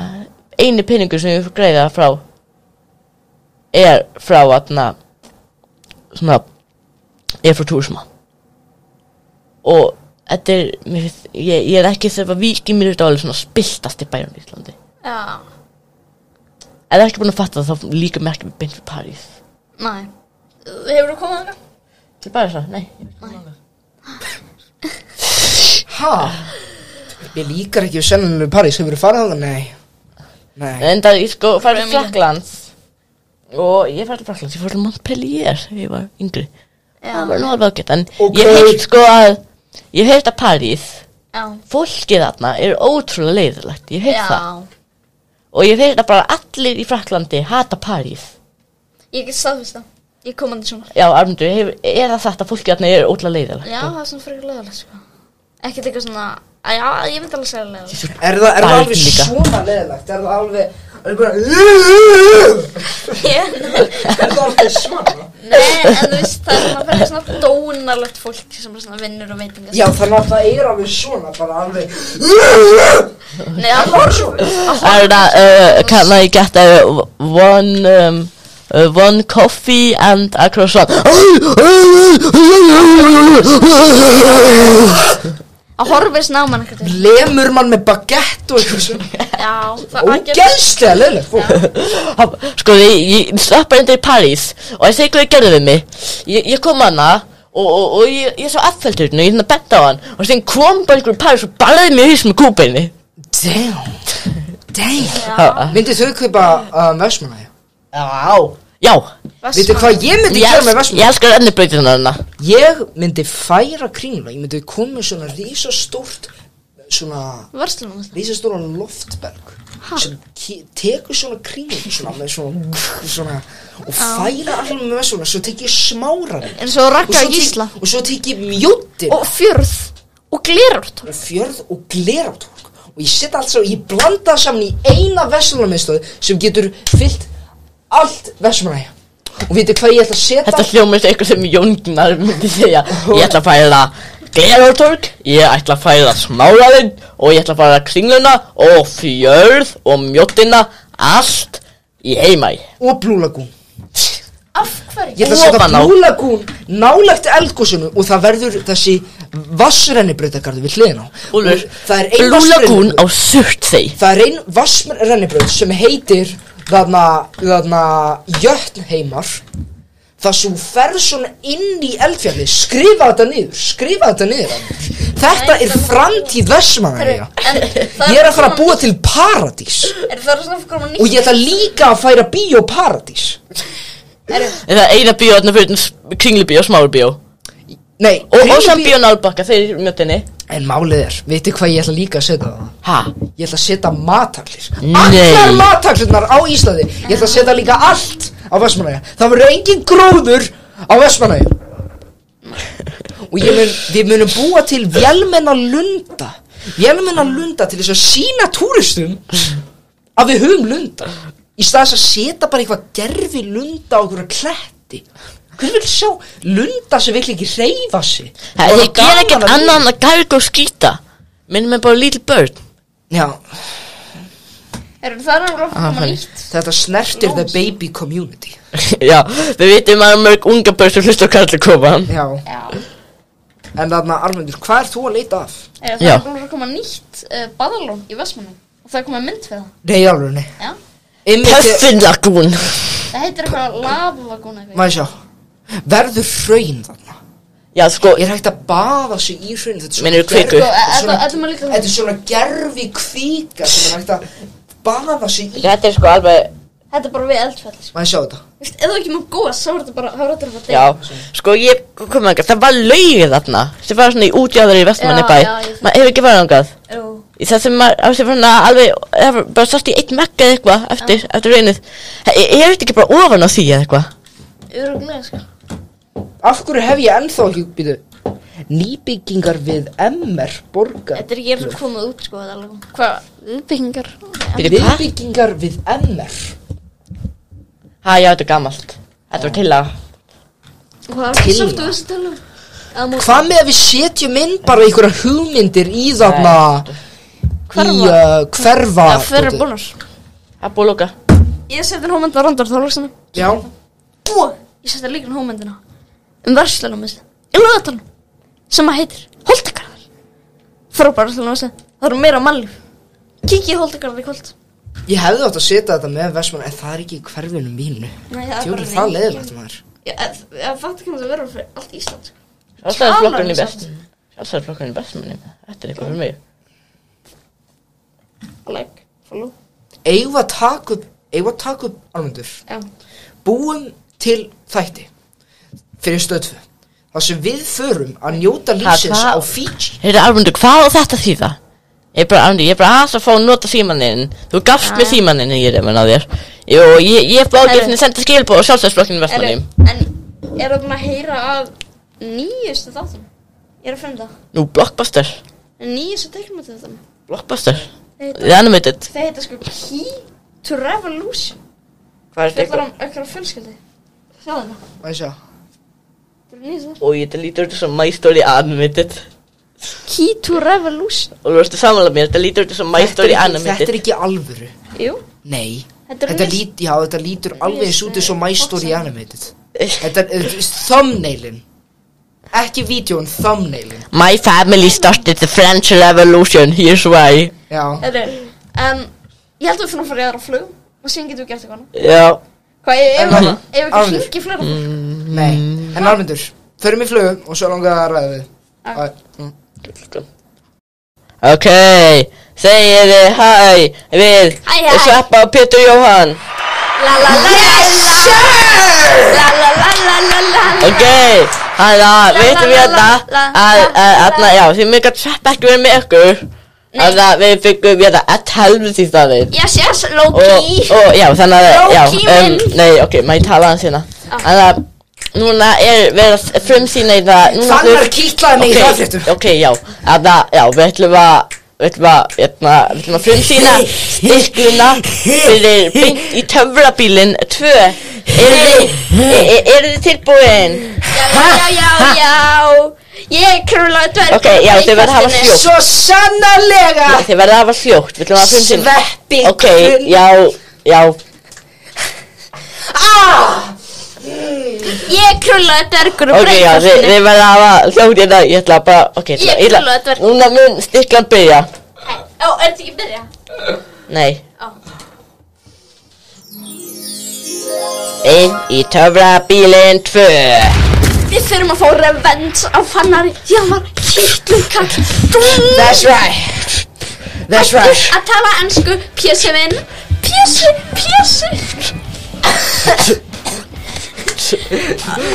Speaker 9: eini pinningur sem við greiða frá er frá aðna, svona, er frá túrisma. Og þetta er, mér finnst, ég, ég er ekki þess að vikið mér þetta alveg svona spiltast í bærum í Íslandi.
Speaker 1: Já.
Speaker 9: Ef það er ekki búin að fatta það, þá líka mér ekki með beint fyrir París.
Speaker 1: Næ. Hefur þú komið þarna?
Speaker 9: Til París, það? Nei.
Speaker 6: Ha? Ég líkar ekki við sennunum í París, hefur þú farið á það? Nei. Nei.
Speaker 9: En það, ég sko, farið til Fraklands Og ég farið til Fraklands, ég fór til Montpellier þegar Ég var yngri Það var nú alveg ágætt En ég heilt sko að Ég heilt að París
Speaker 1: Já.
Speaker 9: Fólkið þarna er ótrúlega leiðilegt Ég heilt
Speaker 1: Já.
Speaker 9: það Og ég heilt að bara allir í Fraklandi hata París
Speaker 1: Ég get staðfist það. Ég kom hann til svona.
Speaker 9: Já, Armundur, hefur- er það þetta fólkið þarna er ótrúlega leiðilegt
Speaker 1: Já, það er svona frekar leðalegt, sko. Ekkert eitthvað svona, að já, ég myndi alveg segja leðalegt.
Speaker 6: Er það, er það
Speaker 9: París
Speaker 6: alveg
Speaker 9: líka.
Speaker 6: svona leðilegt? Er það alveg, er það bara Er það alveg svona?
Speaker 1: Nei, en þú veist, það er svona frekar svona dónalegt fólk sem er svona vinnur og veitingar.
Speaker 6: Já, þannig að það er alveg svona, bara alveg
Speaker 1: Nei, það er bara svona.
Speaker 9: Er það, uh, can I get a one, um, uh, one coffee and a croissant?
Speaker 1: Að horfir snáman ekkert.
Speaker 6: Lemur mann með baguette og eitthvað svona
Speaker 1: Já, það
Speaker 6: Ógeðslega leðilegt fólk
Speaker 9: Ha- Sko, ég, ég slapp reynda í París og ég segi hvað ég gerði við mig. Ég, ég kom hana og, og, og ég, ég sá affelturinn og ég hérna betta á hann og sem kom bara einhverjum París og barðið mér í hausnum með kúbeinni.
Speaker 6: Damn
Speaker 9: Ha-
Speaker 6: Damn Myndið þau kaupa um, Vestmannaeyja?
Speaker 9: Já Já
Speaker 6: Vitið hvað ég myndi gera með Vestmannaeyja?
Speaker 9: Ég elskar ennibrautina þarna.
Speaker 6: Ég myndi færa kringla, ég myndi koma með svona rísastórt, svona
Speaker 1: Vörslunum
Speaker 6: rísastóran loftberg
Speaker 1: Ha?
Speaker 6: sem ke- tekur svona kringla svona með svona, svona og færa allir með svona, svo tek ég smáran
Speaker 1: En svo Ragga
Speaker 6: tek-
Speaker 1: Gísla.
Speaker 6: og svo tek ég mjóttir
Speaker 1: Og fjörð og glerártorg
Speaker 6: fjörð og glerártorg og ég setja allt saman, ég blanda það saman í eina vestlunarmiðstöð sem getur fyllt allt vestlunarhæja og veitir hvað ég ætla að setja
Speaker 9: Þetta hljóma eins og eitthvað sem Jón Gnar myndi segja Ég ætla að færa Glerártorg Ég ætla að færa smáraðinn Og ég ætla að færa kringluna Og fjörð og mjóttina Allt í heimæ
Speaker 6: og blúlagún
Speaker 1: Af hverju?
Speaker 6: Ég ætla að setja
Speaker 9: Ofan á.
Speaker 6: blúlagún nálægt eldgósinu og það verður þessi vassrennibrautagarðu við hliðin á
Speaker 9: Úlfur,
Speaker 6: Og það er ein
Speaker 9: Blue Lagoon
Speaker 6: vatnsrennibraut-
Speaker 9: á Surtsey
Speaker 6: Það er ein vassrennibraut sem heitir þarna, þarna Jötnheimar Það sem ferð svona inn í eldfjalli Skrifa þetta niður, skrifa þetta niður Anders. Þetta er framtíð Vestmannaeyja Ég er að fara að búa til paradís
Speaker 1: Er það svona sko- fyrir koma
Speaker 6: Og ég ætla líka að færa bíó paradís
Speaker 9: Það er eina bíó þarna fyrir utan kringlubíó og smárubíó
Speaker 6: Nei,
Speaker 9: Og, og
Speaker 6: Kringlubíó-
Speaker 9: samt bíó nálbakka þeir í mjóttinni
Speaker 6: En málið er, veitir hvað ég ætla líka að setja á það?
Speaker 9: Ha?
Speaker 6: Ég ætla að setja mataklir
Speaker 9: Nei.
Speaker 6: Allar mataklunar á Íslandi Ég ætla að setja líka allt á Vestmanæja Það verður engin gróður á Vestmanæja Og ég mun, við munum búa til velmenna lunda Velmenna lunda til þess að sína túristum Að við höfum lunda Í stað þess að setja bara eitthvað gerfi lunda á einhverja kletti Hver vil sjá lunda sem vil ekki reyfa sig
Speaker 9: Það
Speaker 6: Og
Speaker 9: ég ger
Speaker 6: gaman
Speaker 9: ekkert
Speaker 6: að-
Speaker 9: annað en að gæg og skýta Minnum er bara lítil börn
Speaker 6: Já,
Speaker 1: Er það er alveg fyrir koma nýtt
Speaker 6: Þetta snertir the baby community
Speaker 9: Já, við vitum að mörg unga börn sem hlusta á Karla koma
Speaker 6: Já En þarna Armundur, hvað er þú að leita af?
Speaker 1: Er
Speaker 9: Já.
Speaker 1: það er alveg koma nýtt uh, badalón í Vestmannum Og það er komað mynd fyrir það
Speaker 6: Nei, alveg nei
Speaker 1: Já.
Speaker 9: Puffin Lagoon
Speaker 1: Það heitir eitthvað lavagún eitthvað
Speaker 6: Má ég sjá Verður hraun þarna
Speaker 9: Já, sko,
Speaker 6: Ég er hægt að baða sig í hraun Þetta er svona
Speaker 9: Meinarðu kviku?
Speaker 6: gervi-
Speaker 9: Sko,
Speaker 6: þetta er svona-
Speaker 1: Þetta er líka
Speaker 6: Þetta er svona gerfi kvika sem er hægt að baða sig í
Speaker 9: þetta er sko alveg
Speaker 1: Þetta er bara við eldfell sko.
Speaker 6: Má ég sjá þetta?
Speaker 1: Þú veist, Ef það er ekki mjög góð Sá er þetta bara Há er þetta bara
Speaker 9: Já, sko ég kom þangað, það var laugið þarna sem var svona í útjáður í Vestmanni bæ
Speaker 1: Já, já, ég-
Speaker 9: maður hefur ekki farið þangað
Speaker 1: Jú.
Speaker 9: í það sem maður, það sem var svona alveg það var bara sást í eitt mekka eða eitthvað eftir, eftir reynið, ég hefur þetta ekki bara ofan á því eða eitthvað
Speaker 1: Öruglega sko
Speaker 6: Af hverju hef ég ennþá ekki býtu Nýbyggingar við MR borgar
Speaker 1: Þetta er ekki eins og komað út sko Þetta er alveg Hvað? Viðbyggingar
Speaker 9: Bíddu, hvað?
Speaker 6: Nýbyggingar við MR
Speaker 9: ha já, þetta er gamalt, þetta var til að
Speaker 1: Hvað er það
Speaker 6: Til-
Speaker 1: sátt á þessu tala? Að mú-
Speaker 6: Hvað með að við setjum inn bara einhverja hugmyndir í þarna Í
Speaker 1: Hverfa.
Speaker 6: uh, hverfa
Speaker 1: Já, fyrir bónus
Speaker 9: Það er búið að lúka
Speaker 1: Ég seti hómyndin á Randar Þorlóksson
Speaker 6: Já
Speaker 1: Og ég seti líka hómyndina Um verslunum þessi Í lögatalum Sem að heitir Holtakarðar Frábæra verslunum þessi Það eru meira mannlíf Kikið Holtakarðar í kvöld
Speaker 6: Ég hefði átt að setja þetta með Vestmann En það er ekki í hverfinu mínu
Speaker 1: Nei, það er
Speaker 6: Djú,
Speaker 1: bara
Speaker 6: það
Speaker 1: reygin.
Speaker 6: leiðilegt maður
Speaker 1: Ég fatt ekki hvað það verður fyrir allt Ísland sko.
Speaker 9: Sjálfstæðisflokkurinn
Speaker 1: Talar
Speaker 9: er
Speaker 1: um
Speaker 9: best Sjálfstæðisflokkurinn er best manni Þetta er eitthvað fyrir mig
Speaker 1: sko, Like, follow
Speaker 6: Eigum við að taka upp Eigum við að taka upp Armundur
Speaker 1: Já.
Speaker 6: Búum til þætti Fyrir stöðfu Það sem við förum að njóta lífsins á
Speaker 9: hvað-
Speaker 6: Fiji
Speaker 9: Heyrðu Armundur, hvað á þetta þýða? Ég er bara, Armundur, ég er bara aðeins að fá að nota símaninn Þú gafst mér símaninn ég er að þér Jú, ég, ég er bara
Speaker 1: Heyrðu.
Speaker 9: ágæfni að senda skilbóð á sjálfstæðisflokkinu
Speaker 1: Herru,
Speaker 9: vestmanni
Speaker 1: En er það búin að heyra af nýjustu þáttum? Ég er að finna það
Speaker 9: Nú, blockbuster,
Speaker 1: Nýjustu teknumötu þáttum
Speaker 9: blockbuster
Speaker 1: Þeir heita-
Speaker 9: The Animated
Speaker 1: Þeir heita sko Key to Revolution
Speaker 9: Hvað er
Speaker 1: Fjallar
Speaker 9: þetta?
Speaker 1: um ökkar fjölskyldi Sjáðu hana
Speaker 6: Það er sjá
Speaker 1: hérna. Þetta er nýjustu
Speaker 9: Og ég lítur út sem My Story Animated
Speaker 1: Key to Revolution
Speaker 9: Og þú veistu samanlega mér, þetta lítur út sem My
Speaker 6: Þetta er
Speaker 9: Story
Speaker 6: ekki-
Speaker 9: Animated
Speaker 6: Þetta er ekki alvöru
Speaker 1: Jú
Speaker 6: Nei
Speaker 1: Þetta er
Speaker 6: Þetta,
Speaker 1: ris-
Speaker 6: lít, já, þetta lítur alveg eins út eins og My Story
Speaker 1: Fox-
Speaker 6: Animated Þetta er eh, thumbnailin Ekki vídjón, thumbnailin
Speaker 9: My family started the French Revolution, here's why
Speaker 6: Já
Speaker 1: Þetta er En ég held að við finnum að fara í aðra flug Og síðan getum við gert eitthvað annað.
Speaker 9: Já
Speaker 1: Hvað, ef- ef
Speaker 6: En-
Speaker 1: ef við ekki
Speaker 6: Arnaldur.
Speaker 1: hringi í
Speaker 9: Mm.
Speaker 1: fleira
Speaker 6: Nei, en alveg Förum í flugum og svo langar það að ræða við
Speaker 1: Ah.
Speaker 6: Æ,
Speaker 9: Ok, segir þið hæ við
Speaker 1: Hæ, hæ.
Speaker 9: Sveppa og Pétur Jóhann
Speaker 1: La la la Yes sir La la la la la la la
Speaker 9: Ok, þannig að veitum við
Speaker 1: la,
Speaker 9: þetta
Speaker 1: la,
Speaker 9: að, að, að, já, því mér gætt Sveppa ekki verið með ykkur Þannig að við fengum við þetta ett helvið í staðinn
Speaker 1: Yes yes
Speaker 9: Og, og, já, þannig að, já, um,
Speaker 1: Loki minn.
Speaker 9: nei, ok, maður tala hans hérna
Speaker 1: Ah.
Speaker 9: Þannig að núna er verið að frumsýna í það núna
Speaker 6: Fannar
Speaker 9: þurf-
Speaker 6: kitlaði mig í
Speaker 9: Ok,
Speaker 6: hraðfréttum.
Speaker 9: Ok, já, þannig að, já, við ætlum að Við ætlum að, hérna, við ætlum að frumsýna styrkuna fyrir beint í töfrabílinn 2 Eru þið, e- eru þið tilbúin?
Speaker 1: Já já já Ég er krúlaði dverg
Speaker 9: Ok, já, þið verða að hafa hljótt
Speaker 6: Svo sannarlega
Speaker 9: Já, Þið verða að hafa hljótt, við ætlum að frumsýna
Speaker 6: Sveppi
Speaker 9: Ok, já, já,
Speaker 1: Ég er krúlaði dvergur og
Speaker 9: ok, já, þið,
Speaker 1: breytast
Speaker 9: þið verða að hafa hljótt hérna, ég ætla bara, ok ég ætla-
Speaker 1: Ég
Speaker 9: ég ætla-
Speaker 1: trúlega þetta verður.
Speaker 9: Núna mun styrklan byrja
Speaker 1: Ó, er þetta ekki að byrja?
Speaker 9: Nei
Speaker 1: Ó.
Speaker 9: Einn í töfrabílinn 2
Speaker 1: Við þurfum að fá revenge á fannari því að hann var hittlum kall.
Speaker 6: That's right That's right
Speaker 1: Að tala ennsku, pjössi minn. Pjössi, pjössi.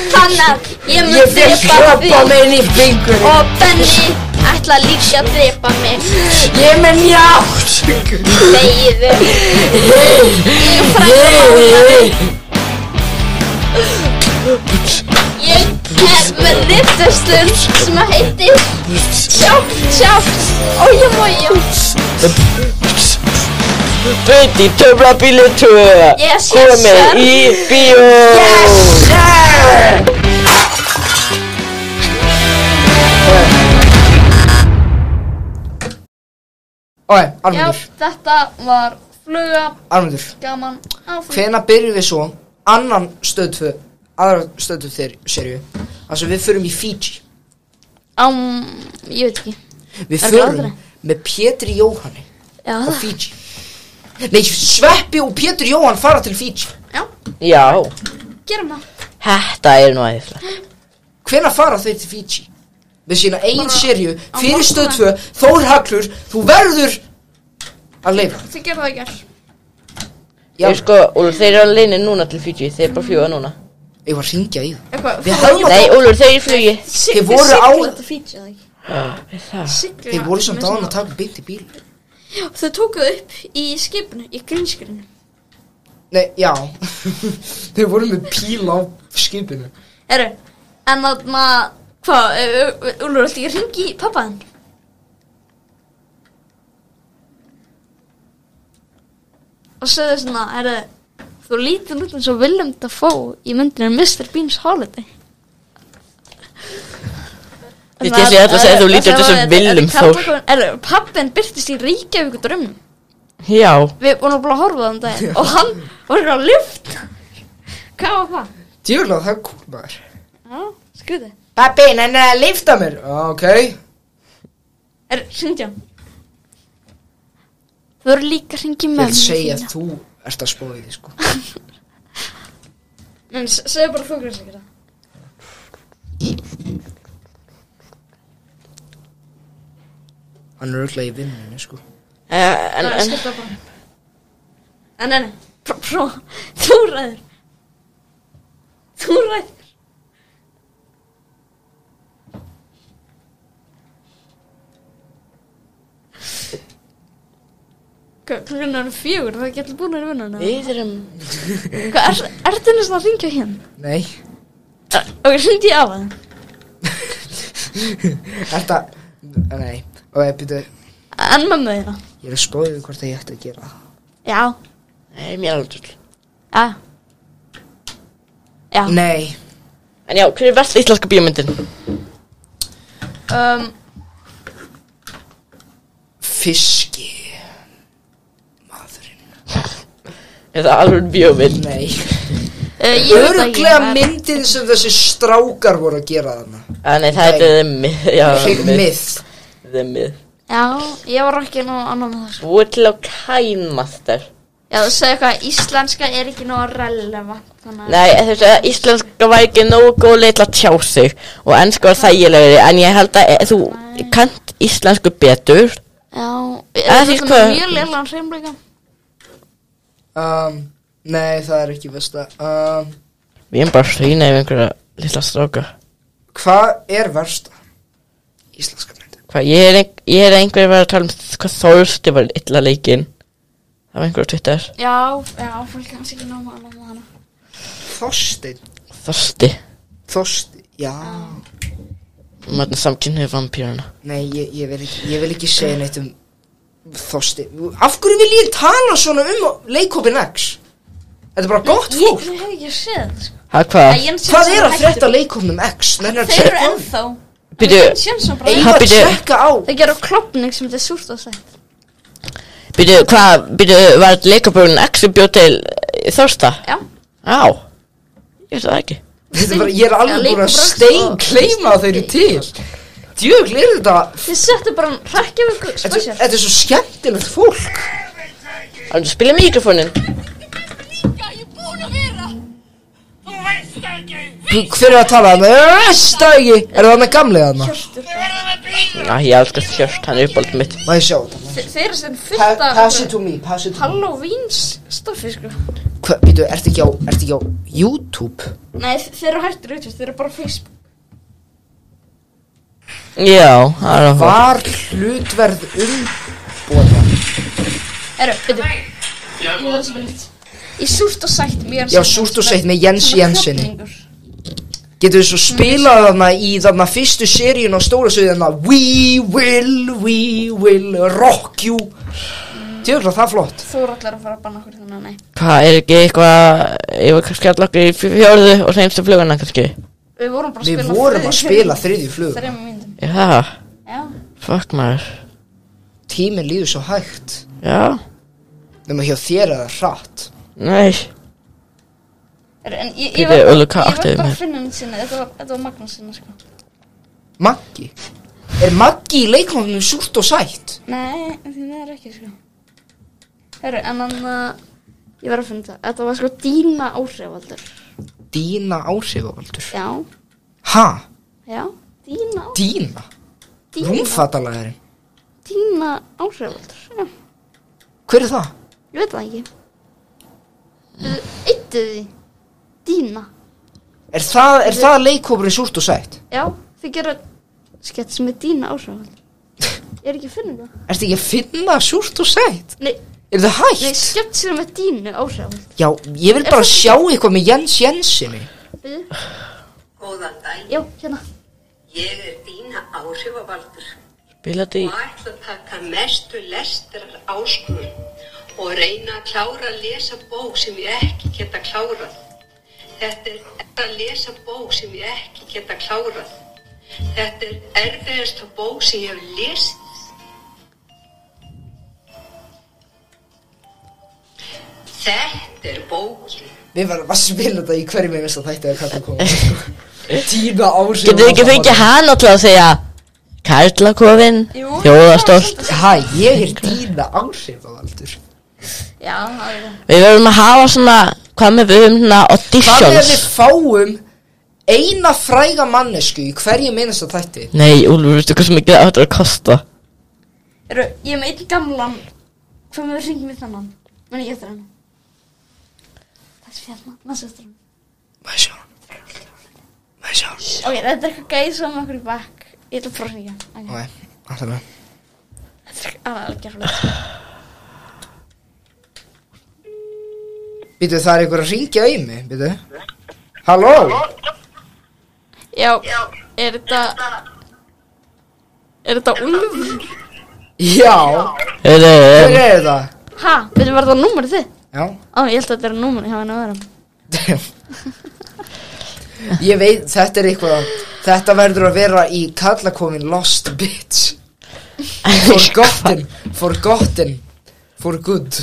Speaker 1: Fannar, ég mun
Speaker 6: Ég vil
Speaker 1: drepa
Speaker 6: hljópa
Speaker 1: þig
Speaker 6: mig inn í fingur
Speaker 1: og Benni ætla líka að drepa mig.
Speaker 6: Ég er með njátt
Speaker 1: Þegiðu. Ég er frændi fannar. Ég er með rittustun sem að heitir Sjátt, sjátt, ójum, ójum.
Speaker 9: Beint í töfrabílinn 2
Speaker 1: Yes, yes, sir.
Speaker 9: Komið í bíó Yes
Speaker 6: Ói,
Speaker 1: Já,
Speaker 6: Armundur,
Speaker 1: þetta var fluga,
Speaker 6: Armundur
Speaker 1: gaman, áfram.
Speaker 6: Hvena byrjum við svo annan stöðtöð aðra stöðtöð þeir serju þar sem við förum í Fiji
Speaker 1: Ám, ég veit ekki.
Speaker 6: Við
Speaker 1: Er það
Speaker 6: förum
Speaker 1: aldrei?
Speaker 6: með Pétri Jóhanni
Speaker 1: Já,
Speaker 6: á
Speaker 9: Ah.
Speaker 1: það.
Speaker 6: Fiji Nei, Sveppi og Pétur Jóhann fara til Fiji
Speaker 9: Já,
Speaker 1: Gerum það.
Speaker 9: þetta er nú aðeinslega
Speaker 6: Hvena fara þeir til Fiji? Með sína eigin serju fyrir stöðtöð Þór Haglur, þú verður að leifa
Speaker 1: Þið gerum það í gerð.
Speaker 6: Já,
Speaker 9: Ég sko, Úlfur, þeir eru alveg núna til Fiji Þeir eru bara að fljúa núna
Speaker 6: ég var að ringja í það
Speaker 1: Eitthvað,
Speaker 6: Við höfum
Speaker 9: Nei,
Speaker 6: að
Speaker 9: Úlfur, þeir eru í flugi
Speaker 6: Þeir voru á
Speaker 1: Þetta fítsja það ekki.
Speaker 9: Það
Speaker 1: Sigla.
Speaker 6: Þeir voru samt
Speaker 1: með
Speaker 6: á hann
Speaker 1: svona-
Speaker 6: að taka beint í bíl
Speaker 1: Já, Þau tókuðu upp í skipinu, í grínskirinu.
Speaker 6: Nei, já Þeir voru með píl á skipinu
Speaker 1: Herru, en þarna, hvað, Úlur, ætti ég að ringi í pappaðinn? Og segðu svona, herru, þú lítur út eins og Willem Dafoe í myndinu Mr. Bean's Holiday.
Speaker 9: Ég sé alltaf að segja þú lítur út sem Willum Þór.
Speaker 1: Er pappin byrtist í Reykjavík og drömmum?
Speaker 9: Já,
Speaker 1: Við vorum bara að horfa á þann daginn og hann var eitthvað að lyfta. Hvað var það?
Speaker 6: Djúrlega, það er kúl maður.
Speaker 1: Já, skriði.
Speaker 6: Pappi, nenni að lifta mér. Ok.
Speaker 1: Er, syngja. Þú eru líka að syngja
Speaker 6: Ég
Speaker 1: með
Speaker 6: vil segja að þú ert að spóða í því, sko.
Speaker 1: Nei, se- segðu bara þú hversu ekki það.
Speaker 6: Hann er auðvitað í vinnunni, sko.
Speaker 9: Eh, en,
Speaker 1: Það er
Speaker 9: en,
Speaker 1: skipta bara. En, en, en, pró, þú ræður. Þú ræður. Hvað, klukkan er fjögur, það getur búin að vinna hana.
Speaker 9: Við erum...
Speaker 1: Hvað, er, ertu næst að ringja hérna?
Speaker 6: Nei.
Speaker 1: Ok, syndi ég á það.
Speaker 6: Þetta, nei. Og ég byrju,
Speaker 1: En mömmu þína.
Speaker 6: ég er að spóða í því hvort að ég ætti að gera það.
Speaker 1: Já.
Speaker 9: Nei, mér er aldrei.
Speaker 1: Já. Já.
Speaker 6: Nei.
Speaker 9: En já, hver er versta íslenska bíómyndin?
Speaker 1: Um,
Speaker 6: Fiski.
Speaker 9: Er það alveg bíómynd?
Speaker 6: Nei.
Speaker 1: Uh,
Speaker 9: ég veit það ekki,
Speaker 6: Öruglega
Speaker 9: maður.
Speaker 6: myndin sem þessi strákar voru að gera þarna.
Speaker 9: Ah, nei, það
Speaker 6: Nei.
Speaker 9: er The Myth. Já,
Speaker 6: Myth.
Speaker 9: The Myth.
Speaker 1: já, ég var ekki nú annan með þessu.
Speaker 9: Búið til á kæmaster.
Speaker 1: Já, þú segir eitthvað, íslenska er ekki nú relevant, þannig
Speaker 9: Nei, þú veist að íslenska var ekki nógu góð leið til að tjá sig og ennska var þægilegri, en ég held að e, þú kant íslensku betur.
Speaker 1: Já,
Speaker 9: Eða
Speaker 1: það
Speaker 9: því
Speaker 1: er
Speaker 9: sko-
Speaker 1: mjög lélan reymleika.
Speaker 6: Um, nei, það er ekki versta. Um,
Speaker 9: Við erum bara að hrýna yfir einhverja lilla stráka.
Speaker 6: hvað er versta? Íslenska mynd.
Speaker 9: Hvað, ég er, ein- ég er einhver að vera að tala um hvað Þórsti var illa leikinn. Það var einhver á Twitter.
Speaker 1: Já, já, fólk kannski ekki nóg annan með hana.
Speaker 6: Þorstein.
Speaker 9: Þórsti.
Speaker 6: Þorstein, já.
Speaker 9: Mörnum samkynniðu vampýruna.
Speaker 6: Nei, ég, ég, vil ekki, ég vil ekki segja neitt um Þorstein. Af hverju vil ég tala svona um leikopin X? Þetta er bara gott fólk.
Speaker 1: Ég hef ekki séð það, sko.
Speaker 9: Ha, hvað?
Speaker 1: Nei, Jens
Speaker 6: Hvað
Speaker 1: Jensson
Speaker 6: er að
Speaker 1: hættur.
Speaker 6: frétta leikopnum X? Nennar
Speaker 1: Þeir eru ennþá.
Speaker 9: Byrju,
Speaker 1: Jens Jensson bara
Speaker 6: Eiga að
Speaker 9: Bíddu.
Speaker 6: tjekka á.
Speaker 1: Þeir gera klopning sem þetta er súrt að segja.
Speaker 9: byrju, hvað, byrju, var þetta leikabjörn X sem bjóð til eh, Þórsta?
Speaker 1: Já.
Speaker 9: Já. Ég veist það ekki.
Speaker 6: Þetta er bara, ég er alveg búin að
Speaker 1: Leikopinn X
Speaker 6: stein
Speaker 1: og-
Speaker 6: kleima þeirri til. Djögl er þetta,
Speaker 1: Þið settu bara hrækjavíku
Speaker 6: þetta,
Speaker 1: spesial.
Speaker 6: þetta er svo skemmtilegt fólk.
Speaker 9: Það er spila mikrofonin.
Speaker 6: Hver er að tala þarna? Ég veist það ekki. Er það með gamlega þarna?
Speaker 9: Já, ég elskar Hjört, hann er uppáldum mitt.
Speaker 6: Má ég sjá þetta?
Speaker 1: Þe- Þeir eru sem
Speaker 6: Pa-
Speaker 1: fullt af
Speaker 6: Pass it to me, pass it to me.
Speaker 1: Halloweens stoffi, sko.
Speaker 6: Hvað, býtu, ertu ekki á, ertu ekki á YouTube?
Speaker 1: Nei, þe- þeir eru hættur út, þeir eru bara á Facebook.
Speaker 9: Já, það er að hóða.
Speaker 6: Var hlutverð um- umbóða?
Speaker 1: Eru, byrju. Ég verður sem vilt. Í súrt og sætt með Jens
Speaker 6: Já, súrt og sætt með Jens
Speaker 1: Svona
Speaker 6: Jensenni.
Speaker 1: klofningur.
Speaker 6: Getur þið svo spilað þarna í þarna fyrstu seríun á stóra sögðu þarna We will, we will rock you Tjóðlega það er flott
Speaker 1: Þú eru allar að fara að banna okkur þannig að nei.
Speaker 9: Hvað, er ekki eitthvað, ég var kannski allar okkur í fjó- fjórðu og senstu fluguna kannski?
Speaker 1: Við vorum bara að
Speaker 6: Við
Speaker 1: spila
Speaker 6: vorum að spila þriðju flug
Speaker 1: Þrejum myndum.
Speaker 9: Já,
Speaker 1: Já.
Speaker 9: fuck maður.
Speaker 6: Tíminn líður svo hægt
Speaker 9: Já,
Speaker 6: Nefnum hjá þér eða hratt
Speaker 9: nei,
Speaker 1: Eru, En ég,
Speaker 9: Bíddu,
Speaker 1: ég var bara,
Speaker 9: Ulu, hvað
Speaker 1: ég
Speaker 9: áttu
Speaker 1: var
Speaker 9: við
Speaker 1: bara
Speaker 9: með?
Speaker 1: að finna henni sinni, þetta var, þetta var Magnús sinni, sko.
Speaker 6: Maggi Er Maggi í leikmannum súrt og sætt?
Speaker 1: Nei, því það er ekki, sko. Herru, en hann, uh, ég var að finna það. Þetta var sko dýna áhrifaldur.
Speaker 6: Dína áhrifavaldur
Speaker 1: Já,
Speaker 6: Ha?
Speaker 1: já, dýna áhrifaldur.
Speaker 6: Dína? Rúmfattalæðurinn?
Speaker 1: Dýna áhrifaldur, já.
Speaker 6: Hver er það?
Speaker 1: Ég veit það ekki. Eittu því. Dýna.
Speaker 6: Er það, er það leikhópurinn súrt og sætt?
Speaker 1: Já, þið gera skett sem er dýna áhrifaldur. Ég er ekki að finna það.
Speaker 6: Ertu ekki að finna súrt og sætt?
Speaker 1: Nei,
Speaker 6: Er það hægt?
Speaker 1: nei, skett sem er dýnu áhrifaldur.
Speaker 6: Já, ég vil bara sjá eitthvað með Jens Jensinni
Speaker 1: Bíðu.
Speaker 15: Góðan dag,
Speaker 1: Já, hérna.
Speaker 15: ég er Dína Áhrifavaldur
Speaker 9: spila þetta í...
Speaker 15: og ætla að taka mestu lestrar áskur og reyna að klára að lesa bók sem ég ekki geta klárað. Þetta er að lesa bók sem ég ekki geta klárað. Þetta er erfiðasta bók sem ég hef lesið. Þetta er bókin.
Speaker 6: Við varum að spila þetta í hverjum ég veist að þætti að kalla koma sko. Tíma áhrif
Speaker 9: Getur þið ekki fengið hann alltaf að segja Karlakofinn, þjóðastolt
Speaker 6: Hæ, ég er tíma áhrif á aldur
Speaker 1: Já, það er það.
Speaker 9: Við verðum að hafa svona, hvað með við um svona
Speaker 6: Hvað er við
Speaker 9: auditions
Speaker 6: fáum eina fræga mannesku í hverjum minnast að þætti?
Speaker 9: Nei, Úlfur, veistu hvað sem ekki það áttur að kosta
Speaker 1: Eru, ég er með einn gamlan. Hvað með við ringjum við þannan? Menni ég eftir hann. Það er fjallna, maður sér eftir hann.
Speaker 6: Maður sjá hann. Maður sjá
Speaker 1: Ok,
Speaker 6: hann.
Speaker 1: þetta er eitthvað gæði sem okkur í bakk. Ég ætla að prófa að hringja. Ok.
Speaker 6: Nei, alltaf með
Speaker 1: Þetta er algjörlega.
Speaker 6: Býtu það er einhver að ringja í mig, býtu Halló
Speaker 1: Já, er þetta... Er þetta Úlfur?
Speaker 6: Já
Speaker 9: Hver
Speaker 6: Hver er þetta?
Speaker 1: Ha, veitum var það númerið þið?
Speaker 6: Já
Speaker 1: Á, ég held að þetta er númerið hjá hann að vera.
Speaker 6: Ég veit, þetta er eitthvað Þetta verður að vera í kallakofin Lost Bitch Forgotten Forgotten For good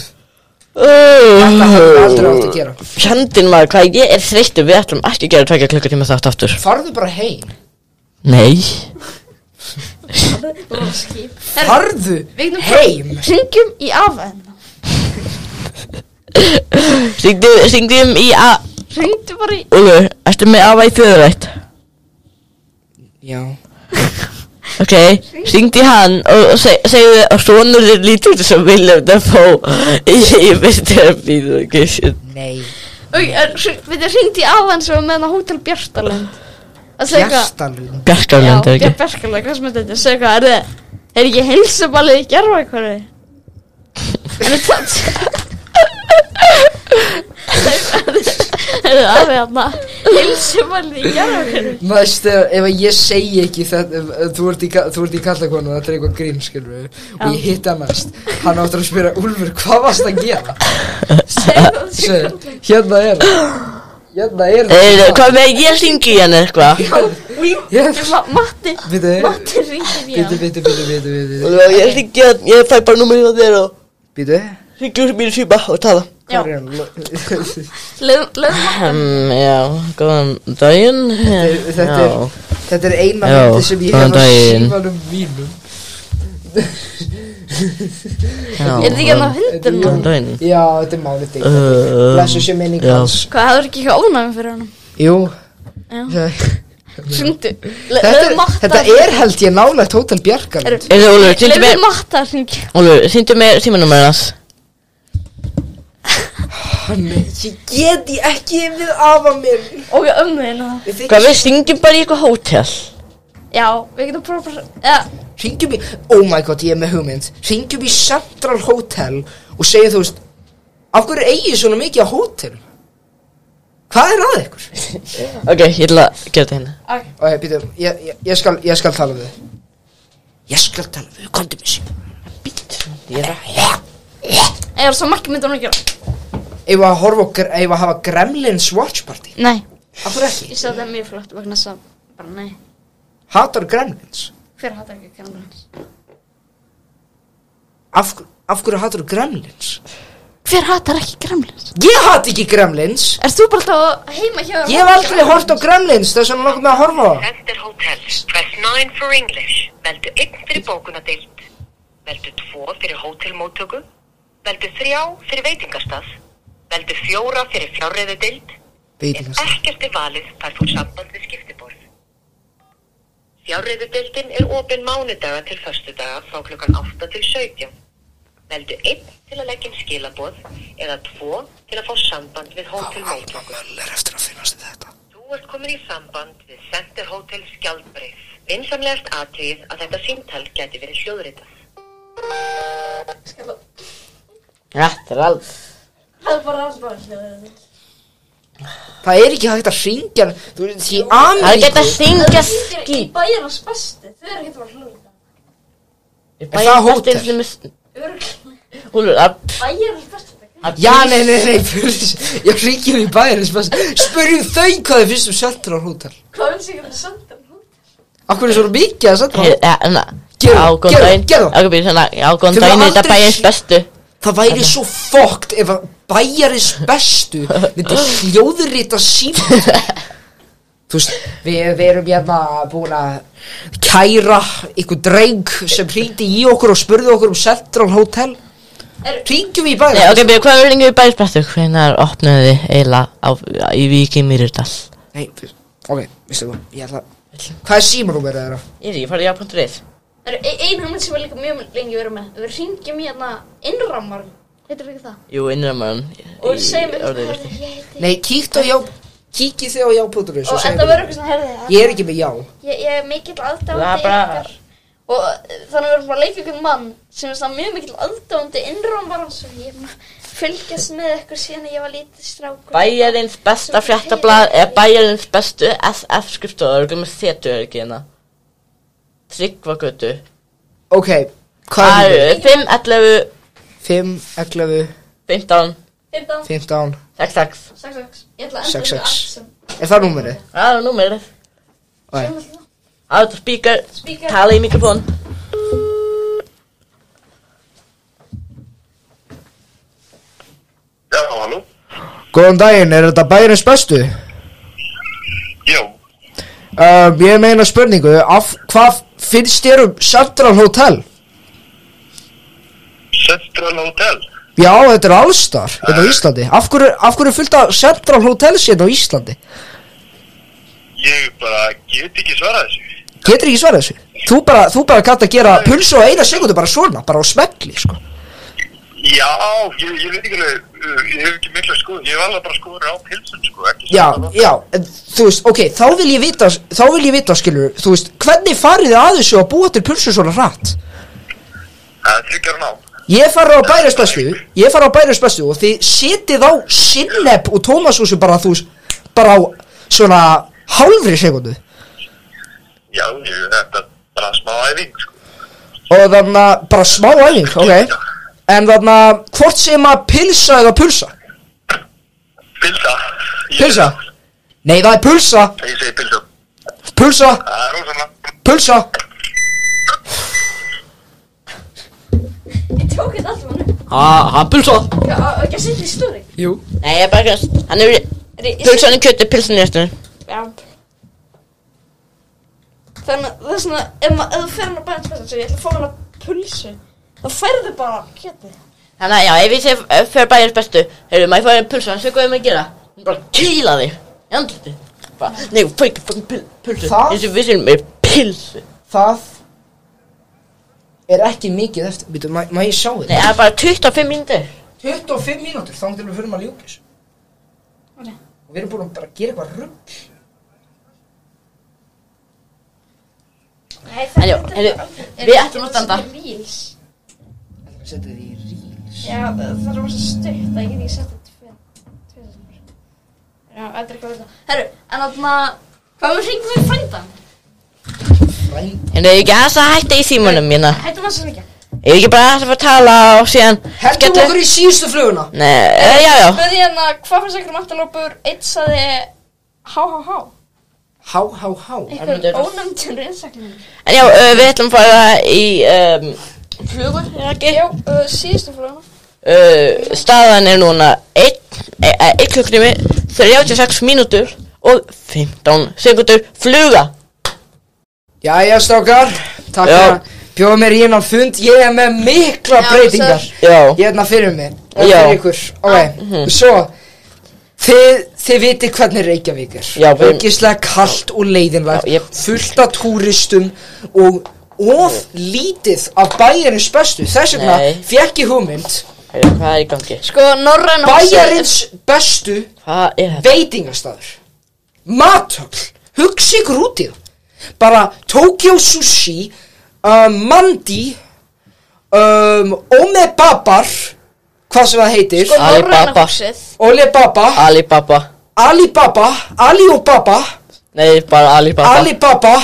Speaker 9: Þetta
Speaker 6: hefur aldrei átt að gera.
Speaker 9: Fjandinn maður, hvað ég er þreyttur, við ætlum ekki að gera tvekja klukkutíma þátt aftur
Speaker 6: Farðu bara heim
Speaker 9: Nei
Speaker 6: Farðu heim
Speaker 1: Ringjum í afa hennar.
Speaker 9: Syngdu, syngdum um í a...
Speaker 1: Ringdu bara í...
Speaker 9: Úlfur, ertu með afa í þjóðrætt?
Speaker 6: Já
Speaker 9: Ok, syngdu í hann og, og seg, segðu að sonur þér lítur út sem William Dafoe í, í Mr. Location
Speaker 6: Nei
Speaker 1: Ok, er- hring- við þið ringdi í afa hann sem var með hann á Hótel Bjartalund. Það segja eitthvað...
Speaker 6: Bjartalund
Speaker 9: Bjarkarlund,
Speaker 1: Já,
Speaker 9: ekki?
Speaker 1: Björn Berkala, hvað sem þetta er, segja hvað, er þið, er ekki heilsuballið í gerfa eitthvað? Er þið tjátt? Er þið aðeins hérna, heilsuballið í gerfa eitthvað?
Speaker 6: Mæstu, ef að ég segi ekki þetta, ef- ef þú ert í, ka- þú ert í kallakonu, þetta er eitthvað grín, skilur við, og ég hitt hann næst, hann áttur að spyrja, Úlfur, hvað varst að gera? Segðu, hérna er það, hérna er
Speaker 9: Eh,
Speaker 6: það.
Speaker 9: Hvað með ég syngi í hann eitthvað?
Speaker 1: Matti,
Speaker 6: Vittu,
Speaker 1: Matti ringir í
Speaker 6: vittu,
Speaker 1: hann.
Speaker 6: vittu, vittu, vittu, vittu,
Speaker 9: Úlfur, ég syngi hann, ég fæ bara númur hjá þér og
Speaker 6: vittu,
Speaker 9: syngi úr mínu síma og tala
Speaker 6: hvað Hérna er hann?
Speaker 1: Leðum hann.
Speaker 9: Um, já, góðan daginn
Speaker 6: Þetta- þetta er-
Speaker 9: Já.
Speaker 6: Þetta er eina
Speaker 9: Já,
Speaker 6: myndi sem ég
Speaker 9: góðan
Speaker 6: hef á
Speaker 9: daginn.
Speaker 6: símanum mínum.
Speaker 9: Já,
Speaker 1: Er þið ekki hérna á hundinum?
Speaker 9: Góðan daginn
Speaker 6: Já, þetta er málið þig.
Speaker 9: Uh,
Speaker 6: Blessu sé minning
Speaker 9: já.
Speaker 6: hans.
Speaker 1: Hvað, það er ekki eitthvað ónæmi fyrir hann?
Speaker 6: Jú,
Speaker 1: Já. Ringdu.
Speaker 6: þetta, er- þetta er held ég nálægt Hotel Bjarkar.
Speaker 9: Heyrðu, Úlfur, syngdu mér-
Speaker 1: Leðum Matti að ringja.
Speaker 9: Úlfur, sýndu mér símanúmer hans
Speaker 6: Ég get ég ekki við afa mér
Speaker 1: Og ömmu hérna.
Speaker 9: Hvað við syngjum bara í eitthvað hótel
Speaker 1: Já, við getum prófað að... Ja.
Speaker 6: Ringjum í, oh my god, ég er með hugmynd Ringjum í Central Hotel Og segja þú veist Af hverju eigið svona mikið á hótel? Hvað er að ykkur?
Speaker 9: Ok, ég ætla að gera þetta hérna
Speaker 6: Og ég, býtum, ég, ég, ég, skal, ég skal tala við þig Ég skal tala við þig, komdu mér síma
Speaker 9: Ég er
Speaker 1: Ég var svo makki myndi hún að gera.
Speaker 6: Eigum við að horfa á, gr- eigum við að hafa Gremlins Watch Party
Speaker 1: Nei.
Speaker 6: Af hverju ekki?
Speaker 1: Ég sagði það er mjög flott vegna þess að bara nei.
Speaker 6: Hatar Gremlins?
Speaker 1: Hver hattar ekki Gremlins?
Speaker 6: Af, hver- af hverju hatar Gremlins?
Speaker 1: Hver hattar ekki Gremlins?
Speaker 6: Ég hati ekki Gremlins
Speaker 1: Erst þú bara alltaf að heima hjá þér?
Speaker 6: Ég hef aldrei hort á Gremlins Þess vegna langar mig að horfa á það
Speaker 16: Center Hotels. Press 9 for English. Veldu 1 fyrir bókunadeild. Veldu 2 fyrir hótelmóttöku. Veldu 3 fyrir veitingastað. Veldu 4 fyrir fjárreiðudeild.
Speaker 6: Veitingast
Speaker 16: Ekkert er valið þar þú samband við skiptiborð. Fjárreiðudeildin er opin mánudaga til föstudaga frá klukkan 8 til 17. Veldu 1 til að leggja inn skilaboð eða 2 til að fá samband við hótelmóttöku.
Speaker 6: Möller eftir að finnast í þetta
Speaker 16: Þú ert komin í samband við Center Hotel Skjaldbreið. Vinsamlegast aðtögið að þetta síntal geti verið hljóðritað.
Speaker 9: Þetta er alveg
Speaker 1: Það er bara alls bara hljóðið.
Speaker 6: Það er ekki hægt að hringja Þú veist, í Ameríku
Speaker 9: Það er ekki hægt að hringja
Speaker 1: Í bæjarnas bestu. Þau eru ekki bara hljóðið.
Speaker 6: Er það hótel?
Speaker 9: Úlfur, að
Speaker 1: Bæjarnas bestu.
Speaker 6: Já, nei, nei, nei, fyrir Ég hringjum í bæðir Spurjum þau hvað þau finnst um Central Hotel
Speaker 1: Hvað finnst ég að það senda?
Speaker 6: Akkur er svo mikið að sætta
Speaker 9: Hei, ja, na,
Speaker 6: Gerðu,
Speaker 9: á góðan
Speaker 6: gerðu,
Speaker 9: daginn
Speaker 6: gerðu.
Speaker 9: Á góðan daginn, já, góðan
Speaker 6: Þau
Speaker 9: daginn
Speaker 6: hafa
Speaker 9: Þetta
Speaker 6: aldrei
Speaker 9: bæjarins bestu
Speaker 6: Það væri svo fokkt ef að bæjarins bestu myndi hljóðrita símt Þú veist, við, við erum hérna búin að kæra ykkur dreng sem hringdi í okkur og spurði okkur um Central Hotel Hringjum í
Speaker 9: Nei, ok,
Speaker 6: bæjarins
Speaker 9: byrju, hvað er lengi við bæjarins bestu? Hvenær opnuðu þið eiginlega á, í Víki Mýrudal?
Speaker 6: Nei, ok, veistu þú, ég ætla Hvað er símanúmerið þeirra?
Speaker 9: Ég er ekki, farið já.is
Speaker 1: Það eru ein- ein hugmynd sem við líka mjög lengi verið með. Við ringjum í hérna innrammarn. Heitir ekki það?
Speaker 9: Jú, innramörn
Speaker 1: Og segjum við
Speaker 9: orðið
Speaker 1: hvað
Speaker 9: virti.
Speaker 1: ég heiti.
Speaker 6: Nei, kíktu á já Kíkið þið á já.is
Speaker 1: Og þetta verður eitthvað svona herðið.
Speaker 6: Ég er ekki með já
Speaker 1: Ég, ég er mikill
Speaker 9: Það er
Speaker 1: aðdáðandi
Speaker 9: bara-
Speaker 1: ykkar. Og eh, þannig verður bara að leika ykkur mann sem er samt mjög mikill aðdáðandi innrammarans og ég er búin að fylgjast með ykkur síðan ég var lítið strákur.
Speaker 9: Bæjarins besta fréttablað er bæjarins bestu SF skrifstóður og glömmar setu er ekki hérna Tryggvagötu
Speaker 6: Ok,
Speaker 9: Það
Speaker 6: hvað er
Speaker 9: eru 5, 11,
Speaker 6: 5, 11,
Speaker 9: 15
Speaker 1: 15,
Speaker 6: 15
Speaker 9: 66
Speaker 1: 66. Ég ætla að enda með
Speaker 6: 66
Speaker 1: allt sem...
Speaker 6: Er það númerið?
Speaker 9: Það er númerið
Speaker 6: Æ.
Speaker 9: Out of speaker,
Speaker 1: Speaker.
Speaker 9: tala í mikrofón
Speaker 17: Já, halló?
Speaker 6: Góðan daginn, er þetta bæjarins bestu?
Speaker 17: Já.
Speaker 6: Um, ég meina spurningu, af, hvað finnst þér um Central Hotel?
Speaker 17: Central Hotel? Eh.
Speaker 6: Já, þetta er allstar hérna á Íslandi. Af hverju, af hverju er fullt af Central Hotel hérna á Íslandi?
Speaker 17: Ég bara get ekki svarað þessu.
Speaker 6: Getur ekki svarað þessu? Þú bara, þú bara gæti að gera pulsu á eina sekundu bara svona, bara á smelli, sko.
Speaker 17: Já, ég, ég veit ekki alveg, uh, ég hef ekki mikla skoðun, ég hef alveg bara skoðun á pilsun, sko, ekki
Speaker 6: Já, já, en þú veist, ok, þá vil ég vita, þá vil ég vita, skilur, þú veist, hvernig farið þið að þessu að búa til pulsu svona hratt?
Speaker 17: Það er þryggjar ná.
Speaker 6: Ég fara á bæris bestu Ég fara á bæris bestu og þið setið á Sinneb og Tómasúsu bara þú veist, bara á svona hálfri sekundu
Speaker 17: Já, ég, þetta er bara smá æfing, sko.
Speaker 6: og þannig að bara smá æfing, ok en þannig að hvort sem að pilsa eða pulsa
Speaker 17: Pilsa.
Speaker 6: Pilsa? Nei það er pulsa
Speaker 17: Ég segi pilsa.
Speaker 6: Pulsa
Speaker 17: Það er ósanna.
Speaker 6: Pulsa
Speaker 1: Ég tók hérna þetta alltaf hann upp.
Speaker 9: Hann pulsa
Speaker 1: Já, á- á ekki að setja þetta í stóri.
Speaker 6: Jú
Speaker 9: Nei, ég er bara kannast Hann er
Speaker 1: Er ég-
Speaker 9: Pulsan er kjötu, pilsan er eftir
Speaker 1: Já. Þannig að það er svona, ef maður, ef þú fer hann á bæðinspessan sem ég ætla að fá hann að pulsu, þá færðu bara kjötið.
Speaker 9: Þannig að já, ef ég sé ef fyrir bæjarins bestu Heyrðu, maður fór einn pulsan, svo hvað er maður að gera? Hún bara kýla þig Í andluti Bara, nei, fór ekki fucking pul- pulsu
Speaker 6: Það-
Speaker 9: Eins og við séum með pilsu
Speaker 6: Það er ekki mikið eftir Býtu, má, má ég sjá þið?
Speaker 9: Nei, það er bara 25 mínútur
Speaker 6: 25 mínútur, þá til við fyrir maður ljúkis og við erum búin að bara gera eitthvað rugg
Speaker 1: Nei,
Speaker 9: En já, heyrðu, við ætlum að standa
Speaker 1: Reels.
Speaker 6: að setja þið í reels
Speaker 1: Já, það það er rosa stutt að ég get ekki sett þetta tvö, tvö sinni. Já, þetta er eitthvað þetta. Herru, en þarna, hvað við hringum við frændan?
Speaker 9: Heyrðu, Hérna, ég ekki aðeins að hætta í símanum mína
Speaker 1: Hættum að svo mikið.
Speaker 9: Ég ekki bara aðeins að fara að tala og síðan
Speaker 6: Hendum
Speaker 9: skellu-
Speaker 6: okkur í síðustu fluguna
Speaker 9: Nei, eh, já, já
Speaker 1: Spurði hérna, hvað finnst ykkur um antilópur? Eitt sagði, há, há, há.
Speaker 6: Há, há, há.
Speaker 1: Einhver ónæmtjum reynsakning.
Speaker 9: En já, uh, við ætlum að fara í um, Flugur, er það ekki?
Speaker 1: Já, uh, síðustu fluguna.
Speaker 9: uh, Staðan er núna eh, 1 klukkrimi 36 mínútur og 15 sekundur Fluga
Speaker 6: Jæja strákar, takk
Speaker 9: Já.
Speaker 6: fyrir að bjóða mér í hennan fund Ég er með mikla
Speaker 9: Já,
Speaker 6: breytingar
Speaker 9: sir. Já.
Speaker 6: Hérna fyrir mig og
Speaker 9: Já.
Speaker 6: fyrir ykkur Ok,
Speaker 9: Mhm.
Speaker 6: svo Þið, þið viti hvernig Reykjavík er
Speaker 9: Já, við-
Speaker 6: Ógislega kalt og leiðinlegt Fullt af túristum Og of lítið af bæjarins bestu Þess vegna
Speaker 9: Nei.
Speaker 6: fekk ég hugmynd
Speaker 9: Heyrðu, Hvað er í gangi?
Speaker 1: Sko, norræna
Speaker 6: Bæjarins bestu
Speaker 9: Hvað er þetta?
Speaker 6: veitingastæður matöfl, hugsa ykkur út í það bara Tokyo Sushi um, Mandi um, Omebabar hvað sem það heitir
Speaker 1: Sko, norræna húsið.
Speaker 6: Olibaba
Speaker 9: Alibaba
Speaker 6: Alibaba Aliobaba
Speaker 9: Nei, bara Alibaba
Speaker 6: Alibaba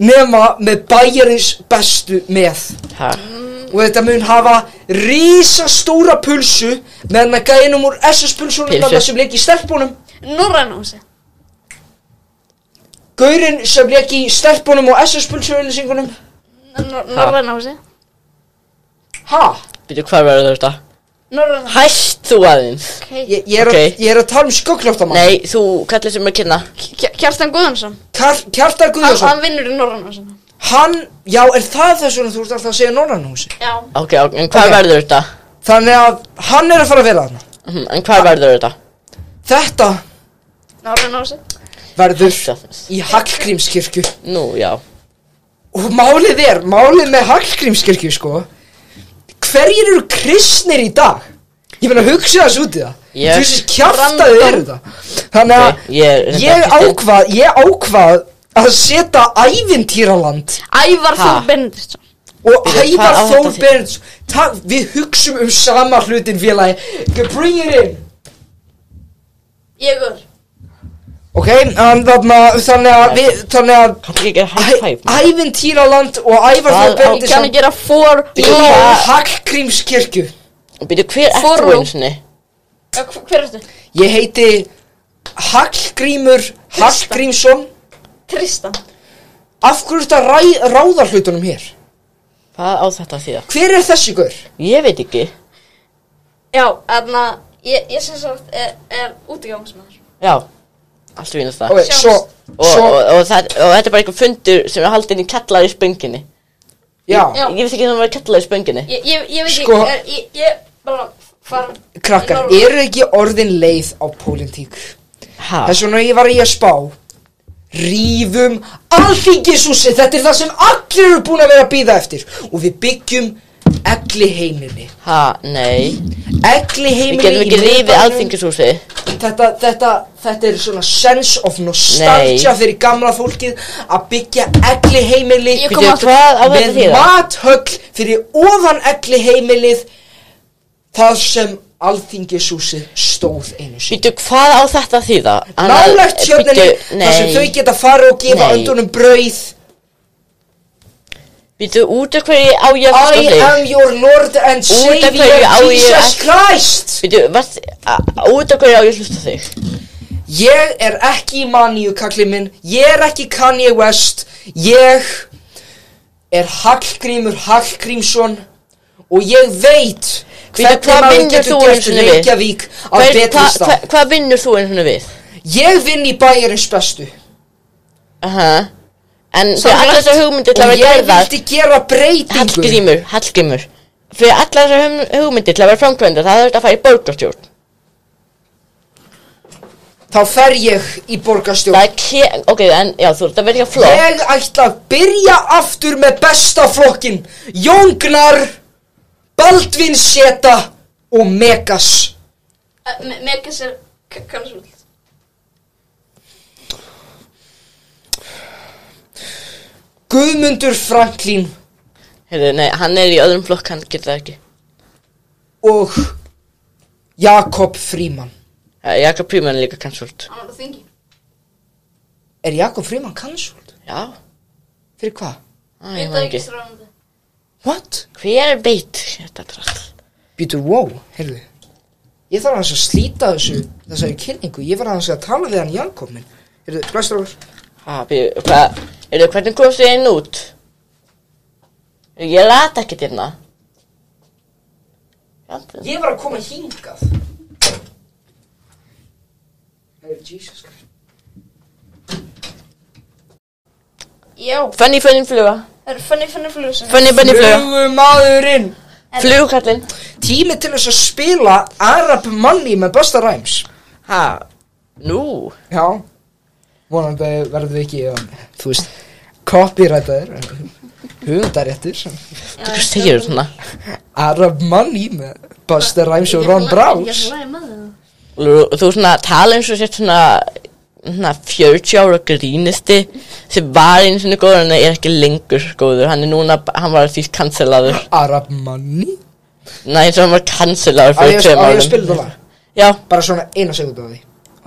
Speaker 6: nema með bæjarins bestu með
Speaker 9: Ha.
Speaker 6: og þetta mun hafa rísastóra pulsu með hann að gæðinum úr SS pulsunum
Speaker 9: Pylsu.
Speaker 6: þarna sem leik í stelpunum
Speaker 1: Norræna húsið.
Speaker 6: Gaurinn sem leik í stelpunum og SS-pulsuauðlýsingunum
Speaker 1: Norræna húsi
Speaker 6: Ha?
Speaker 9: Býtu, hvað verður þetta?
Speaker 1: Norræna
Speaker 9: Hæst þú aðeins
Speaker 6: Ég, ég, er, okay. ég er að tala um skugglóttamann
Speaker 9: Nei, þú kallir sem er kynna
Speaker 1: Kja- Kjartan Guðjónsson
Speaker 6: Kar, Kjartar
Speaker 1: Hann, hann
Speaker 6: Guðjónsson
Speaker 1: vinnur í Norræna húsi
Speaker 6: Hann, já, er það þess vegna þú ert alltaf að segja Norrannhúsi?
Speaker 1: Já
Speaker 9: Ok, ok, en hvað
Speaker 6: Ok.
Speaker 9: verður þetta?
Speaker 6: Þannig að hann er að fara að vera þarna
Speaker 9: Mhm, En hvað verður þetta?
Speaker 6: Þetta
Speaker 1: Norræna húsi
Speaker 6: verður í Hallgrímskirkju
Speaker 9: Nú, já
Speaker 6: Og málið er, málið með Hallgrímskirkju sko Hverjir eru kristnir í dag? Ég meina hugsa þess út í það
Speaker 9: Ég-
Speaker 6: Þú veist kjartaði er þetta Þannig að
Speaker 9: Ég,
Speaker 6: ég ákvað, ég ákvað að setja ævintýraland
Speaker 1: Ævar
Speaker 6: Ha?
Speaker 1: Þór Benediktsson
Speaker 6: og
Speaker 1: Bíddu, hvað
Speaker 6: Ævar
Speaker 1: á
Speaker 6: Þór
Speaker 1: þetta þýða?
Speaker 6: Berends Ta- við hugsum um sama hlutin félagi G- bring it in
Speaker 1: Ég er
Speaker 6: ok, um, þarna, þannig að við, þannig að Æ- ævintýraland og Ævar
Speaker 9: Hvað
Speaker 6: Þór
Speaker 9: á-
Speaker 6: Berends
Speaker 9: Kann ég gera
Speaker 1: for
Speaker 6: Hallgrímskirkju
Speaker 9: Býtu, hver ert
Speaker 6: Forró.
Speaker 9: þú eins og
Speaker 1: Hver ertu?
Speaker 6: ég heiti Hallgrímur Hallgrímsson
Speaker 1: Tristan
Speaker 6: af hverju þetta ræ, ráða hlutunum hér
Speaker 9: Hvað á þetta að þýða?
Speaker 6: hver er þessi gaur?
Speaker 9: ég veit ekki
Speaker 1: Já, þarna Ég, ég sem sagt er, er útigangsmaður
Speaker 9: Já, allt vínast það
Speaker 1: Ok, svo-
Speaker 9: og,
Speaker 1: svo-
Speaker 9: og, og, það, og þetta er bara einhver fundur sem er haldin í kallar í spönginni
Speaker 6: Já.
Speaker 9: Ég, ég veist ekki að það var kallar í spönginni
Speaker 1: Ég, ég, ég veit
Speaker 6: Sko-
Speaker 1: ekki, er, ég, ég bara fara
Speaker 6: krakkar,
Speaker 1: Í
Speaker 6: eru ekki orðin leið á pólitík?
Speaker 9: Ha?
Speaker 6: Þess vegna ég var í að spá Rífum alþingishúsi Þetta er það sem allir eru búin að vera að býða eftir Og við byggjum Egli heimili
Speaker 9: Ha, nei
Speaker 6: Egli
Speaker 9: Við
Speaker 6: heimili
Speaker 9: getum
Speaker 6: í
Speaker 9: ekki rífið
Speaker 6: miðbænum.
Speaker 9: alþingishúsi
Speaker 6: þetta, þetta, þetta er svona sense of nostalgia
Speaker 9: Nei.
Speaker 6: fyrir gamla fólkið að byggja egli heimili
Speaker 9: Ég kom Bíddu, aftur. hvað á þetta
Speaker 6: með
Speaker 9: þýða?
Speaker 6: mathöll fyrir ofan egli heimilið það sem alþingishúsið stóð einu sinni
Speaker 9: Býtu, hvað á þetta að þýða? Annað-
Speaker 6: nálægt tjörninni
Speaker 9: bíddu,
Speaker 6: þar sem
Speaker 9: nei.
Speaker 6: þau geta farið og gefa
Speaker 9: Nei.
Speaker 6: öndunum brauð
Speaker 9: Býtu, út af hverju á ég að
Speaker 6: I am your lord and
Speaker 9: Út af
Speaker 6: savior
Speaker 9: hverju á ég
Speaker 6: Jesus
Speaker 9: ekki-
Speaker 6: Christ
Speaker 9: Býtu, hvað, a- út af hverju á ég að hlusta á þig?
Speaker 6: Ég er ekki í maníu, kallið minn. Ég er ekki Kanye West. Ég er Hallgrímur Hallgrímsson og ég veit
Speaker 9: Bíddu, hvað vinnur þú einu sinni við?
Speaker 6: Reykjavík á
Speaker 9: Hver-
Speaker 6: betri
Speaker 9: hvað-
Speaker 6: stað.
Speaker 9: hvað- Hvað vinnur þú einu sinni við?
Speaker 6: Ég vinn í bæjarins bestu.
Speaker 9: Aha En
Speaker 6: Sorglegt.
Speaker 9: fyrir allar þessar hugmyndir til að
Speaker 6: Og ég
Speaker 9: vera gerðar
Speaker 6: vildi gera breytingu
Speaker 9: Hallgrímur, Hallgrímur Fyrir allar þessar hugm- hugmyndir til að vera framkvæmda Það þurft að fara í borgarstjórn
Speaker 6: Þá fer ég í borgarstjórn
Speaker 9: Það er ke- ok, en já, þú ert að velja flokk
Speaker 6: Ég ætla að byrja aftur með besta flokkin. Jóngnar, Baldvin Seta og Megas.
Speaker 1: Eh, Megas er k- konsult
Speaker 6: Guðmundur Franklín
Speaker 9: Heyrðu, nei, hann er í öðrum flokk, hann getur það ekki
Speaker 6: og Jakob Fríman
Speaker 9: Eh, Jakob Príman er líka kansult
Speaker 1: Hann var á þingi
Speaker 6: Er Jakob Fríman cancelled?
Speaker 9: Já
Speaker 6: Fyrir hvað?
Speaker 9: Æ, ég man ekki
Speaker 6: What?
Speaker 9: Hver Hérna, veit þetta drall?
Speaker 6: Býtur, wow, heyrðu Ég þarf aðeins að slíta þessu þessari kynningu Ég var aðeins að tala við hann Jakob minn Heyrðu, blæstur ofur
Speaker 9: Ha, býðu, hvað, heyrðu, hvernig komst þið inn út? Ég lata ekkert hérna
Speaker 6: Ég var að koma hingað Heyrðu, Jesus Christ
Speaker 1: Já
Speaker 9: Fanny, fanny, fluga
Speaker 1: Það eru Fanny Fanny Flugusson
Speaker 9: Fanny, fanny, fluga
Speaker 6: Flugumadurinn
Speaker 9: Flugkallinn
Speaker 6: Tími til þess að spila Arab Money með Busta Rhymes
Speaker 9: Ha, nú
Speaker 6: Já Vonandi verðum við ekki um, Þú veist, copyrightaðir Hugundaréttur
Speaker 9: Þú segir svona
Speaker 6: Arab Money með Busta Rhymes og Ron Browns
Speaker 1: Ég er læg með það
Speaker 9: Þú þú svona tala eins og sétt svona svona 40 ára grínisti sem var eins og góður en er ekki lengur góður hann er núna, hann var því kanselaður
Speaker 6: Arab Money
Speaker 9: Nei, eins og hann var kanselaður
Speaker 6: Á ég
Speaker 9: fyrir
Speaker 6: að-
Speaker 9: tveim
Speaker 6: á ég
Speaker 9: árum
Speaker 6: að spila þetta lag?
Speaker 9: Já
Speaker 6: Bara svona eina segundu af því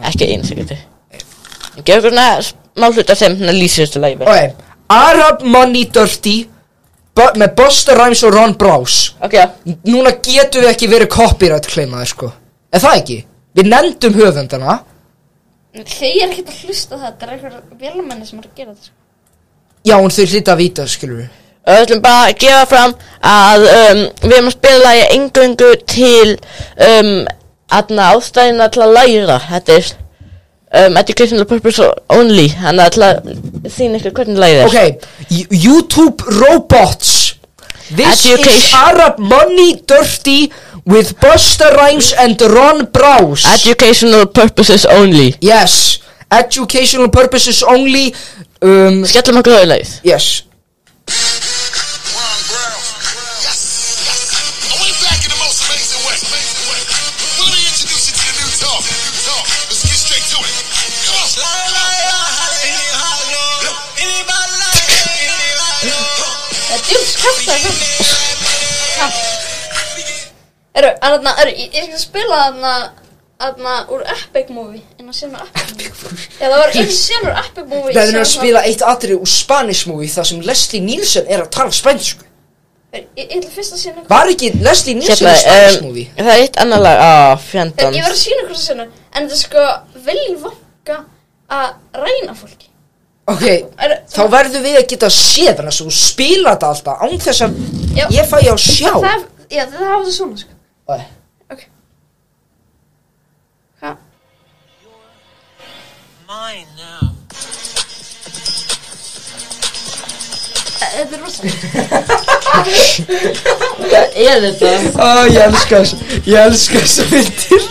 Speaker 9: Ekki einu sekundi Ég gef ykkur svona smá hluta sem hann lýsir þessu lagi vel.
Speaker 6: Ok, Arab Money Dirty bu- með Busta Rhymes og Ron Browns
Speaker 9: Ok, já
Speaker 6: Núna getum við ekki verið copyright kleimaði sko Er það ekki? Við nefndum höfundana
Speaker 1: Þau er ekkert að hlusta á þetta, það er einhver velmenni sem er að gera þetta sko.
Speaker 6: Já, en þau hlita að vita, skilur við.
Speaker 9: Við ætlum bara að gefa fram að um, við erum að spila lagi engöngu til um, aðna ástæðina til að læra. Þetta er um, educational purpose only, þannig að til að sína ykkur hvernig læra er.
Speaker 6: Ok, Y- YouTube robots. This is
Speaker 9: Education.
Speaker 6: Arab money dirty with Busta Rhymes and Ron Browse.
Speaker 9: Educational purposes only.
Speaker 6: Yes, educational purposes only. Um,
Speaker 9: Skellum okkur auðleið.
Speaker 6: Yes.
Speaker 1: Þetta er skasta eitthvað. Eru, er þarna, eru, ég er ekki að spila þarna, þarna úr Epic Movie, en að sena Epic Movie. Já, það var einn sen úr Epic Movie.
Speaker 6: Nei, það er að spila eitt atrið úr Spanish movie þar sem Leslie Nielsen er að tala spænsku.
Speaker 1: Ég ég ætla fyrst að sena
Speaker 6: Var ekki Leslie Nielsen
Speaker 9: Hérna,
Speaker 6: í Spanish
Speaker 9: um,
Speaker 6: movie?
Speaker 9: það er eitt annar lag, á,
Speaker 1: Ég var að
Speaker 9: fjandans.
Speaker 1: sína ykkur að sena, en þetta er sko velji vanka að ræna fólki.
Speaker 6: Ok, þá verðum við að geta séð hann svo spila þetta alltaf án þess að
Speaker 1: Já.
Speaker 6: ég fæ að sjá.
Speaker 1: Það, já, það hafa það svona, sko.
Speaker 6: Oi.
Speaker 1: Ok. Hva? Þetta er rosa.
Speaker 9: Hvað er þetta?
Speaker 6: Ó, ég elska þessu, ég elska þessu myndir.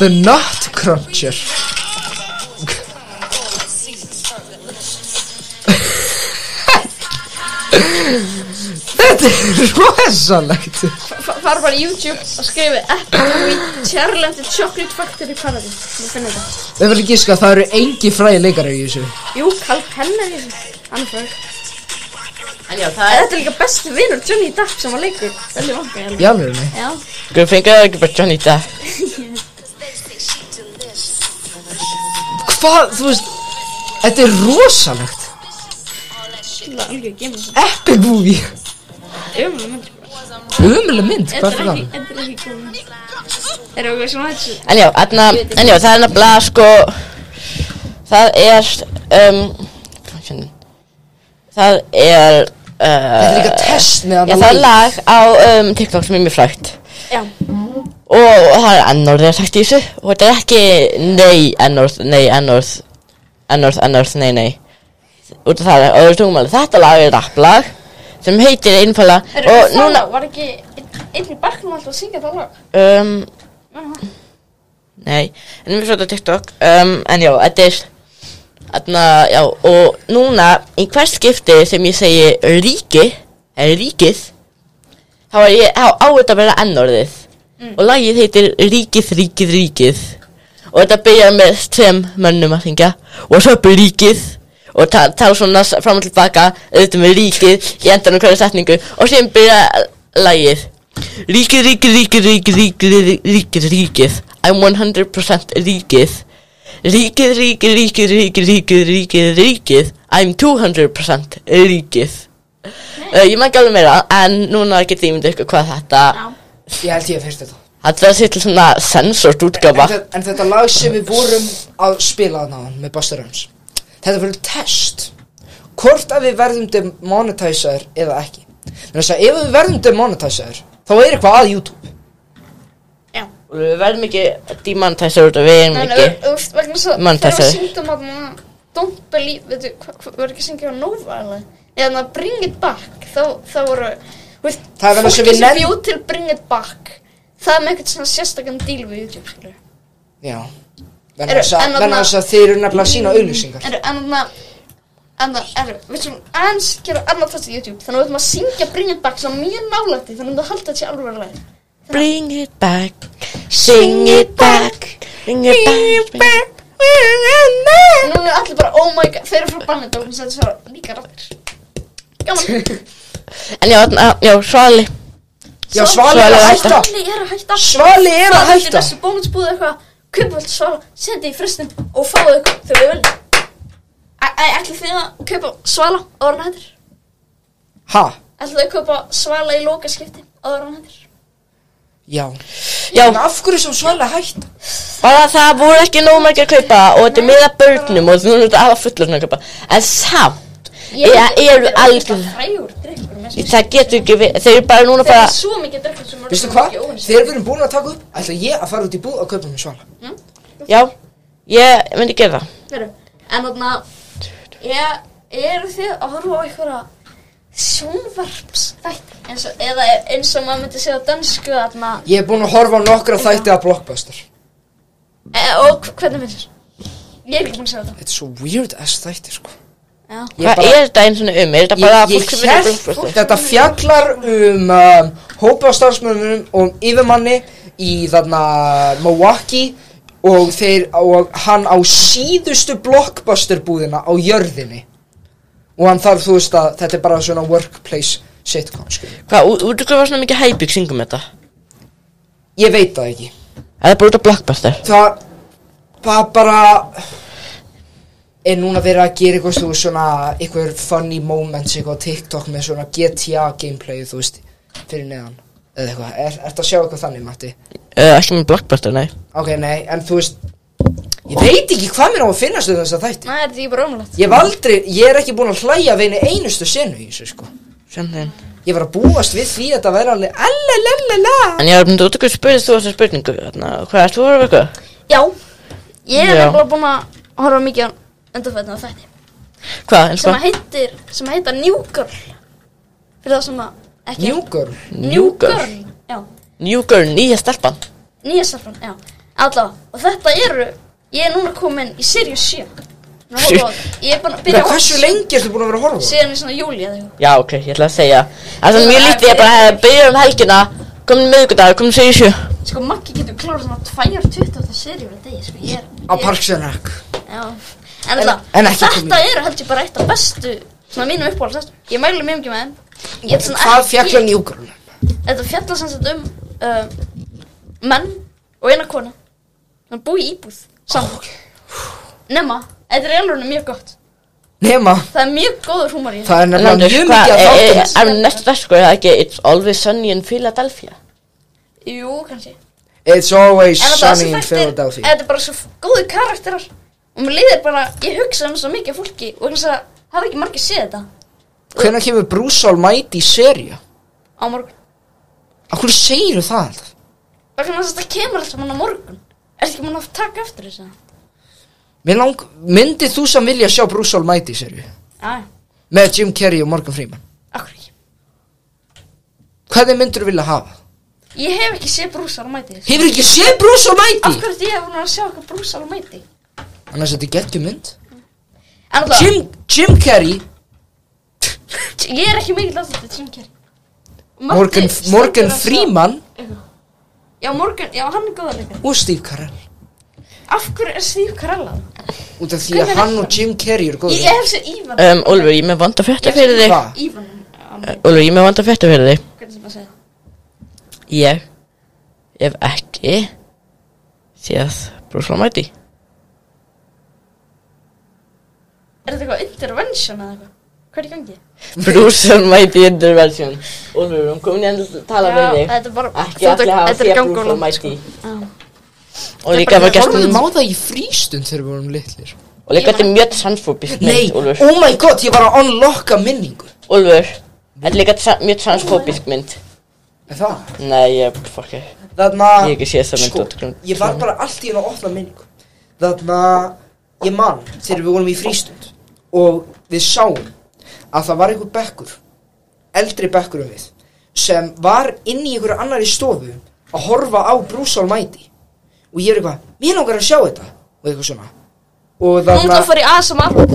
Speaker 6: The Nut Cruncher. Þetta er rosalegt.
Speaker 1: Fa- Fara bara í YouTube og skrifi Apple Movie Charlotte Chocolate Factory Paradise. Þú finnir þetta.
Speaker 6: Við verðum gíska að það eru engi fræði leikari í þessu.
Speaker 1: Jú, Karl Penner í þessu. Hann er fræg. En já, það
Speaker 9: er-
Speaker 1: Þetta er líka besti vinur Johnny Depp sem var leikur. Veldig vanka, ég
Speaker 6: Í alvörunni?
Speaker 1: Já.
Speaker 9: Guð fengið það ekki bara Johnny Depp.
Speaker 6: Hvað, þú veist, þetta er rosalegt.
Speaker 1: Það er alveg að geima þessu.
Speaker 6: Epic movie.
Speaker 1: Ömuleg mynd.
Speaker 6: Ömuleg mynd, hvað er
Speaker 1: Þetta
Speaker 6: það?
Speaker 1: ekki- Þetta er ekki góð mynd. Erum við eitthvað svona þessu?
Speaker 9: En já, þarna, en já, það er nefnilega sko, það er, um, hérna, það er, uh, Þetta
Speaker 6: er líka test með
Speaker 9: Já,
Speaker 6: hana
Speaker 9: það er
Speaker 6: Lee.
Speaker 9: lag á um, TikTok sem er mjög frægt
Speaker 1: Já.
Speaker 9: og það er ennórið að sagt í þessu og þetta er ekki nei ennórið, nei ennórið, ennórið, ennórið, nei, nei. Út af það er öðru tungumáli. Þetta lag er rapplag sem heitir einfalla
Speaker 1: Erum
Speaker 9: og
Speaker 1: við
Speaker 9: núna,
Speaker 1: það? Var ekki einn- einn í barknum alltaf að syngja það lag?
Speaker 9: um,
Speaker 1: Núna.
Speaker 9: Nei, en við fyrir á TikTok um, En já, þetta er Þarna, já, og núna Í hvert skipti sem ég segi ríki Eða ríkið Þá er ég á, á þetta að vera ennorðið
Speaker 1: Mm.
Speaker 9: Og lagið heitir ríkið, ríkið, ríkið Og þetta byrjar með tveim mönnum að syngja What's up ríkið Og ta- tala svona s- fram og tilbaka Auðvitað með ríkið Í endanum hverju setningu Og síðan byrja lagið Ríkið, ríkið, ríkið, ríkið, ríkið, ríkið, ríkið, ríkið I'm 100% ríkið Ríkið, ríkið, ríkið, ríkið, ríkið, ríkið, ríkið I'm 200% ríkið uh, Ég maður ekki alveg meira En núna getið ég myndið ykkur hvað þetta
Speaker 6: Ég held ég að fyrst þetta.
Speaker 9: Þetta er sér til svona sensort
Speaker 6: En,
Speaker 9: útgafa
Speaker 6: þe- en þetta lag sem við vorum að spila þarna áðan með Busta Rhymes. Þetta verður test. Hvort að við verðum demonetizer eða ekki. Þannig að segja, ef við verðum demonetizer, þá er eitthvað að YouTube.
Speaker 9: Og Við verðum ekki demonetizer út af við erum
Speaker 1: Nei, nei,
Speaker 9: ekki
Speaker 1: þú veist, vegna þess að þegar við
Speaker 9: Monetizer.
Speaker 1: syngdum að Don't Believe, veitu, hvað hva, var ekki að syngja á Nova eða? Eða þannig að Bring It Back, þá, þá voru, þú veist,
Speaker 6: Það er vegna þess að
Speaker 1: fólki
Speaker 6: við
Speaker 1: sem
Speaker 6: nenn-
Speaker 1: bjóð til Bring It Back, það er með eitthvað svona sérstakann díl við YouTube, skilur.
Speaker 6: Já.
Speaker 1: Eru-
Speaker 6: Þannig
Speaker 1: en
Speaker 6: að segja-
Speaker 1: þarna-
Speaker 6: vegna þess að þeir eru nefnilega að sína auðlýsingar.
Speaker 1: En þannig að, en þannig að, við sem aðeins gera annað þessi YouTube, þannig að við ætlum að syngja Bring It Back svona mjög nálætti, þannig að það halda þetta sé alveg að læra.
Speaker 9: Bring it back Sing it back Bring it back Bring it back
Speaker 1: Nú er allir bara, oh my god, þeir eru frá Bannet og hún setja svo líka rættir. Gaman.
Speaker 9: En já, þarna- já, svali
Speaker 1: Já,
Speaker 6: Svali er að hætta.
Speaker 1: Svali er að hætta
Speaker 6: Svali er að hætta.
Speaker 1: Það er þessu bónusbúð eitthvað Kaupvöld Svala, sendi í fristin og fáið eitthvað þegar við veljum Ætlaðu þið að kaupa svala áður en hættir?
Speaker 6: Ha?
Speaker 1: Ætlaðu þið að kaupa svala í loka skipti áður en hættir?
Speaker 6: Já.
Speaker 9: Já.
Speaker 6: En af hverju sem svala hætt?
Speaker 9: Bara það voru ekki nóg margir að kaupa og þetta er með að börnum og þú erum að fullorðin að kaupa. En samt, ég eru algjör,
Speaker 1: Frægur drikkur með
Speaker 9: það getur ekki við, þeir eru bara núna að
Speaker 1: Það
Speaker 9: fara,
Speaker 1: er svo mikið drikkur sem
Speaker 6: Veistu hvað? Þegar við erum búin að taka upp, ætla ég að fara út í búð og kaupa mér svala.
Speaker 9: já, ég myndi gera það.
Speaker 1: Heru, en þarna, ég, eru þið að horfa á einhverja sjónvarpsþætti eins og, eða eins og maður myndi segja á dansku þarna,
Speaker 6: Ég er búin að horfa á nokkra þætti af blockbuster.
Speaker 1: e, og hvernig finnst þér? Ég er ekki búin að segja þetta.
Speaker 6: Þetta er svo weird ass þætti, sko.
Speaker 1: Já.
Speaker 6: Ég
Speaker 9: Hvað
Speaker 6: bara-
Speaker 9: er þetta eins og um? Er þetta bara að
Speaker 6: ég,
Speaker 9: fólk sem
Speaker 6: ég
Speaker 9: er
Speaker 6: hélt þetta fjallar um, um hópa af starfsmönnum og um yfirmanni í þarna Milwaukee og þeir og hann á síðustu blockbuster búðina á jörðinni og hann þarf þú veist að þetta er bara svona workplace sitcom sko.
Speaker 9: Hvað, ú- út af hvað var svona mikið hæp í kringum þetta?
Speaker 6: ég veit það ekki
Speaker 9: Er það bara út af blockbuster?
Speaker 6: það það bara er núna verið að gera eitthvað þú veist, svona eitthvað funny moments eitthvað á TikTok með svona GTA gameplay þú veist fyrir neðan eða eitthvað er, ertu að sjá eitthvað þannig Matti
Speaker 9: Uh, ekki með blockbuster, nei.
Speaker 6: ok nei en þú veist ég veit ekki hvað mér á að finnast um þessa þætti
Speaker 1: Nei, er þetta ekki bara ómulegt?
Speaker 6: ég hef aldrei ég er ekki búin að hlæja við einu einustu senu í þessu sko
Speaker 9: sem þeim
Speaker 6: ég var að búast við því að þetta væri alveg allalalala
Speaker 9: En ég var myndið út af hvað spurðist þú þessa spurningu, þarna, hvað ert þú að vera eitthvað?
Speaker 1: Já, ég er
Speaker 9: Já.
Speaker 1: nefnilega búin að horfa mikið á undanfætna þætti
Speaker 9: Hvað, eins
Speaker 1: sem að
Speaker 9: og?
Speaker 1: heitir, sem að heita New Girl fyrir það sem að ekki
Speaker 6: New Girl
Speaker 1: New Girl, já
Speaker 9: New Girl, nýja stelpan.
Speaker 1: Nýja safran, já. Allavega, og þetta eru, ég er núna komin í Sirius 7. Nú horfa á þetta. Ég er bara að byrja á
Speaker 6: hversu lengi ertu búin að vera að horfa á þetta?
Speaker 1: Síðan í svona júli eða eitthvað.
Speaker 9: Já, ok, ég ætla að segja. Það er mjög lítið, ég bara hefði byrjað um helgina, komin miðvikudag, komin segja sjö.
Speaker 1: Sko, Maggi getur klárað svona 2.28 seríur á degi, sko, ég er...
Speaker 6: á Parks and Rec
Speaker 1: Já. En
Speaker 6: en
Speaker 1: allavega,
Speaker 6: ekki komin.
Speaker 1: þetta eru held ég bara eitt af bestu, svona mínum uppáhalds þessum. Ég mælu mjög mikið með þeim. Ég er svona
Speaker 6: hvað
Speaker 1: ekki-
Speaker 6: fjallar New Girl
Speaker 1: Þetta fjallar sem sagt um uh, menn og eina kona. Þannig búi í íbúð, saman. Nema, þetta er alveg mjög gott.
Speaker 6: nema
Speaker 1: Það er mjög góður húmar í þessu.
Speaker 6: Það er nefnilega
Speaker 9: Landis,
Speaker 6: mjög
Speaker 9: hvað,
Speaker 6: mikið að
Speaker 9: er-
Speaker 6: þáttum.
Speaker 9: er- Er næst verð, sko, er það ekki It's Always Sunny in Philadelphia?
Speaker 1: Jú, kannski.
Speaker 6: It's always
Speaker 1: En það
Speaker 6: sunny
Speaker 1: sem
Speaker 6: in
Speaker 1: sagt er-
Speaker 6: Philadelphia
Speaker 1: Þetta er bara svo góðu karakterar og mér liðir bara, ég hugsa um svo mikið af fólki og þess að það er ekki margir séð þetta
Speaker 6: Hvenær kemur Bruce Almighty í seríu?
Speaker 1: á morgun.
Speaker 6: Af hverju segir það alltaf?
Speaker 1: Vegna þess að þetta kemur alltaf mann á morgun. Er ekki mann að taka eftir þessu?
Speaker 6: Mér lang, myndið þú sem vilja sjá Bruce Almighty í seríu?
Speaker 1: Já,
Speaker 6: Með Jim Carrey og Morgan Freeman
Speaker 1: akkur ekki.
Speaker 6: Hvernig myndur þú vilja hafa?
Speaker 1: Ég hef ekki séð brúsar á mæti.
Speaker 6: Hefur ekki séð Bruce
Speaker 1: Af
Speaker 6: Almighty?
Speaker 1: hverju ætti ég hef hún að sjá eitthvað brúsar á mæti?
Speaker 6: Annars þetta er geggjum mynd
Speaker 1: En alltaf,
Speaker 6: Jim, Jim Carrey,
Speaker 1: ég er ekki mikill að þetta Jim Carrey. Matti
Speaker 6: Morgan,
Speaker 1: stendur
Speaker 6: Morgan
Speaker 1: að sjá-
Speaker 6: Freeman
Speaker 1: Já, Morgan, já, hann er góða leikar.
Speaker 6: og Steve Carell
Speaker 1: Af hverju er Steve Carell að?
Speaker 6: Út af því að
Speaker 1: Hvernig
Speaker 6: hann
Speaker 1: veit
Speaker 6: og Jim Carrey eru
Speaker 1: Ég
Speaker 6: góðir
Speaker 1: ég hef séð Ívan.
Speaker 9: Um, Úlfur, ég er með vanda frétta fyrir þig.
Speaker 6: Hvað?
Speaker 1: Ívan, á
Speaker 9: Uh,
Speaker 1: mig,
Speaker 9: Úlfur, ég er með vanda frétta fyrir þig.
Speaker 1: hvernig sem að segja.
Speaker 9: Ég hef ekki séð Bruce Almighty.
Speaker 1: Er þetta eitthvað intervention eða eitthvað? Hvað er í gangi?
Speaker 9: Bruce Almighty Intervention. Úlfur, við erum komin í endur að tala
Speaker 1: Já,
Speaker 9: við þig.
Speaker 1: þetta er bara-
Speaker 9: Ekki
Speaker 1: þetta-
Speaker 9: allir hafa
Speaker 1: þetta er
Speaker 9: séð
Speaker 1: gangur
Speaker 9: Bruce
Speaker 1: langt, sko.
Speaker 9: Almighty. Og
Speaker 6: Ég
Speaker 9: líka
Speaker 6: bara-
Speaker 9: var gert
Speaker 6: Horfðum á það í frístund þegar við vorum litlir
Speaker 9: Og líka þetta er mjög transfóbist
Speaker 6: Nei,
Speaker 9: mynd, Úlfur.
Speaker 6: oh my god, ég var að unlocka minningu
Speaker 9: Úlfur, þetta er líka tra- mjög transfóbisk mynd.
Speaker 6: Er það?
Speaker 9: Nei, ég, fokki.
Speaker 6: Þarna
Speaker 9: Ég hef ekki séð það mynd
Speaker 6: sko,
Speaker 9: út. grunn-
Speaker 6: Ég var bara allt í enn að opna minningu Þarna Ég man þegar við vorum í frístund Og við sáum Að það var einhver bekkur Eldri bekkur um við Sem var inn í einhverju annari stofu Að horfa á Bruce Almighty Og ég er eitthvað, mér langar að sjá þetta Og eitthvað svona
Speaker 1: Hún
Speaker 6: Og þarna
Speaker 1: þá fór í ASMR.
Speaker 6: og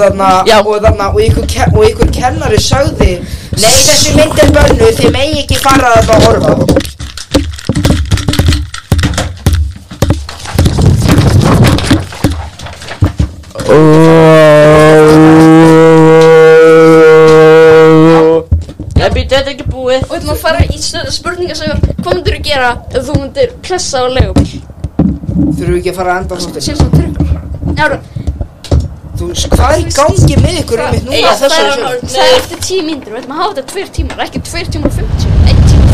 Speaker 6: þarna, og þarna, og ykkur, ke og ykkur kennari sagði Nei, þessi mynd er bönnu, þið megi ekki fara að þetta að horfa
Speaker 9: Nei, býttu, þetta er ekki búið.
Speaker 1: Og þetta maður fara í spurningasögur. Hvað myndir þú gera ef þú myndir klessa á legubíl?
Speaker 6: Þurfum við ekki að fara að enda þáttir
Speaker 1: Sér svo tryggur. Járu,
Speaker 6: Þú veist, hvað er í gangi með ykkur einmitt núna á
Speaker 1: Það
Speaker 6: þessari
Speaker 1: er-
Speaker 6: sögu?
Speaker 1: það er eftir tíu mínútur, við ætlum að hafa þetta tveir tímar, ekki tveir tímar og 50, einn tíma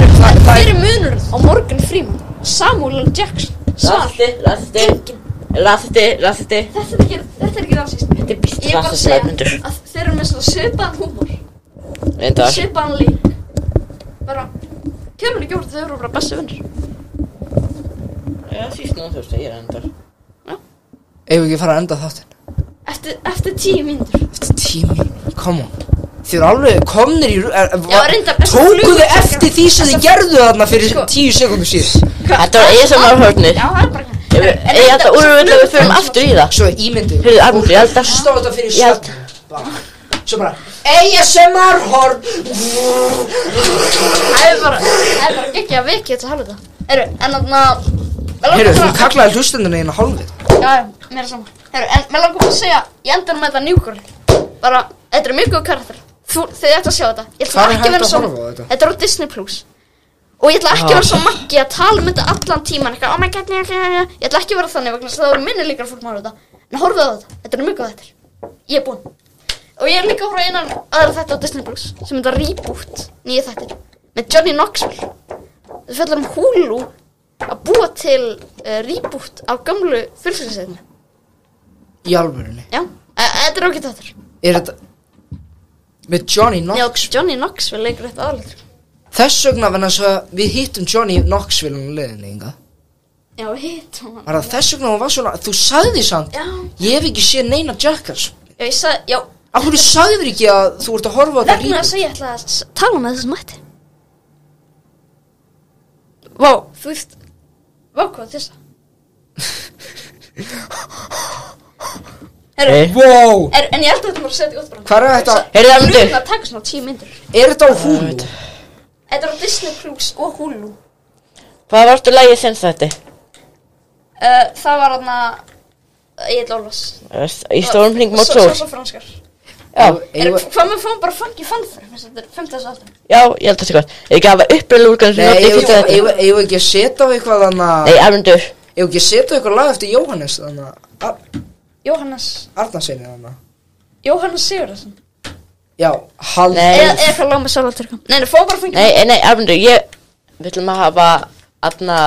Speaker 1: Erum það, hver er munurinn á Morgan Freeman, Samuel L. Jackson, svar?
Speaker 9: Rasti, rasti Rasti, rasti
Speaker 1: Þetta er ekki, þetta er ekki rasist.
Speaker 9: Þetta er býst
Speaker 1: Ég er bara að
Speaker 9: rasti
Speaker 1: segja
Speaker 9: nefndur
Speaker 1: að þeir eru með svona svipaðan húmor,
Speaker 9: Reyndar
Speaker 1: svipaðan lík, bara, kemur ekki úr þau eru bara bestu vinnir.
Speaker 9: Já, síst nú þú segir reyndar
Speaker 6: Eigum við ekki að fara að enda þáttinn?
Speaker 1: Eftir, eftir tíu mínútur.
Speaker 6: Eftir tími, come on Þið eru alveg komnir í ru- er- er-
Speaker 1: Já, reyndar, þessar
Speaker 6: Tókuðu
Speaker 1: flugurnar-
Speaker 6: eftir því sem þið gerðu þarna fyrir tíu sekundum síðan
Speaker 9: Þetta var Eyja sem var horfnir
Speaker 1: Já, það er bara
Speaker 9: Ég held að úrvöldu við förum aftur í það
Speaker 6: Svo ímyndu
Speaker 9: Hörðu, Arnúndur, ég held að
Speaker 6: Stóð þetta fyrir
Speaker 9: Ég held-
Speaker 6: stafn Svo bara ASMR horn
Speaker 1: Það er bara, það er bara ekki að vekja þetta halvita. Eru, en þarna, mér
Speaker 6: Heyrðu,
Speaker 1: langar
Speaker 6: þú
Speaker 1: bara,
Speaker 6: kallaði hlustendina eina hálfið
Speaker 1: já, já, mér er sama. Eru, en mér langar bara að segja, ég endar með þetta njúkur. Bara, þetta er mjög góð karakter. Þú, þið ætti að sjá þetta. Ég ætla
Speaker 6: Hvar er
Speaker 1: ekki að
Speaker 6: hægt
Speaker 1: vera
Speaker 6: að
Speaker 1: svo,
Speaker 6: horfa á þetta?
Speaker 1: þetta er á Disney Plus. Og ég ætla ekki að
Speaker 6: Já.
Speaker 1: vera svo maggi að tala um þetta allan tíman, eitthvað, oh my god, njá, njá, njá. Ég ætla ekki að vera þannig vegna þess að það eru minni líkar fólk maður þetta. En horfið á þetta, þetta er mjög góð þetta. Ég er búinn. Og ég er líka að horfa á einan aðra þetta á Disney Plus, sem þetta reboot, nýja þættir, með Johnny Knoxville. Við fjallar um Hulu að búa til uh, reboot af gamlu fullsinsæðinu.
Speaker 6: Í alvörunni
Speaker 1: Já, e- þetta er ágætt þáttur.
Speaker 6: Er þetta Með Johnny Knox
Speaker 1: Já, Johnny Knoxville leikur eitt aðalega.
Speaker 6: Þess vegna vegna svo að við hittum Johnny Knoxville um leiðinni inga
Speaker 1: Já, hitt hún.
Speaker 6: Var það þess vegna hún var svona Þú sagði samt
Speaker 1: Já,
Speaker 6: Ég hef ekki séð neina Jackass
Speaker 1: já, ég sagði, já,
Speaker 6: Af hverju sagðir ekki að þú ert að horfa á þetta
Speaker 1: vegna þess að ég ætla að s- tala um- með þessum mætti. Vá, þú veist, vá hvað þess að. Herru,
Speaker 6: Eh? Vá.
Speaker 1: er, en ég held að þetta var að setja í útbrand.
Speaker 6: Hvar er þetta?
Speaker 1: Heyrðu, það
Speaker 6: Heyrðu, Arnaldur.
Speaker 1: myndir. Það taka svona tíu myndir.
Speaker 6: Er þetta á Hulu?
Speaker 1: Þetta er á Disney Plus og Hulu.
Speaker 9: Hvað varstu lægið sinns þetta?
Speaker 1: Uh, það var hann að Ég ætla Ólafs Eh,
Speaker 9: Í stórum hring mót sól
Speaker 1: Svo franskar
Speaker 9: Já,
Speaker 1: er, Hvað með fáum bara funky fun þar Þetta er 15. aldar
Speaker 9: já, ég held að það sé gott Ég gaf að upprölu úrgann sem
Speaker 6: Nei,
Speaker 9: notið
Speaker 6: eigum
Speaker 9: fyrst að
Speaker 6: eigum-
Speaker 9: þetta
Speaker 6: eigum við ekki að setja á eitthvað þannig að
Speaker 9: Nei, Arnundur
Speaker 6: Eigum við ekki að setja á eitthvað lag eftir Jóhannes þannig að Ar
Speaker 1: Jóhannes
Speaker 6: Arnarsinni þannig að
Speaker 1: Jóhannes Sigurðarsson
Speaker 6: Já, hald
Speaker 1: Eða eða eitthvað lág með sálatörkum Nei, nei, fáum bara funky
Speaker 9: Nei, eh, nei, Arnundur, ég Við ætlum að hafa Aðna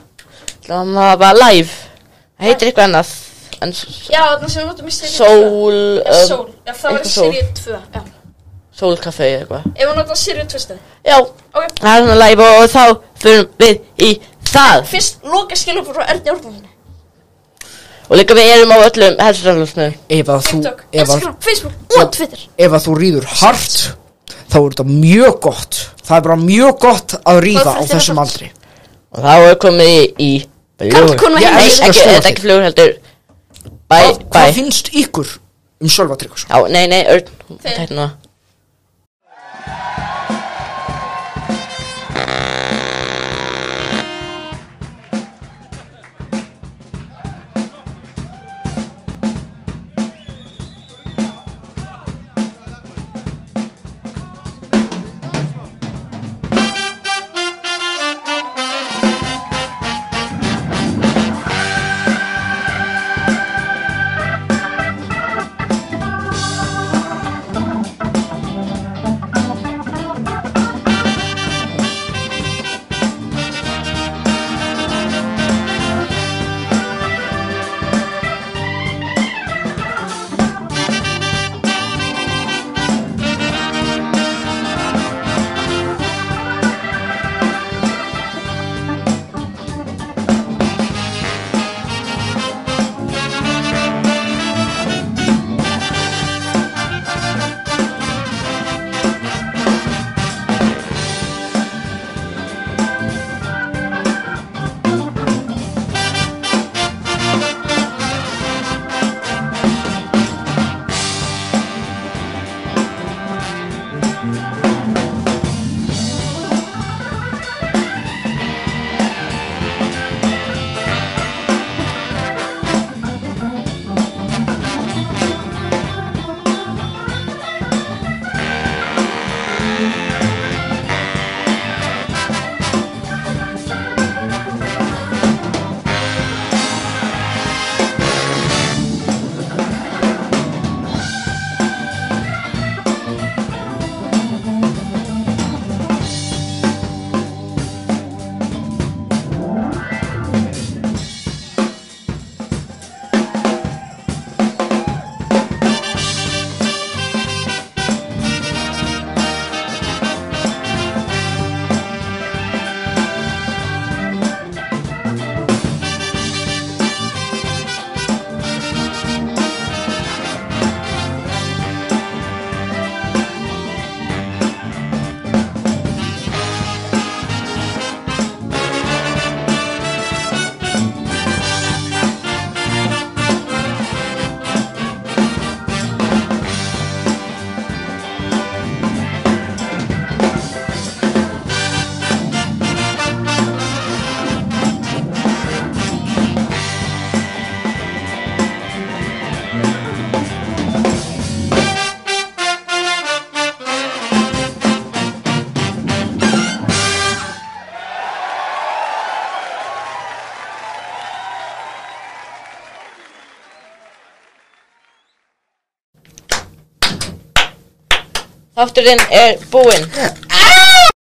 Speaker 9: Við ætlum að hafa live Það heitir eitthvað annað En s-
Speaker 1: Já, þannig sem við notum í serið
Speaker 9: Sól, um,
Speaker 1: Sól Já, það var
Speaker 9: eitthvað
Speaker 1: í
Speaker 9: sól.
Speaker 1: serið 2 Já
Speaker 9: sólkafé eða eitthvað
Speaker 1: Ef við notum serið 2 stið
Speaker 9: Já
Speaker 1: Ok
Speaker 9: Það er svona live og, og þá Förum við í það
Speaker 1: Fyrst loka skilabur frá Erni Árnarssoni
Speaker 9: Og líka við erum á öllum helstraflöfsmiðum
Speaker 6: Ef að þú
Speaker 1: TikTok,
Speaker 6: ef að-
Speaker 1: Instagram, Facebook og Twitter
Speaker 6: Ef að þú rýður hart Þá er þetta mjög gott Það er bara mjög gott að rýða á
Speaker 1: Hvað er
Speaker 6: þessum aldri
Speaker 9: Og þá er komið í, í
Speaker 6: Karl, komum við
Speaker 9: Nei,
Speaker 6: heim. Ég
Speaker 2: hérna
Speaker 6: elska
Speaker 9: ekki,
Speaker 6: stóra
Speaker 9: þetta er ekki flugur heldur Bæ,
Speaker 6: Hvað-
Speaker 9: bæ
Speaker 6: Hvað finnst ykkur um Sölva Tryggvason?
Speaker 9: Já, nei, nei, Örn, tækna það
Speaker 18: Thank you.
Speaker 9: Þátturinn er búinn.